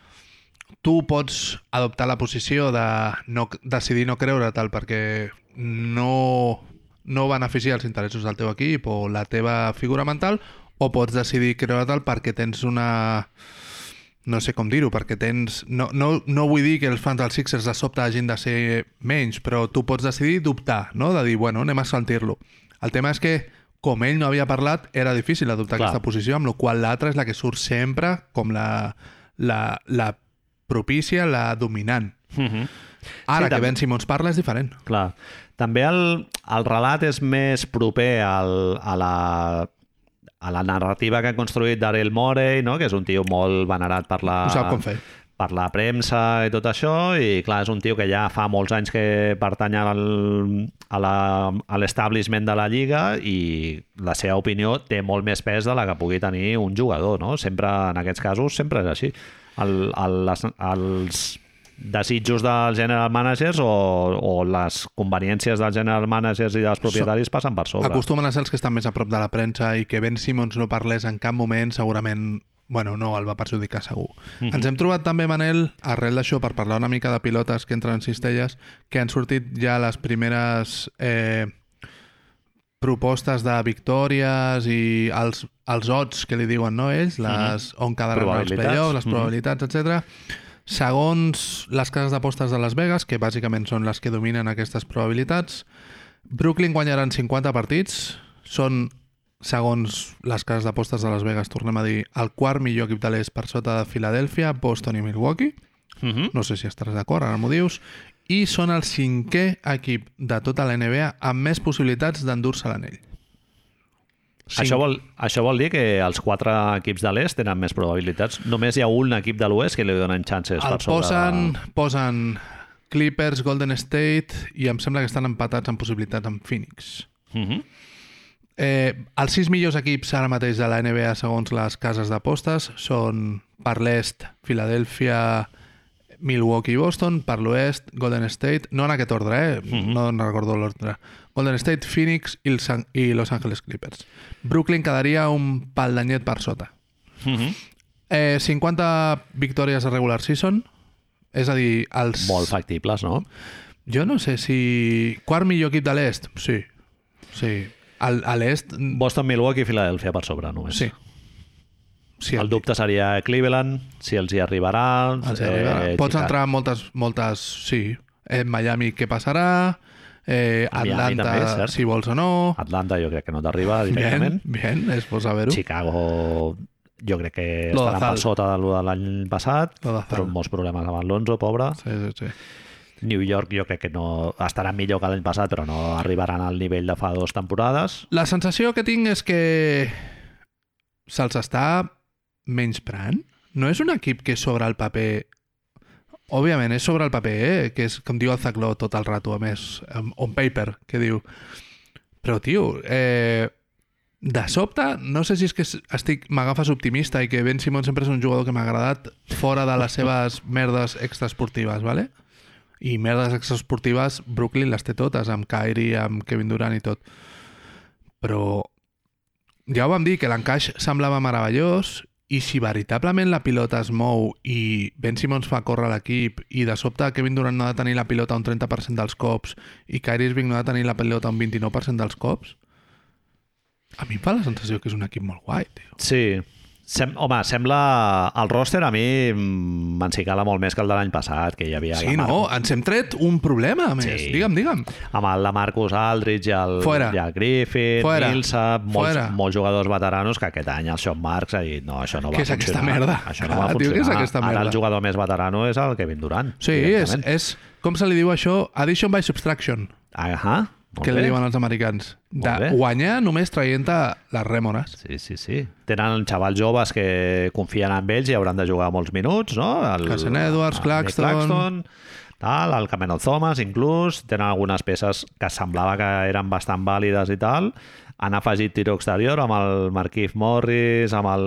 S2: tu pots adoptar la posició de no, decidir no creure tal perquè no, no beneficia els interessos del teu equip o la teva figura mental, o pots decidir creure tal perquè tens una... No sé com dir-ho, perquè tens... No, no, no vull dir que els fans dels Sixers de sobte hagin de ser menys, però tu pots decidir dubtar, no? De dir, bueno, anem a sentir-lo. El tema és que, com ell no havia parlat, era difícil adoptar
S1: Clar.
S2: aquesta posició, amb la qual l'altra és la que surt sempre com la, la, la propícia, la dominant.
S1: Mm -hmm.
S2: Ara
S1: Sí,
S2: sí, que
S1: també.
S2: Ben Simmons parla és diferent.
S1: Clar. També el, el relat és més proper al, a la a la narrativa que ha construït Daryl Morey, no? que és un tio molt venerat per la,
S2: Ho sap com fer.
S1: per la premsa i tot això, i clar, és un tio que ja fa molts anys que pertany al, a la- a l'establishment de la Lliga i la seva opinió té molt més pes de la que pugui tenir un jugador, no? Sempre, en aquests casos, sempre és així. El, el, les, els desitjos dels general managers o, o les conveniències dels general managers i dels propietaris passen per sobre.
S2: Acostumen a ser els que estan més a prop de la premsa i que Ben Simmons no parlés en cap moment, segurament bueno, no el va perjudicar segur. Mm -hmm. Ens hem trobat també, Manel, arrel d'això, per parlar una mica de pilotes que entren en cistelles, que han sortit ja les primeres eh, propostes de victòries i els, els odds que li diuen, no, ells? Les, On quedaran els
S1: Mhm. Probabilitats.
S2: playoffs, les
S1: Mhm.
S2: probabilitats, etc. Segons les cases d'apostes de Las Vegas, que bàsicament són les que dominen aquestes probabilitats, Brooklyn guanyaran 50 partits, són, segons les cases d'apostes de Las Vegas, tornem a dir, el quart millor equip de l'est per sota de Filadèlfia, Boston i Milwaukee.
S1: Mm -hmm.
S2: No sé si estaràs d'acord, ara m'ho dius. I són el cinquè equip de tota la NBA amb més possibilitats d'endur-se l'anell. Cinc.
S1: Això, vol, això vol dir que els quatre equips de l'est tenen més probabilitats. Només hi ha un equip de l'oest que li donen chances
S2: El
S1: per sobre.
S2: posen, posen Clippers, Golden State i em sembla que estan empatats en possibilitats amb Phoenix.
S1: Mm -hmm.
S2: Eh, els sis millors equips ara mateix de la NBA segons les cases d'apostes són per l'est, Filadèlfia, Milwaukee i Boston, per l'oest, Golden State, no en aquest ordre, eh? no, no recordo l'ordre. Golden State, Phoenix i, el San- i Los Angeles Clippers. Brooklyn quedaria un pal d'anyet per sota.
S1: Mm -hmm.
S2: Eh, 50 victòries de regular season, és a dir, els...
S1: Molt factibles, no?
S2: Jo no sé si... Quart millor equip de l'est, sí. Sí. Al, a l'est...
S1: Boston, Milwaukee i Filadèlfia per sobre, només.
S2: Sí. Sí,
S1: El dubte seria Cleveland, si els hi arribarà.
S2: Els arribarà. Pots
S1: Eh, Chicago.
S2: entrar en moltes, moltes... Sí. En Miami què passarà? Eh,
S1: Miami
S2: Atlanta,
S1: també, és cert.
S2: si vols o no.
S1: Atlanta jo crec que no t'arriba
S2: Bien,
S1: directament.
S2: bien, és bo saber-ho.
S1: Chicago jo crec que
S2: Lo
S1: estarà
S2: d'Azal.
S1: per sota de lo de l'any passat,
S2: Lo d'Azal.
S1: però amb molts problemes amb l'Alonso, pobre.
S2: Sí, sí, sí.
S1: New York jo crec que no estarà millor que l'any passat, però no arribaran al nivell de fa dues temporades.
S2: La sensació que tinc és que se'ls està menysprant. No és un equip que sobre el paper... Òbviament, és sobre el paper, eh? que és, com diu el Zacló tot el rato, a més, em- on paper, que diu. Però, tio, eh, de sobte, no sé si és que es- estic m'agafes optimista i que Ben Simon sempre és un jugador que m'ha agradat fora de les seves merdes extraesportives, ¿vale? I merdes extraesportives, Brooklyn les té totes, amb Kyrie, amb Kevin Durant i tot però ja ho vam dir, que l'encaix semblava meravellós i si veritablement la pilota es mou i Ben Simmons fa córrer l'equip i de sobte Kevin Durant no ha de tenir la pilota un 30% dels cops i Kyrie Irving no ha de tenir la pilota un 29% dels cops a mi em fa la sensació que és un equip molt guai, tio.
S1: Sí. Sem home, sembla... El roster a mi mm, m'encicala molt més que el de l'any passat, que hi havia
S2: Sí,
S1: la Mar-
S2: no? Ens hem tret un problema, a més.
S1: Sí.
S2: Digue'm, digue'm.
S1: amb el de Marcus Aldridge i el,
S2: Fuera.
S1: i el Griffin,
S2: Fuera.
S1: Millsap, molts,
S2: Fuera.
S1: molts jugadors veteranos que aquest any el Sean Marks ha dit no, això no va
S2: Què és aquesta
S1: funcionar.
S2: merda?
S1: Això no va
S2: Clar, tio,
S1: funcionar.
S2: què és aquesta
S1: Ara
S2: merda?
S1: el jugador més veterano és el Kevin Durant.
S2: Sí, és, eh,
S1: directament.
S2: és... Com se li diu això? Addition by subtraction,
S1: Ahà, Ah, molt
S2: que li
S1: bé.
S2: diuen els americans. De
S1: Molt bé.
S2: guanyar només traient-te les rèmores.
S1: Sí, sí, sí. Tenen xavals joves que confien en ells i hauran de jugar molts minuts, no? El,
S2: Carson Edwards,
S1: el
S2: Claxton.
S1: Nick Claxton tal, el Cameron Thomas, inclús. Tenen algunes peces que semblava que eren bastant vàlides i tal. Han afegit tiro exterior amb el Marquise Morris, amb el...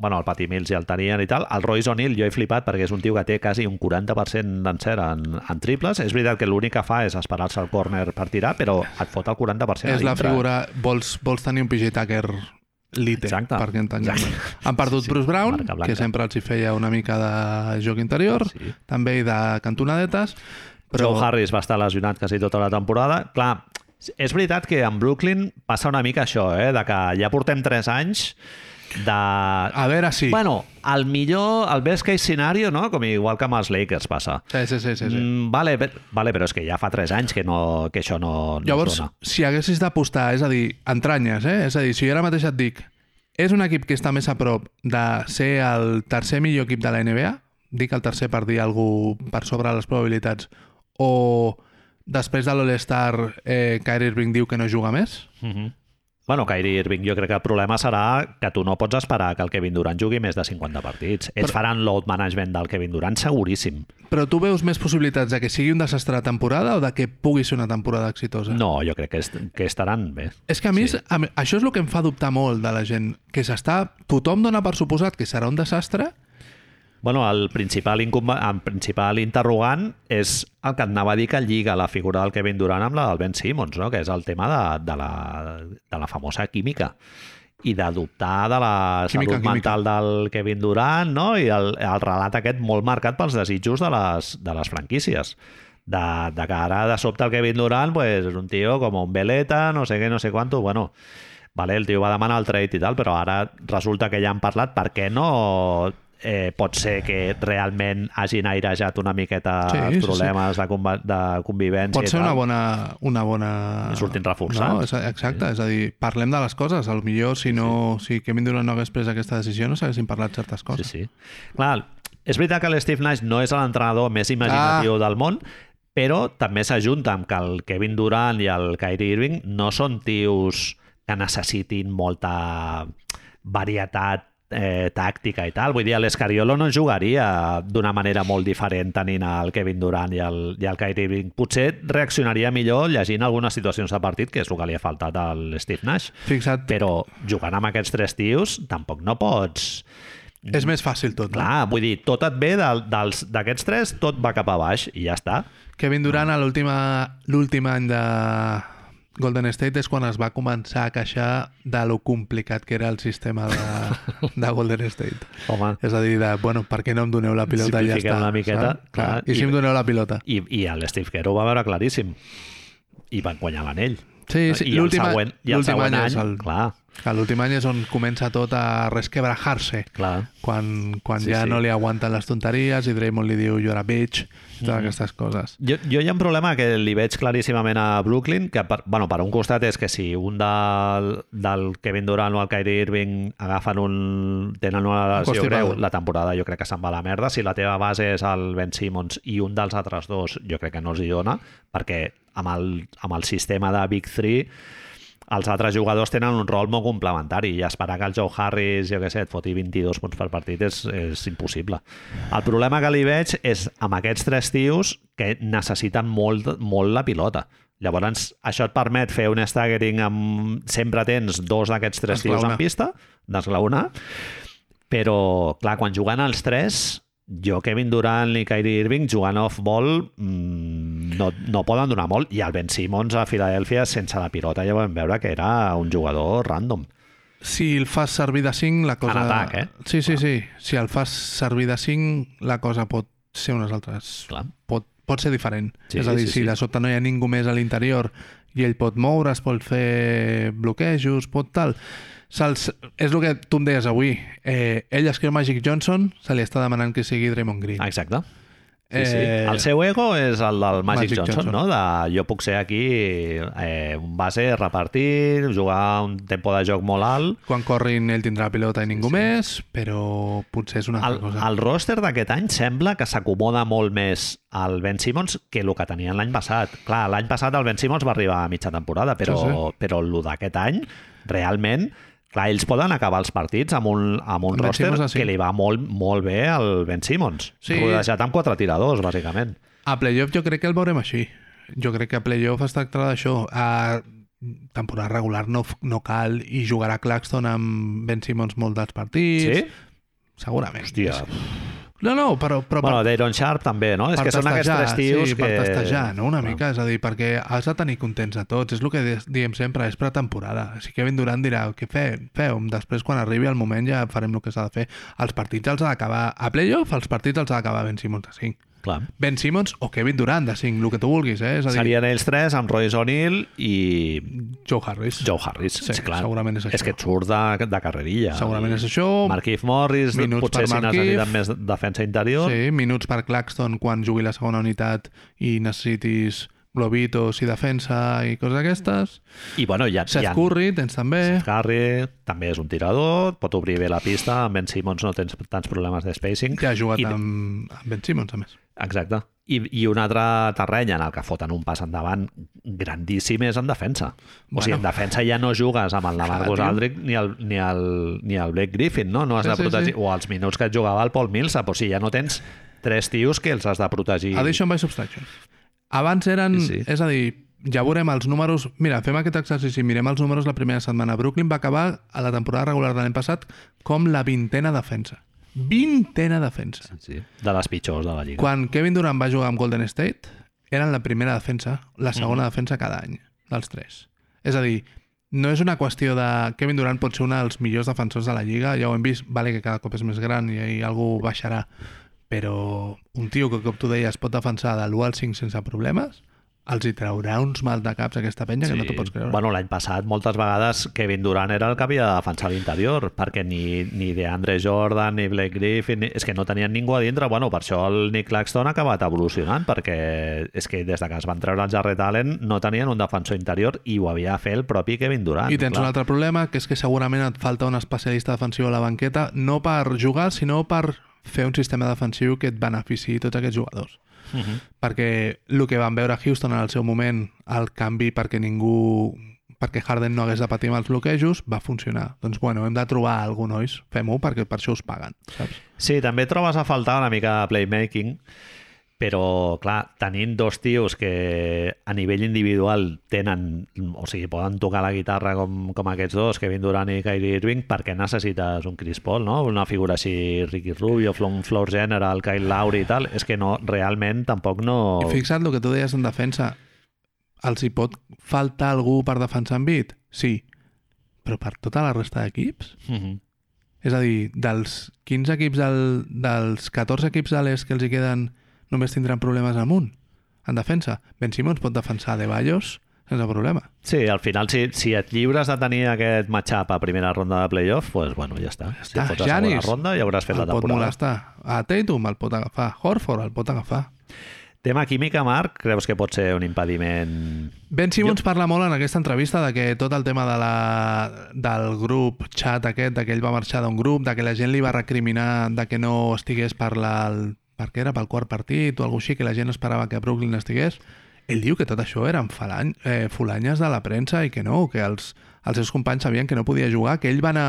S1: Bueno, el Patty Mills ja el tenien i tal. El Royce O'Neal jo he flipat perquè és un tio que té quasi un 40% d'encert en, en triples. És veritat que l'únic que fa és esperar-se al córner per tirar, però et fot el 40% a
S2: és la
S1: dintre.
S2: figura... Vols, vols tenir un PJ Tucker lite,
S1: Exacte.
S2: perquè entenguem.
S1: Exacte.
S2: Han perdut
S1: Sí, sí.
S2: Bruce Brown,
S1: Marca blanca.
S2: que sempre els hi feia una mica de joc interior,
S1: Sí.
S2: també i de cantonadetes,
S1: Però...
S2: però
S1: Joe Harris va estar lesionat quasi tota la temporada. Clar, és veritat que en Brooklyn passa una mica això, eh? de que ja portem 3 anys de...
S2: a veure si...
S1: Bueno, el millor, el best case scenario, no? com igual que amb els Lakers passa.
S2: Sí, sí, sí, sí, sí.
S1: Mm, vale, per- vale, però és que ja fa 3 anys que, no, que això no, no
S2: Llavors,
S1: es dona.
S2: si haguessis d'apostar, és a dir, entranyes, eh? És a dir, si jo ara mateix et dic és un equip que està més a prop de ser el tercer millor equip de la NBA, dic el tercer per dir algú per sobre les probabilitats, o després de l'All-Star eh, Kyrie Irving diu que no juga més,
S1: Mm -hmm. Bueno, Kyrie Irving, jo crec que el problema serà que tu no pots esperar que el Kevin Durant jugui més de 50 partits. Ells
S2: Però-
S1: faran load management del Kevin Durant seguríssim.
S2: però tu veus més possibilitats de que sigui un desastre de temporada o de que pugui ser una temporada exitosa?
S1: No, jo crec que, est que estaran bé.
S2: És que a mi sí. a, mi- això és el que em fa dubtar molt de la gent, que s'està... Tothom dona per suposat que serà un desastre,
S1: Bueno, el principal, incombe- el principal interrogant és el que et anava a dir que lliga la figura del Kevin Durant amb la del Ben Simmons, no? que és el tema de, de, la, de la famosa química i de dubtar de la
S2: Química,
S1: química, salut
S2: química.
S1: mental del Kevin Durant no? i el, el relat aquest molt marcat pels desitjos de les, de les franquícies. De, de que ara de sobte el Kevin Durant pues, és un tio com un veleta, no sé què, no sé quanto, bueno... Vale, el tio va demanar el trade i tal, però ara resulta que ja han parlat per què no eh, pot ser que realment hagin airejat una miqueta
S2: Sí,
S1: sí,
S2: sí,
S1: els
S2: sí.
S1: problemes sí, sí. De, conva- de convivència
S2: Pot
S1: i
S2: ser
S1: tal.
S2: una bona... Una bona...
S1: I surtin reforçats.
S2: No? És, a- exacte, és a dir, parlem de les coses. A lo millor, si, no, si Kevin Durant no hagués pres aquesta decisió, no s'haguessin parlat certes
S1: Sí,
S2: coses.
S1: sí. Clar, és veritat que l'Steve Nash no és l'entrenador més imaginatiu ah. del món, però també s'ajunta amb que el Kevin Durant i el Kyrie Irving no són tios que necessitin molta varietat eh, tàctica i tal. Vull dir, l'Escariolo no jugaria d'una manera molt diferent tenint el Kevin Durant i el, i el Kyrie Irving. Potser reaccionaria millor llegint algunes situacions de partit, que és el que li ha faltat al Steve Nash.
S2: Fixa't,
S1: Però jugant amb aquests tres tios tampoc no pots
S2: és més fàcil tot. no?
S1: Clar, vull dir, tot et ve del- dels- d'aquests tres, tot va cap a baix i ja està.
S2: Kevin Durant, a l'última- l'últim any de Golden State és quan es va començar a queixar de lo complicat que era el sistema de, de Golden State.
S1: Home.
S2: És a dir, de, bueno, per què no em doneu la pilota i ja
S1: Simplifiquem
S2: està?
S1: una miqueta,
S2: saps?
S1: clar,
S2: I si
S1: i-
S2: em doneu la pilota?
S1: I, i el Steve Kerr ho va veure claríssim. I van guanyar l'anell.
S2: Sí, sí.
S1: I el
S2: l'última-
S1: següent, i el
S2: l'últim
S1: següent
S2: any
S1: any,
S2: és el-
S1: clar,
S2: Que l'últim any és on comença tot a resquebrajar-se.
S1: clar.
S2: Quan, quan
S1: Sí,
S2: sí, ja
S1: sí.
S2: sí. no li aguanten les tonteries i Draymond li diu you're a bitch, totes
S1: Mhm.
S2: mm. aquestes coses.
S1: Jo, jo hi ha un problema que li veig claríssimament a Brooklyn, que per, bueno, per un costat és que si un del, del Kevin Durant o el Kyrie Irving agafen un, tenen una lesió
S2: Constipat.
S1: greu, la temporada jo crec que se'n va a la merda. Si la teva base és el Ben Simmons i un dels altres dos, jo crec que no els hi dona, perquè amb el, amb el sistema de Big Three els altres jugadors tenen un rol molt complementari i esperar que el Joe Harris, jo què sé, et foti 22 punts per partit és, és impossible. El problema que li veig és amb aquests tres tios que necessiten molt, molt la pilota. Llavors, això et permet fer un staggering amb... Sempre tens dos d'aquests tres tios en
S2: Esglaonar.
S1: pista, d'esglaonar, però, clar, quan jugant els tres, jo, Kevin Durant i Kyrie Irving jugant off-ball mm, no, no poden donar molt i el Ben Simmons a Filadèlfia sense la pilota ja vam veure que era un jugador random
S2: Si el fas servir de 5, la cosa...
S1: atac, eh?
S2: Sí, sí, sí. Si el fas servir de 5, la cosa pot ser unes altres.
S1: clar.
S2: Pot, pot ser diferent.
S1: Sí,
S2: és a dir,
S1: sí,
S2: si
S1: sí.
S2: de sobte no hi ha ningú més a l'interior i ell pot moure's, pot fer bloquejos, pot tal... Se'ls... És el que tu em deies avui. Eh, ell es creu Magic Johnson, se li està demanant que sigui Draymond Green.
S1: exacte Sí, sí. El seu ego és el del Magic,
S2: Eh, Magic
S1: Johnson,
S2: Johnson.
S1: no? De, jo puc ser aquí eh, un base, repartir, jugar un tempo de joc molt alt
S2: Quan corrin ell tindrà la pilota i ningú sí, sí. més, però potser és una
S1: El,
S2: altra cosa.
S1: el roster d'aquest any sembla que s'acomoda molt més al Ben Simmons que el que tenien l'any passat. Clar, l'any passat el Ben Simmons va arribar a mitja temporada, però,
S2: Sí,
S1: sí,
S2: sí.
S1: sí. però el d'aquest any, realment, clar, ells poden acabar els partits amb un, amb un
S2: Ben
S1: roster
S2: Simmons, ah, sí.
S1: que li va molt, molt bé al Ben Simmons.
S2: Sí.
S1: Sí. Rodejat amb quatre tiradors, bàsicament.
S2: A playoff jo crec que el veurem així. Jo crec que a playoff es tractarà d'això. A temporada regular no, f- no cal i jugarà Claxton amb Ben Simmons molt dels partits.
S1: Sí?
S2: Segurament.
S1: Hòstia.
S2: No, no, però, però
S1: Bueno, Dayron Sharp també, no? És que són aquests tres tios
S2: sí,
S1: que...
S2: per testejar, no? Una
S1: Clar.
S2: mica, és a dir, perquè has de tenir contents a tots, és el que des- diem sempre, és pretemporada. Així que Kevin Durant dirà, què fe, feu? Després, quan arribi el moment, ja farem el que s'ha de fer. Els partits els ha d'acabar a playoff, els partits els ha d'acabar Ben Simmons de 5.
S1: Clar.
S2: Ben Simmons o Kevin Durant de 5, el que tu vulguis, eh? És a dir,
S1: Serien ells tres amb Royce O'Neal i
S2: Joe Harris.
S1: Joe Harris, sí, sí clar.
S2: segurament és això.
S1: És que et surt de, de carrerilla.
S2: Segurament és això.
S1: Marquif Morris,
S2: Minuts
S1: Minuts
S2: per
S1: potser si
S2: Markieff.
S1: necessiten més defensa interior.
S2: Sí, minuts per Claxton quan jugui la segona unitat i necessitis globitos i defensa i coses d'aquestes.
S1: I bueno, hi ha, hi
S2: Seth
S1: ha
S2: Curry, tens també.
S1: Harry, també és un tirador, pot obrir bé la pista, amb Ben Simmons no tens tants problemes de spacing.
S2: Ja ha jugat
S1: I-
S2: amb, amb Ben Simmons, a més.
S1: Exacte. I, I un altre terreny en el que foten un pas endavant grandíssim és en defensa. O sigui,
S2: Bueno.
S1: en defensa ja no jugues amb el Lamarcus
S2: tio.
S1: Aldrich ni el, ni, el, ni el Blake Griffin, no? No has
S2: Sí,
S1: de
S2: sí,
S1: protegir...
S2: sí.
S1: O els minuts que et jugava el Paul Millsap. O sigui, ja no tens tres tios que els has de protegir.
S2: Addition by subtraction. Abans eren... Sí,
S1: Sí,
S2: sí.
S1: sí.
S2: És a dir, ja veurem els números... Mira, fem aquest exercici, mirem els números la primera setmana. Brooklyn va acabar a la temporada regular de l'any passat com la vintena defensa. Vintena defensa.
S1: Sí. De les pitjors de la Lliga.
S2: Quan Kevin Durant va jugar amb Golden State, eren la primera defensa, la
S1: Mm.
S2: segona defensa cada any, dels tres. És a dir, no és una qüestió de... Kevin Durant pot ser un dels millors defensors de la Lliga, ja ho hem vist, vale que cada cop és més gran i, i algú baixarà, però un tio que, com tu deies, pot defensar de l'1 al 5 sense problemes, els hi traurà uns mal de caps aquesta penya que no t'ho pots creure.
S1: Bueno, l'any passat moltes vegades Kevin Durant era el que havia de defensar l'interior perquè ni, ni DeAndre Jordan ni Blake Griffin, ni- és que no tenien ningú a dintre bueno, per això el Nick Claxton ha acabat evolucionant perquè és que des de que es van treure el Jarret Allen no tenien un defensor interior i ho havia de fer el propi Kevin Durant
S2: I tens
S1: clar.
S2: un altre problema, que és que segurament et falta un especialista defensiu a la banqueta, no per jugar, sinó per fer un sistema defensiu que et beneficiï tots aquests jugadors. Uh
S1: Mhm.
S2: -huh. Perquè el que van veure a Houston en el seu moment, el canvi perquè ningú perquè Harden no hagués de patir amb els bloquejos, va funcionar. Doncs bueno, hem de trobar algú, nois. Fem-ho perquè per això us paguen, saps?
S1: Sí, també trobes a faltar una mica de playmaking, però, clar, tenint dos tios que a nivell individual tenen, o sigui, poden tocar la guitarra com, com aquests dos, Kevin Durant i Kyrie Irving, per què necessites un Chris Paul, no? Una figura així, Ricky Rubio, Flo- un Floor General, Kyle Lowry i tal, és que no, realment tampoc no...
S2: I fixa't el que tu deies en defensa. Els hi pot faltar algú per defensar en bit? Sí. Però per tota la resta d'equips?
S1: Mhm.
S2: És a dir, dels 15 equips del, dels 14 equips a l'est que els hi queden, només tindran problemes amunt, en defensa. Ben Simmons pot defensar De Bayos, sense problema.
S1: Sí, al final, si, si et lliures de tenir aquest matchup a primera ronda de playoff, doncs, bueno, ja està. Si
S2: està,
S1: et fots a
S2: Giannis
S1: segona ronda, ja hauràs fet la
S2: el pot
S1: temporada.
S2: molestar. A Tatum el pot agafar, Horford el pot agafar.
S1: Tema química, Marc, creus que pot ser un impediment...
S2: Ben Simmons parla molt en aquesta entrevista de que tot el tema de la, del grup xat aquest, de que ell va marxar d'un grup, de que la gent li va recriminar de que no estigués per la, el- per què era pel quart partit o alguna així, que la gent esperava que a Brooklyn estigués. Ell diu que tot això eren falany, eh, folanyes de la premsa i que no, que els, els seus companys sabien que no podia jugar, que ell va anar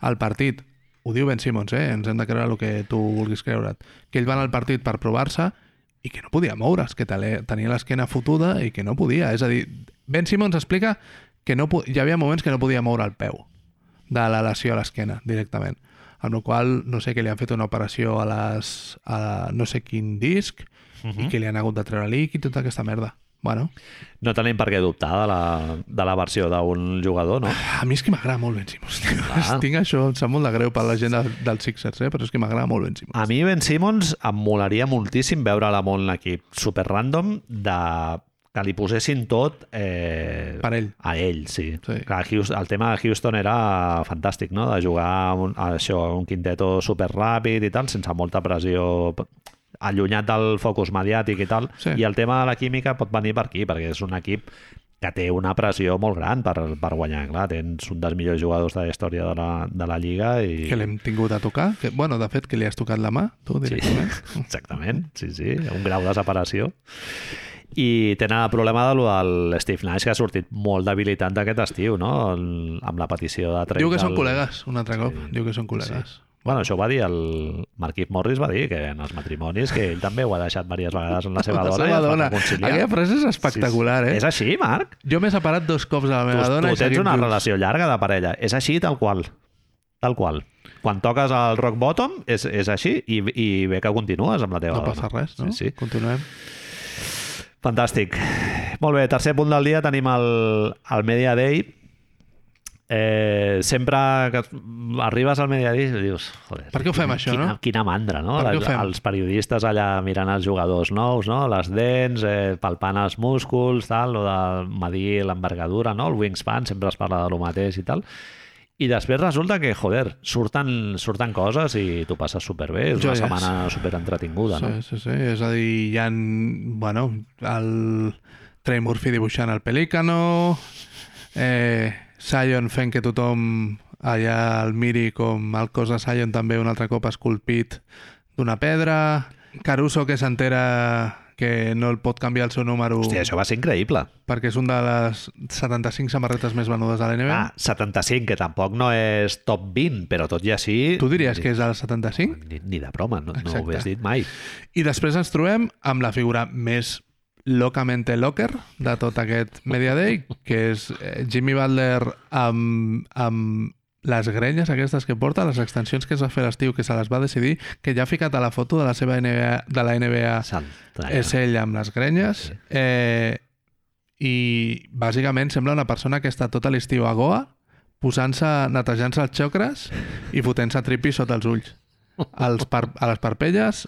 S2: al partit, ho diu Ben Simmons, eh? ens hem de creure el que tu vulguis creure't, que ell va anar al partit per provar-se i que no podia moure's, que tele- tenia l'esquena fotuda i que no podia. És a dir, Ben Simmons explica que no, po- hi havia moments que no podia moure el peu de la lesió a l'esquena directament. Amb la qual cosa, no sé que li han fet una operació a les a no sé quin disc uh -huh. i que li han hagut de treure líquid i tota aquesta merda. Bueno,
S1: No tenim per què dubtar de la, de la versió d'un jugador, no?
S2: a mi és que m'agrada molt Ben Simmons. tio.
S1: Ah.
S2: Tinc això, em sap molt de greu per la gent de, dels Sixers, eh? però és que m'agrada molt Ben Simmons.
S1: A mi Ben Simmons em molaria moltíssim veure la molt en l'equip super random de que li posessin tot eh,
S2: Per ell.
S1: a ell, sí.
S2: Sí.
S1: Clar, Houston, el tema de Houston era fantàstic, no? De jugar a un, a això, a un quinteto super ràpid i tal, sense molta pressió allunyat del focus mediàtic i tal.
S2: Sí.
S1: I el tema de la química pot venir per aquí, perquè és un equip que té una pressió molt gran per, per guanyar. Clar, tens un dels millors jugadors de la història de la, de la Lliga i...
S2: Que l'hem tingut a tocar. Que, bueno, de fet, que li has tocat la mà, tu,
S1: Sí,
S2: directament.
S1: exactament, sí, sí, un grau de separació. I tenen el problema de lo del Steve Nash, que ha sortit molt debilitat d'aquest estiu, no? El, amb la petició de trade.
S2: Diu que són
S1: del-
S2: col·legues, un altre cop.
S1: Sí.
S2: Diu que són col·legues.
S1: Bueno, això ho va dir el Marquis Morris, va dir que en els matrimonis, que ell també ho ha deixat diverses vegades amb la seva
S2: La
S1: dona.
S2: seva
S1: i es van
S2: dona.
S1: reconciliar.
S2: Aquella frase és espectacular,
S1: Sí, sí.
S2: eh?
S1: És així, Marc?
S2: Jo m'he separat dos cops de la
S1: Tu,
S2: meva dona
S1: tu
S2: i
S1: tens
S2: seguim
S1: una
S2: junts.
S1: relació llarga de parella. És així, tal qual. Tal qual. Quan toques el rock bottom, és, és així, i, i bé que continues amb la teva
S2: No
S1: dona.
S2: passa res, no?
S1: Sí, sí.
S2: Continuem.
S1: Fantàstic. Molt bé, tercer punt del dia tenim el, el Media Day. Eh, sempre que arribes al Media Day dius... Joder,
S2: Per què ho fem, això,
S1: quina,
S2: no?
S1: Quina mandra, no?
S2: Per què ho
S1: Les-
S2: fem?
S1: Els periodistes allà mirant els jugadors nous, no? Les dents, eh, palpant els músculs, tal, o de medir l'envergadura, no? El wingspan, sempre es parla de lo mateix i tal. I després resulta que, joder, surten, surten coses i t'ho passes superbé. És una
S2: Joies.
S1: setmana superentretinguda,
S2: Sí,
S1: no?
S2: sí, sí. És a dir, hi ha... Bueno, el Trey Murphy dibuixant el Pelícano, eh, Sion fent que tothom allà el miri com el cos de Sion també un altre cop esculpit d'una pedra, Caruso que s'entera que no el pot canviar el seu número
S1: Hòstia, això va ser increïble.
S2: perquè és un de les 75 samarretes més venudes de l'NBA.
S1: Ah, 75, que tampoc no és top 20, però tot i així...
S2: Tu diries que és el 75?
S1: Ni, ni de broma, no, no ho
S2: Exacte.
S1: hagués dit mai.
S2: I després ens trobem amb la figura més locamente locker de tot aquest Media Day, que és eh, Jimmy Butler amb, amb les grenyes aquestes que porta, les extensions que es va fer a l'estiu, que se les va decidir, que ja ha ficat a la foto de la seva NBA, de la NBA
S1: Salta.
S2: Ah, és ell amb les grenyes. Eh, I bàsicament sembla una persona que està tot l'estiu a Goa posant-se, netejant-se els xocres i fotent-se tripis sota els ulls. Els par a les parpelles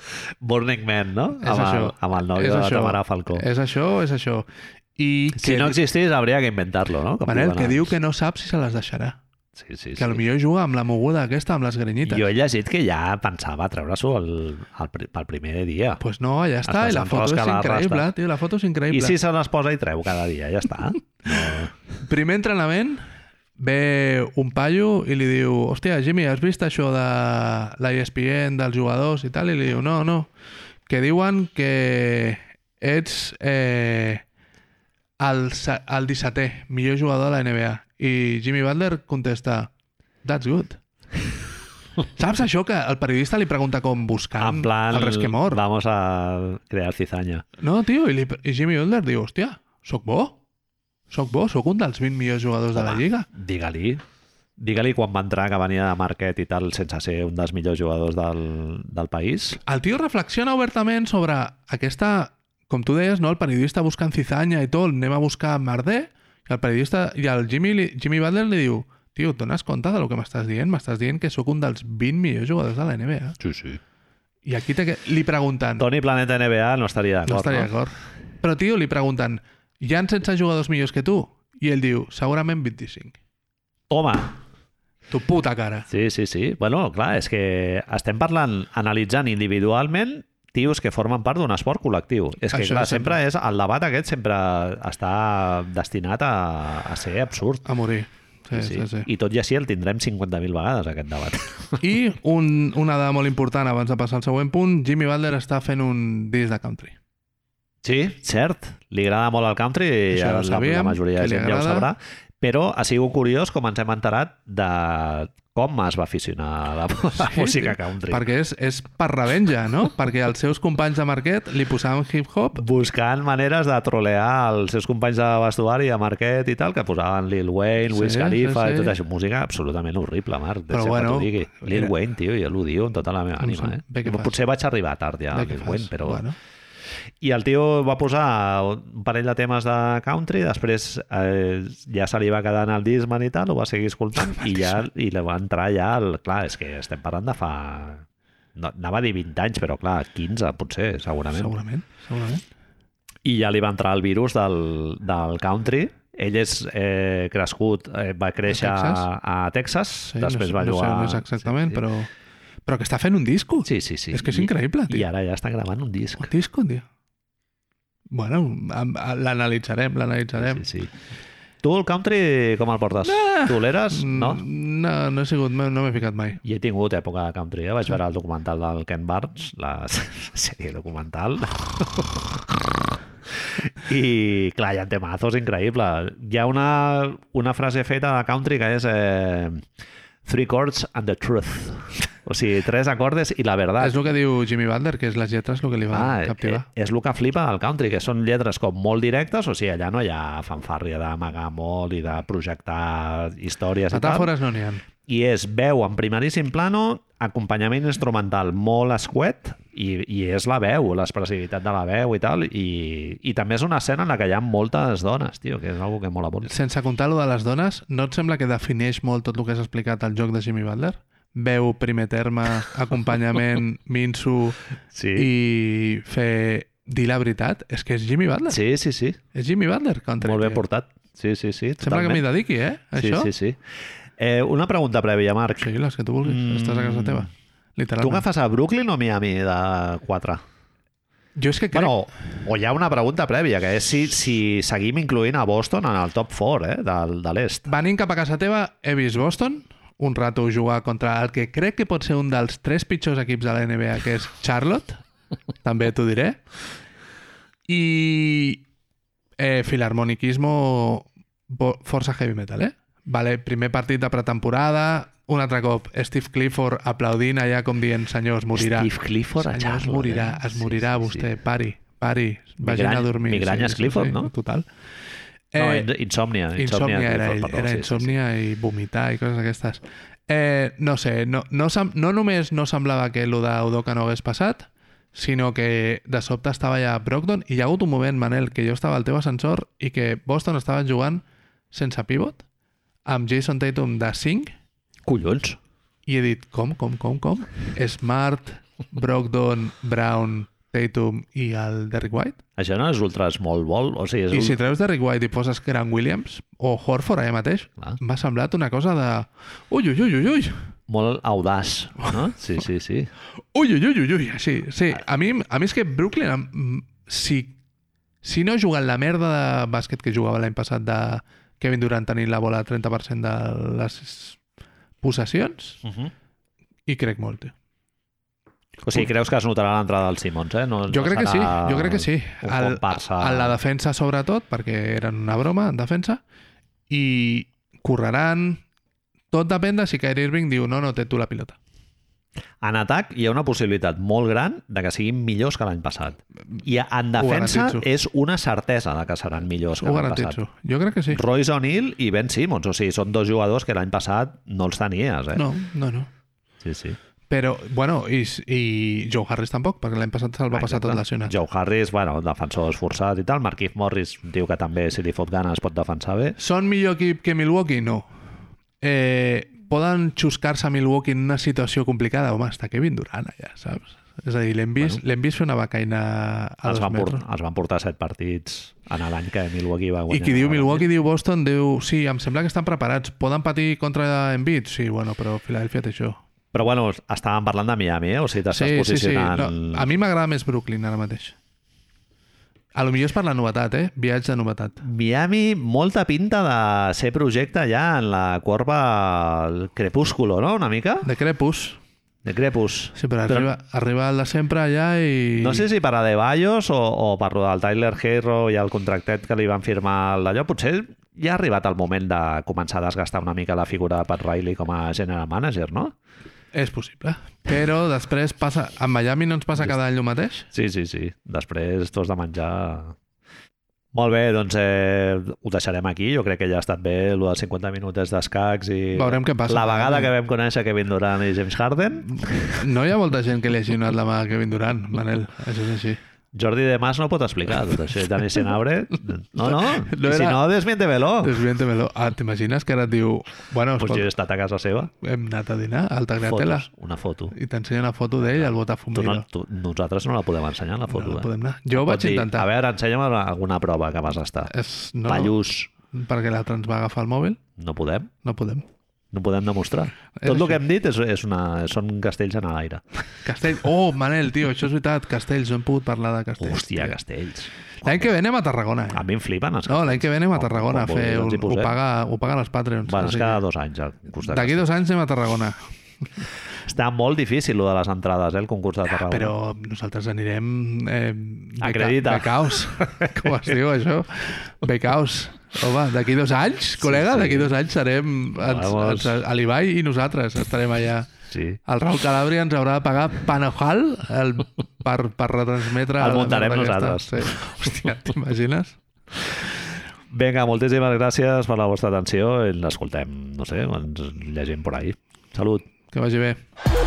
S1: Burning Man, no?
S2: És
S1: amb,
S2: això.
S1: El, amb el noi
S2: És
S1: de
S2: això.
S1: Tamara Falcó.
S2: És això, és això. I
S1: Si
S2: que,
S1: no existís, hauria que inventar-lo, no? Com
S2: Manel,
S1: diuen
S2: que
S1: abans.
S2: diu que no sap si se les deixarà.
S1: Sí, sí,
S2: Que
S1: sí.
S2: potser juga amb la moguda aquesta, amb les grenyites.
S1: Jo he llegit que ja pensava treure-s'ho el- el pri- pel primer dia.
S2: pues no, ja està,
S1: Es
S2: i la foto
S1: desenrosca
S2: és
S1: la
S2: increïble,
S1: rasta.
S2: tio, la foto és
S1: I
S2: increïble.
S1: si se les posa i treu cada dia, ja està.
S2: Primer entrenament, ve un paio i li diu hòstia, Jimmy, has vist això de la E ESPN, dels jugadors i tal? I li diu, no, no, que diuen que ets eh, el, se- el 17è millor jugador de la NBA. I Jimmy Butler contesta, that's good. Saps això que el periodista li pregunta com buscant
S1: en plan...
S2: el resquemor?
S1: Vamos a crear cizaña.
S2: No, tio, i, li, i Jimmy Butler diu, hòstia, sóc bo, sóc bo, sóc un dels 20 millors jugadors de la
S1: Home,
S2: Lliga.
S1: Digue-li. Digue-li quan va entrar que venia de Marquet i tal sense ser un dels millors jugadors del, del país.
S2: El tio reflexiona obertament sobre aquesta, com tu deies, no? el periodista buscant cizanya i tot, anem a buscar merder, i el periodista, i el Jimmy, li- Jimmy Butler li diu, tio, et dones compte del que m'estàs dient? M'estàs dient que sóc un dels 20 millors jugadors de la NBA.
S1: Sí, sí.
S2: I aquí te, li pregunten,
S1: Toni Planeta NBA no estaria
S2: no
S1: d'acord.
S2: estaria
S1: no?
S2: d'acord. Però, tio, li pregunten, hi han 16 jugadors millors que tu. I ell diu, segurament 25.
S1: Home,
S2: Tu puta cara.
S1: Sí, sí, sí. Bueno, clar, és que estem parlant, analitzant individualment tios que formen part d'un esport col·lectiu. És que,
S2: Això
S1: clar, sempre
S2: sempre.
S1: és... El debat aquest sempre està destinat a, a ser absurd.
S2: A morir. Sí, sí, sí. sí.
S1: I tot i així el tindrem 50.000 vegades, aquest debat.
S2: I un, una dada molt important abans de passar al següent punt, Jimmy Butler està fent un disc de country.
S1: Sí, cert. Li agrada molt el country i
S2: Això ja ho
S1: la,
S2: sabíem,
S1: la majoria
S2: que
S1: de
S2: li
S1: gent ja ho
S2: agrada.
S1: sabrà. Però ha sigut curiós com ens hem enterat de com es va aficionar a la, a la música country.
S2: Perquè és, és per revenja, no? Perquè els seus companys de Marquet li posaven hip-hop
S1: buscant maneres de trolear els seus companys de vestuari, a Marquet i tal, que posaven Lil Wayne,
S2: Sí,
S1: Wiz Khalifa
S2: sí, sí.
S1: i tot això. Música absolutament horrible, Marc.
S2: Però
S1: Però bueno,
S2: bueno,
S1: que t'ho digui. Lil
S2: mira.
S1: Wayne, tio, jo l'odio amb tota la meva
S2: Em
S1: ànima,
S2: sap-
S1: eh?
S2: bé que fas.
S1: Potser vaig arribar tard ja a
S2: Bé, què
S1: Lil
S2: fas?
S1: Wayne, però...
S2: Bueno,
S1: I el tio va posar un parell de temes de country, després eh, ja se li va quedar en el Disman i tal, ho va seguir escoltant i ja i li va entrar ja el... Clar, és que estem parlant de fa... No, anava a dir 20 anys, però clar, 15 potser, segurament.
S2: segurament, segurament.
S1: I ja li va entrar el virus del, del country. Ell és eh, crescut, eh, va créixer a
S2: Texas?
S1: Texas, a, Texas
S2: Sí,
S1: després
S2: no,
S1: va
S2: sé-
S1: jugar...
S2: No sé més exactament,
S1: sí,
S2: sí, sí. però... Però que està fent un disco.
S1: Sí, sí, sí.
S2: És que és
S1: I-
S2: increïble, tio.
S1: I ara ja està gravant un disc.
S2: Un disco, tio. Bueno, am- a- l'analitzarem, l'analitzarem.
S1: Sí, sí. Tu el country com el portes?
S2: Ah!
S1: Toleres?
S2: Mm,
S1: No?
S2: No, no he sigut, no, no m'he ficat mai.
S1: I he tingut època de country, eh? vaig veure el documental del Ken Barnes, la sèrie documental. I, clar, hi ha temazos increïbles. Hi ha una, una frase feta de country que és... Eh, Three chords and the truth. O sigui, tres acordes i la
S2: Ah,
S1: verdad.
S2: és el que diu Jimmy Butler, que és les lletres el que li va
S1: Ah,
S2: ah, captivar.
S1: eh, és el que flipa del country, que són lletres com molt directes, o sigui, allà no hi ha fanfàrria d'amagar molt i de projectar històries i tal
S2: Metàfores no n'hi ha.
S1: i és veu en primeríssim plano, acompanyament instrumental molt escuet i, i és la veu, l'expressivitat de la veu i tal, i, i també és una escena en la que hi ha moltes dones, tio, que és una que mola molt.
S2: Sense comptar lo de les dones, no et sembla que defineix molt tot el que has explicat al joc de Jimmy Butler? Veu, primer terme, acompanyament, minso
S1: Sí.
S2: i fer dir la veritat? És que és Jimmy Butler. Sí.
S1: Sí, sí, sí.
S2: És Jimmy Butler, country.
S1: Molt ben
S2: tio.
S1: portat. Sí, sí, sí.
S2: Sembla que m'hi dediqui, eh? Això?
S1: Sí, sí, sí. Eh, una pregunta prèvia, Marc.
S2: sí, les que tu vulguis.
S1: Mm.
S2: Estàs a casa teva.
S1: Tu
S2: Literalment.
S1: agafes a Brooklyn o Miami de 4?
S2: Jo és que crec...
S1: Bueno, o hi ha una pregunta prèvia, que és si, si seguim incloent a Boston en el top 4 eh, de, de l'est.
S2: Venint cap a casa teva, he vist Boston un rato jugar contra el que crec que pot ser un dels tres pitjors equips de la NBA, que és Charlotte, també t'ho diré. I eh, filharmoniquismo bo- força heavy metal, eh? Vale, primer partit de pretemporada, un altre cop Steve Clifford aplaudint allà com dient senyors, morirà.
S1: Steve Clifford a
S2: Senyor, es
S1: Charlotte.
S2: morirà,
S1: eh?
S2: es morirà
S1: sí, sí,
S2: vostè,
S1: Sí.
S2: pari, pari, vagin
S1: Migrany-
S2: a dormir.
S1: migranyes Clifford, no?
S2: Total.
S1: No,
S2: Eh,
S1: in- insòmnia.
S2: Insomnia, era,
S1: Clifford,
S2: ell,
S1: perdó,
S2: era
S1: sí, sí,
S2: insomnia i vomitar i coses d'aquestes. Eh, no sé, no, no, sem- no només no semblava que lo d'Udoka no hagués passat, sinó que de sobte estava ja a Brogdon i hi ha hagut un moment, Manel, que jo estava al teu ascensor i que Boston estava jugant sense pivot, amb Jason Tatum de 5,
S1: sí. Collons.
S2: i he dit, com, com, com, com? Smart, Brogdon, Brown, Tatum i el Derrick White?
S1: Això no és ultra small ball? O sigui, és
S2: I
S1: un...
S2: si treus Derrick White i poses Grant Williams o Horford allà mateix,
S1: Clar.
S2: m'ha semblat una cosa de... Ui, ui, ui, ui, ui,
S1: molt audaç, no? Sí, sí, sí.
S2: ui, ui, ui, ui, ui, així. Sí,
S1: Ah.
S2: a mi, a mi és que Brooklyn, em- si, si no juguen la merda de bàsquet que jugava l'any passat de Kevin Durant tenint la bola al 30% de les possessions,
S1: Uh -huh.
S2: hi crec molt, tio.
S1: O sigui, creus que es notarà l'entrada del Simons, eh? No,
S2: Jo
S1: no
S2: crec que sí,
S1: serà
S2: jo crec que sí.
S1: Un
S2: Al-
S1: comparsa...
S2: A la defensa, sobretot, perquè eren una broma en defensa, i correran... Tot depèn de si Kyrie Irving diu no, no, té tu la pilota.
S1: En atac hi ha una possibilitat molt gran de que siguin millors que l'any passat. I en defensa
S2: garantitzo.
S1: és una certesa de que seran millors que
S2: Ho
S1: l'any passat.
S2: garantitzo. Jo crec que sí.
S1: Royce O'Neal i Ben Simmons, o sigui, són dos jugadors que l'any passat no els tenies, eh?
S2: No, no, no.
S1: Sí, sí.
S2: Però, bueno, i, i Joe Harris tampoc, perquè l'any passat se'l va passar tot
S1: Exacte.
S2: lesionat.
S1: Joe Harris, bueno, defensor esforçat i tal. Marquise Morris diu que també, si li fot gana, es pot defensar bé.
S2: Són millor equip que Milwaukee? No. Eh, poden xuscar-se a Milwaukee en una situació complicada? Home, està Kevin Durant allà, saps? És a dir, l'hem vist, bueno. vist fer una becaina a
S1: Els
S2: dos
S1: van,
S2: metres.
S1: portar, els van portar set partits en l'any que Milwaukee va
S2: I
S1: guanyar.
S2: qui diu Milwaukee, diu Boston, diu... Sí, em sembla que estan preparats. Poden patir contra Embiid? Sí, bueno, però Filadèlfia té això.
S1: Però bueno, estàvem parlant de Miami, eh? O sigui, t'estàs
S2: Sí, sí, sí.
S1: posicionant...
S2: No, a mi m'agrada més Brooklyn ara mateix. A lo millor és per la novetat, eh? Viatge de novetat.
S1: Mm. Miami, molta pinta de ser projecte ja en la corba el crepúsculo, no? Una mica?
S2: De Crepus.
S1: De crepus.
S2: Sí, però,
S1: Però-
S2: però... arriba, arriba el de sempre allà i...
S1: No sé si per a De Ballos o, o per lo del Tyler Herro i el contractet que li van firmar al d'allò, potser ja ha arribat el moment de començar a desgastar una mica la figura de Pat Riley com a general manager, no?
S2: És possible. Però després passa... A Miami no ens passa cada any el mateix?
S1: Sí, sí, sí. Després t'ho has de menjar... Molt bé, doncs eh, ho deixarem aquí. Jo crec que ja ha estat bé el dels 50 minutes d'escacs i
S2: Veurem què passa.
S1: la vegada que vam conèixer Kevin Durant i James Harden.
S2: No hi ha molta gent que li hagi donat la mà a Kevin Durant, Manel. Això és així.
S1: Jordi de Mas no pot explicar tot això. I Dani Senabre... No, no.
S2: No
S1: no era... Si
S2: era-
S1: no, desmiéntemelo.
S2: Desviéntemelo. Ah, T'imagines que ara et diu... Bueno,
S1: Oh. Pues jo he
S2: escolta,
S1: estat a casa seva.
S2: hem anat a dinar al Tagliatella
S1: Fotos, una foto.
S2: i t'ensenya una foto d'ell al Botafumeiro.
S1: Tu no, tu, nosaltres no la podem ensenyar, la foto.
S2: no la
S1: eh?
S2: podem anar. Jo
S1: Pot
S2: vaig intentar.
S1: A veure, ensenya'm alguna prova que vas estar.
S2: És,
S1: No.
S2: no,
S1: Pallús,
S2: perquè l'altre ens va agafar el mòbil.
S1: no podem.
S2: No podem.
S1: No podem demostrar.
S2: És
S1: Tot el
S2: així.
S1: que hem dit és, és una, són castells en l'aire.
S2: Castell. Oh, Manel, tio, això és veritat. Castells, no hem pogut parlar de castells.
S1: Hòstia,
S2: tio.
S1: castells.
S2: L'any que ve anem a Tarragona.
S1: A
S2: Eh?
S1: mi em flipen els
S2: No, l'any que ve anem a Tarragona a
S1: Quan vulguis
S2: fer
S1: ens
S2: un...
S1: hi
S2: Ho
S1: posem.
S2: paga, ho paguen els Patreons.
S1: Bueno,
S2: o
S1: és
S2: sigui
S1: cada
S2: que
S1: dos Ah, anys al costat.
S2: D'aquí dos anys anem a Tarragona.
S1: Està molt difícil, lo de les entrades, eh, el concurs de Tarragona.
S2: Ah, Però nosaltres anirem... Eh, beca-
S1: Acredita.
S2: Becaus. Com es diu això? Becaus. Home, d'aquí dos anys, col·lega,
S1: sí.
S2: d'aquí dos anys serem ens,
S1: Vamos.
S2: ens, a l'Ibai i nosaltres estarem allà.
S1: Sí.
S2: El Raül Calabria ens haurà de pagar Panojal el, per, per retransmetre...
S1: El
S2: la
S1: muntarem
S2: merda aquesta.
S1: nosaltres.
S2: Sí. Hòstia, t'imagines?
S1: Vinga, moltíssimes gràcies per la vostra atenció i l'escoltem, no sé, ens llegim por ahí. Salut.
S2: Que vagi bé.